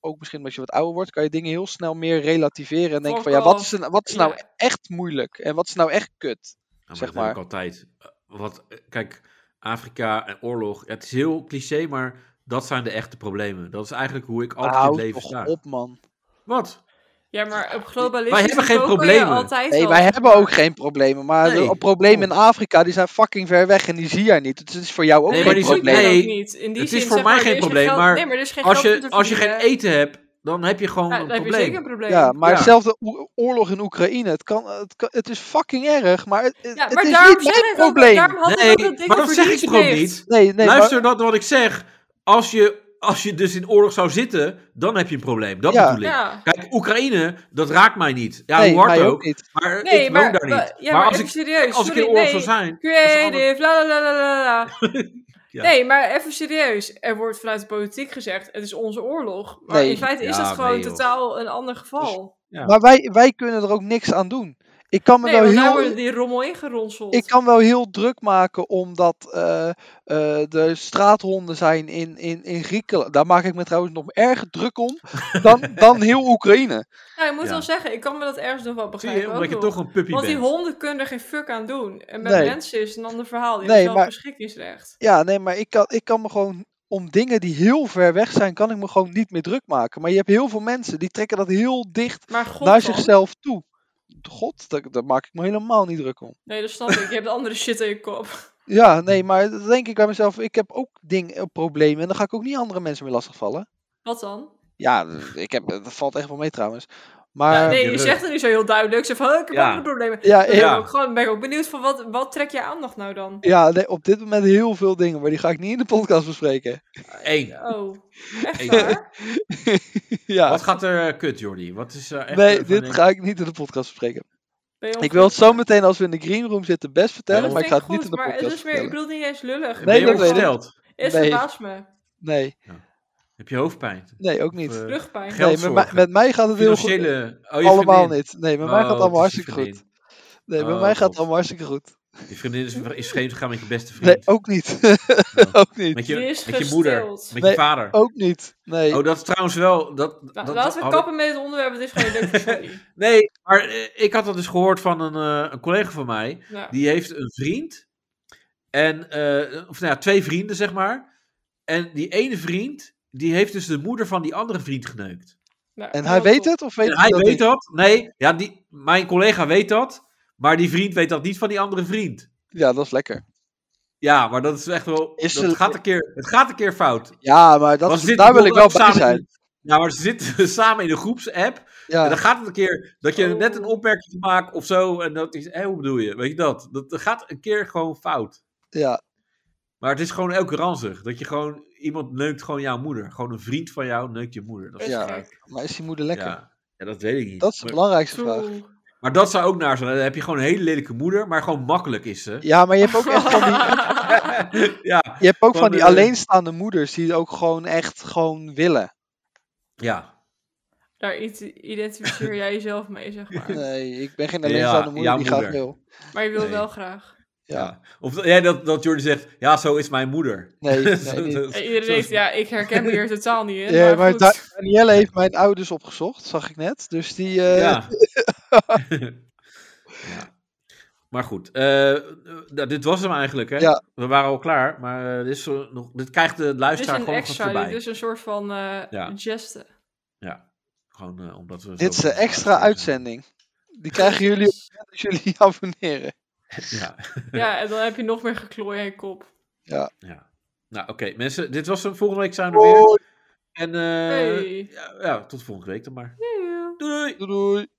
Speaker 3: ook misschien omdat je wat ouder wordt, kan je dingen heel snel meer relativeren en denken van ja, wat is, er nou- wat is nou
Speaker 2: Ja.
Speaker 3: echt moeilijk en wat is nou echt kut?
Speaker 4: Ja, maar
Speaker 3: Zeg
Speaker 4: dat
Speaker 3: maar.
Speaker 4: heb ik altijd. Eh, Wat, eh, kijk, Afrika en oorlog. Het is heel cliché, maar dat zijn de echte problemen. Dat is eigenlijk hoe ik altijd in
Speaker 3: Houd
Speaker 4: het leven
Speaker 3: toch
Speaker 4: sta.
Speaker 3: op, man.
Speaker 4: Wat?
Speaker 2: Ja, maar op globalistisch
Speaker 4: Wij hebben geen
Speaker 2: niveau kun je
Speaker 4: problemen.
Speaker 2: Altijd
Speaker 3: Nee,
Speaker 2: wel-
Speaker 3: wij hebben ook geen problemen, maar
Speaker 4: Nee. Oh.
Speaker 3: de problemen in Afrika die zijn fucking ver weg en die zie jij niet. Dus het is voor jou ook
Speaker 4: Nee,
Speaker 2: Nee,
Speaker 4: maar
Speaker 3: geen
Speaker 4: die zijn-
Speaker 3: probleem.
Speaker 2: probleem.
Speaker 4: nee,
Speaker 2: niet. In die
Speaker 4: het
Speaker 2: zin,
Speaker 4: is voor
Speaker 2: zeg
Speaker 4: mij
Speaker 2: maar, er
Speaker 4: geen
Speaker 2: is
Speaker 4: probleem,
Speaker 2: geld-
Speaker 4: maar
Speaker 2: nee, er is geen
Speaker 4: Als
Speaker 2: geld om
Speaker 4: je,
Speaker 2: te
Speaker 4: als je geen
Speaker 2: verdienen.
Speaker 4: eten hebt, dan heb je gewoon
Speaker 2: eh, Ja,
Speaker 4: een
Speaker 2: dan heb je
Speaker 4: probleem.
Speaker 2: zeker een probleem.
Speaker 3: Ja, maar
Speaker 4: Ja.
Speaker 3: hetzelfde o- oorlog in Oekraïne. Het, kan, het, kan- het is fucking erg, maar het, het-
Speaker 2: Ja,
Speaker 3: het
Speaker 2: maar
Speaker 3: is
Speaker 2: daarom
Speaker 3: niet
Speaker 2: zei hij
Speaker 3: mijn
Speaker 2: dat-
Speaker 3: probleem.
Speaker 2: Daarom had hij ook dat
Speaker 4: nee,
Speaker 2: ding
Speaker 4: maar dat
Speaker 2: over
Speaker 4: zeg
Speaker 2: die
Speaker 4: ik toch ook
Speaker 2: sneeuw.
Speaker 4: niet?
Speaker 3: Nee, nee, maar-
Speaker 4: Luister dat wat ik zeg. Als je, als je dus in oorlog zou zitten, dan heb je een probleem. Dat
Speaker 3: Ja.
Speaker 4: bedoel ik.
Speaker 2: Ja.
Speaker 4: Kijk, Oekraïne, dat raakt mij niet. Ja,
Speaker 3: nee,
Speaker 4: hoe hard
Speaker 3: mij
Speaker 4: ook.
Speaker 3: ook niet.
Speaker 4: Maar
Speaker 2: Nee,
Speaker 4: ik
Speaker 2: maar,
Speaker 4: woon daar niet.
Speaker 2: wa- ja,
Speaker 4: maar,
Speaker 2: maar
Speaker 4: als,
Speaker 2: even
Speaker 4: ik,
Speaker 2: serieus.
Speaker 4: als ik in
Speaker 2: sorry,
Speaker 4: oorlog
Speaker 2: nee.
Speaker 4: zou zijn...
Speaker 2: Creative, la la la la la la.
Speaker 4: Ja.
Speaker 2: Nee, maar even serieus. Er wordt vanuit de politiek gezegd, het is onze oorlog. Maar
Speaker 3: Nee. Dus-
Speaker 2: in feite is
Speaker 4: Ja,
Speaker 2: dat gewoon
Speaker 4: nee, joh.
Speaker 2: totaal een ander geval.
Speaker 4: Ja.
Speaker 3: Maar wij, wij kunnen er ook niks aan doen. Ik kan me
Speaker 2: nee, want
Speaker 3: wel
Speaker 2: daar
Speaker 3: nou heel...
Speaker 2: worden die rommel ingeronseld.
Speaker 3: Ik kan wel heel druk maken omdat eh, eh, er straathonden zijn in, in, in Griekenland. Daar maak ik me trouwens nog erg druk om dan, dan heel Oekraïne.
Speaker 2: Nou, ik moet
Speaker 4: Ja.
Speaker 2: wel zeggen, ik kan me dat ergens nog wel
Speaker 4: Zie
Speaker 2: begrijpen.
Speaker 4: je,
Speaker 2: ook
Speaker 4: omdat je
Speaker 2: nog.
Speaker 4: toch een puppy
Speaker 2: Want die
Speaker 4: bent.
Speaker 2: honden kunnen er geen fuck aan doen. En met
Speaker 3: Nee.
Speaker 2: mensen is het een ander verhaal. Die
Speaker 3: Nee,
Speaker 2: hebben zelf
Speaker 3: maar-
Speaker 2: beschikkingsrecht.
Speaker 3: Ja, nee, maar ik kan, ik kan me gewoon om dingen die heel ver weg zijn, kan ik me gewoon niet meer druk maken. Maar je hebt heel veel mensen die trekken dat heel dicht
Speaker 2: Maar god,
Speaker 3: naar
Speaker 2: man.
Speaker 3: zichzelf toe. God, daar, daar maak ik me helemaal niet druk om.
Speaker 2: nee, dat snap ik. Je hebt andere shit in je kop.
Speaker 3: Ja, nee, maar dan denk ik bij mezelf, ik heb ook dingen, problemen en dan ga ik ook niet andere mensen meer lastigvallen.
Speaker 2: Wat dan?
Speaker 3: Ja, ik heb, dat valt echt wel mee trouwens. Maar
Speaker 4: Ja,
Speaker 2: nee,
Speaker 4: je
Speaker 2: je
Speaker 4: rug.
Speaker 2: zegt het niet zo heel duidelijk. Zo van, oh, ik heb
Speaker 4: Ja.
Speaker 2: andere problemen.
Speaker 3: ja,
Speaker 2: Dan
Speaker 3: ik-
Speaker 2: ben,
Speaker 4: Ja.
Speaker 2: ik ook gewoon, ben ik ook benieuwd van, wat, wat trek je aandacht nou dan?
Speaker 3: Ja, nee, op dit moment heel veel dingen, maar die ga ik niet in de podcast bespreken.
Speaker 4: Eén.
Speaker 2: Oh, echt
Speaker 4: Ik-
Speaker 2: waar?
Speaker 3: ja,
Speaker 4: Wat gaat er eh, kut, Jordi? Wat is eh, echt...
Speaker 3: nee,
Speaker 4: eh,
Speaker 3: dit
Speaker 4: van-
Speaker 3: ga ik niet in de podcast bespreken.
Speaker 2: Ben je
Speaker 3: Ik wil het zo
Speaker 2: ongelukkig?
Speaker 3: meteen als we in de green room zitten best vertellen,
Speaker 2: Dat
Speaker 3: maar ik
Speaker 2: vind
Speaker 3: ga het
Speaker 2: goed,
Speaker 3: niet in de
Speaker 2: maar
Speaker 3: podcast
Speaker 2: het is meer, Ik
Speaker 3: vertellen.
Speaker 2: bedoel het niet eens lullig.
Speaker 4: Ben
Speaker 3: Nee,
Speaker 4: je
Speaker 3: dat weet ik.
Speaker 4: ongesteld?
Speaker 2: Het
Speaker 3: Nee.
Speaker 2: verbaast me.
Speaker 4: Eh,
Speaker 3: Nee,
Speaker 4: Heb je hoofdpijn?
Speaker 3: nee, ook niet.
Speaker 4: Of, eh,
Speaker 2: Rugpijn.
Speaker 4: Geld-
Speaker 3: Nee, met, mij-
Speaker 4: geldzorgen.
Speaker 3: met mij gaat het heel goed.
Speaker 4: Financiële... Oh, je
Speaker 3: Allemaal
Speaker 4: vriendin.
Speaker 3: niet. Nee, met mij gaat
Speaker 4: Oh,
Speaker 3: het allemaal
Speaker 4: het is je
Speaker 3: hartstikke goed.
Speaker 4: vriendin.
Speaker 3: Nee, met
Speaker 4: Oh,
Speaker 3: mij gaat
Speaker 4: God.
Speaker 3: het allemaal hartstikke goed.
Speaker 4: Je vriendin is, is vreemd gegaan met je beste vriend.
Speaker 3: Nee, ook niet. ook niet.
Speaker 4: Met je,
Speaker 2: Die is
Speaker 4: met je moeder.
Speaker 2: gesteld.
Speaker 4: Met je
Speaker 3: Nee,
Speaker 4: vader.
Speaker 3: Ook niet. Nee.
Speaker 4: Oh, dat is trouwens wel. Dat, dat,
Speaker 2: Nou,
Speaker 4: dat-
Speaker 2: laten we
Speaker 4: had
Speaker 2: kappen met het onderwerp. Het is gewoon leuk voor jullie.
Speaker 4: ik- Nee, maar eh, ik had dat dus gehoord van een, eh, een collega van mij.
Speaker 2: Ja.
Speaker 4: Die heeft een vriend. En, eh, of nou ja, twee vrienden, zeg maar. En die ene vriend, die heeft dus de moeder van die andere vriend geneukt.
Speaker 2: Nou,
Speaker 3: En
Speaker 2: heel
Speaker 3: hij weet
Speaker 2: cool.
Speaker 3: het of weet
Speaker 4: en
Speaker 3: hij
Speaker 4: hij
Speaker 3: dat
Speaker 4: weet
Speaker 3: niet?
Speaker 4: dat. Nee, ja, die, mijn collega weet dat. Maar die vriend weet dat niet van die andere vriend.
Speaker 3: Ja, dat is lekker.
Speaker 4: Ja, maar dat is echt wel.
Speaker 3: Is
Speaker 4: dat
Speaker 3: er-
Speaker 4: gaat een keer, het gaat een keer fout.
Speaker 3: Ja, maar dat,
Speaker 4: Was dit
Speaker 3: daar wil ik wel
Speaker 4: bijvoorbeeld
Speaker 3: bij
Speaker 4: samen-
Speaker 3: zijn.
Speaker 4: Nou, maar ze zitten samen in een groepsapp. En dan
Speaker 3: Ja,
Speaker 4: gaat het een keer dat je
Speaker 2: Oh.
Speaker 4: net een opmerking maakt of zo. En dat is, hé, hoe bedoel je? Weet je dat? Dat dat gaat een keer gewoon fout.
Speaker 3: ja,
Speaker 4: Maar het is gewoon elke ranzig. Dat je gewoon, iemand neukt gewoon jouw moeder. Gewoon een vriend van jou neukt je moeder. Dat is
Speaker 3: Ja.
Speaker 4: gek.
Speaker 3: maar is die moeder lekker?
Speaker 4: Ja. Ja, dat weet ik niet.
Speaker 3: Dat is de
Speaker 4: maar,
Speaker 3: belangrijkste vraag.
Speaker 2: True.
Speaker 4: maar dat zou ook naar zijn. Dan heb je gewoon een hele lelijke moeder, maar gewoon makkelijk is ze.
Speaker 3: Ja, maar je hebt ook echt van die,
Speaker 4: ja,
Speaker 3: je hebt ook van
Speaker 4: Van
Speaker 3: die
Speaker 4: de-
Speaker 3: alleenstaande moeders die ook gewoon echt gewoon willen.
Speaker 4: ja.
Speaker 2: Daar ide- identificeer jij jezelf mee, zeg maar.
Speaker 3: Nee, ik ben geen
Speaker 4: Ja,
Speaker 3: alleenstaande moeder
Speaker 4: ja,
Speaker 3: die
Speaker 4: moeder.
Speaker 3: graag wil.
Speaker 2: Maar je wil
Speaker 4: Nee.
Speaker 2: wel graag.
Speaker 3: Ja.
Speaker 4: ja. Of dat- jij dat, dat Jordi zegt, ja, zo is mijn moeder.
Speaker 3: Nee,
Speaker 4: Zo-
Speaker 3: nee, niet.
Speaker 4: zo-
Speaker 2: En iedereen denkt, ja, ik herken me hier totaal niet in.
Speaker 3: Ja,
Speaker 2: maar
Speaker 3: maar
Speaker 2: goed.
Speaker 3: Da- Danielle heeft mijn ouders opgezocht, zag ik net. Dus die, eh,
Speaker 4: ja. ja. Maar goed, eh, eh, nou, dit was hem eigenlijk. Hè?
Speaker 3: Ja.
Speaker 4: We waren al klaar, maar eh, dit, is zo nog, dit krijgt de
Speaker 2: dit is
Speaker 4: luisteraar
Speaker 2: een
Speaker 4: gewoon nog wat
Speaker 2: extra, dus-
Speaker 4: voorbij.
Speaker 2: dit is een soort van eh
Speaker 4: Ja.
Speaker 2: geste.
Speaker 4: Gewoon, eh, omdat we
Speaker 3: dit is
Speaker 4: zo-
Speaker 3: een extra uitzending. Die krijgen jullie op- als jullie abonneren.
Speaker 4: Ja.
Speaker 2: Ja, en dan heb je nog meer geklooi in je kop.
Speaker 4: Nou, oké, mensen, dit was hem. Volgende week zijn we er weer.
Speaker 3: Doei,
Speaker 4: En eh,
Speaker 2: Hey.
Speaker 4: ja, ja, tot volgende week dan maar.
Speaker 2: Joejoe.
Speaker 4: Doei! doei.
Speaker 3: doei.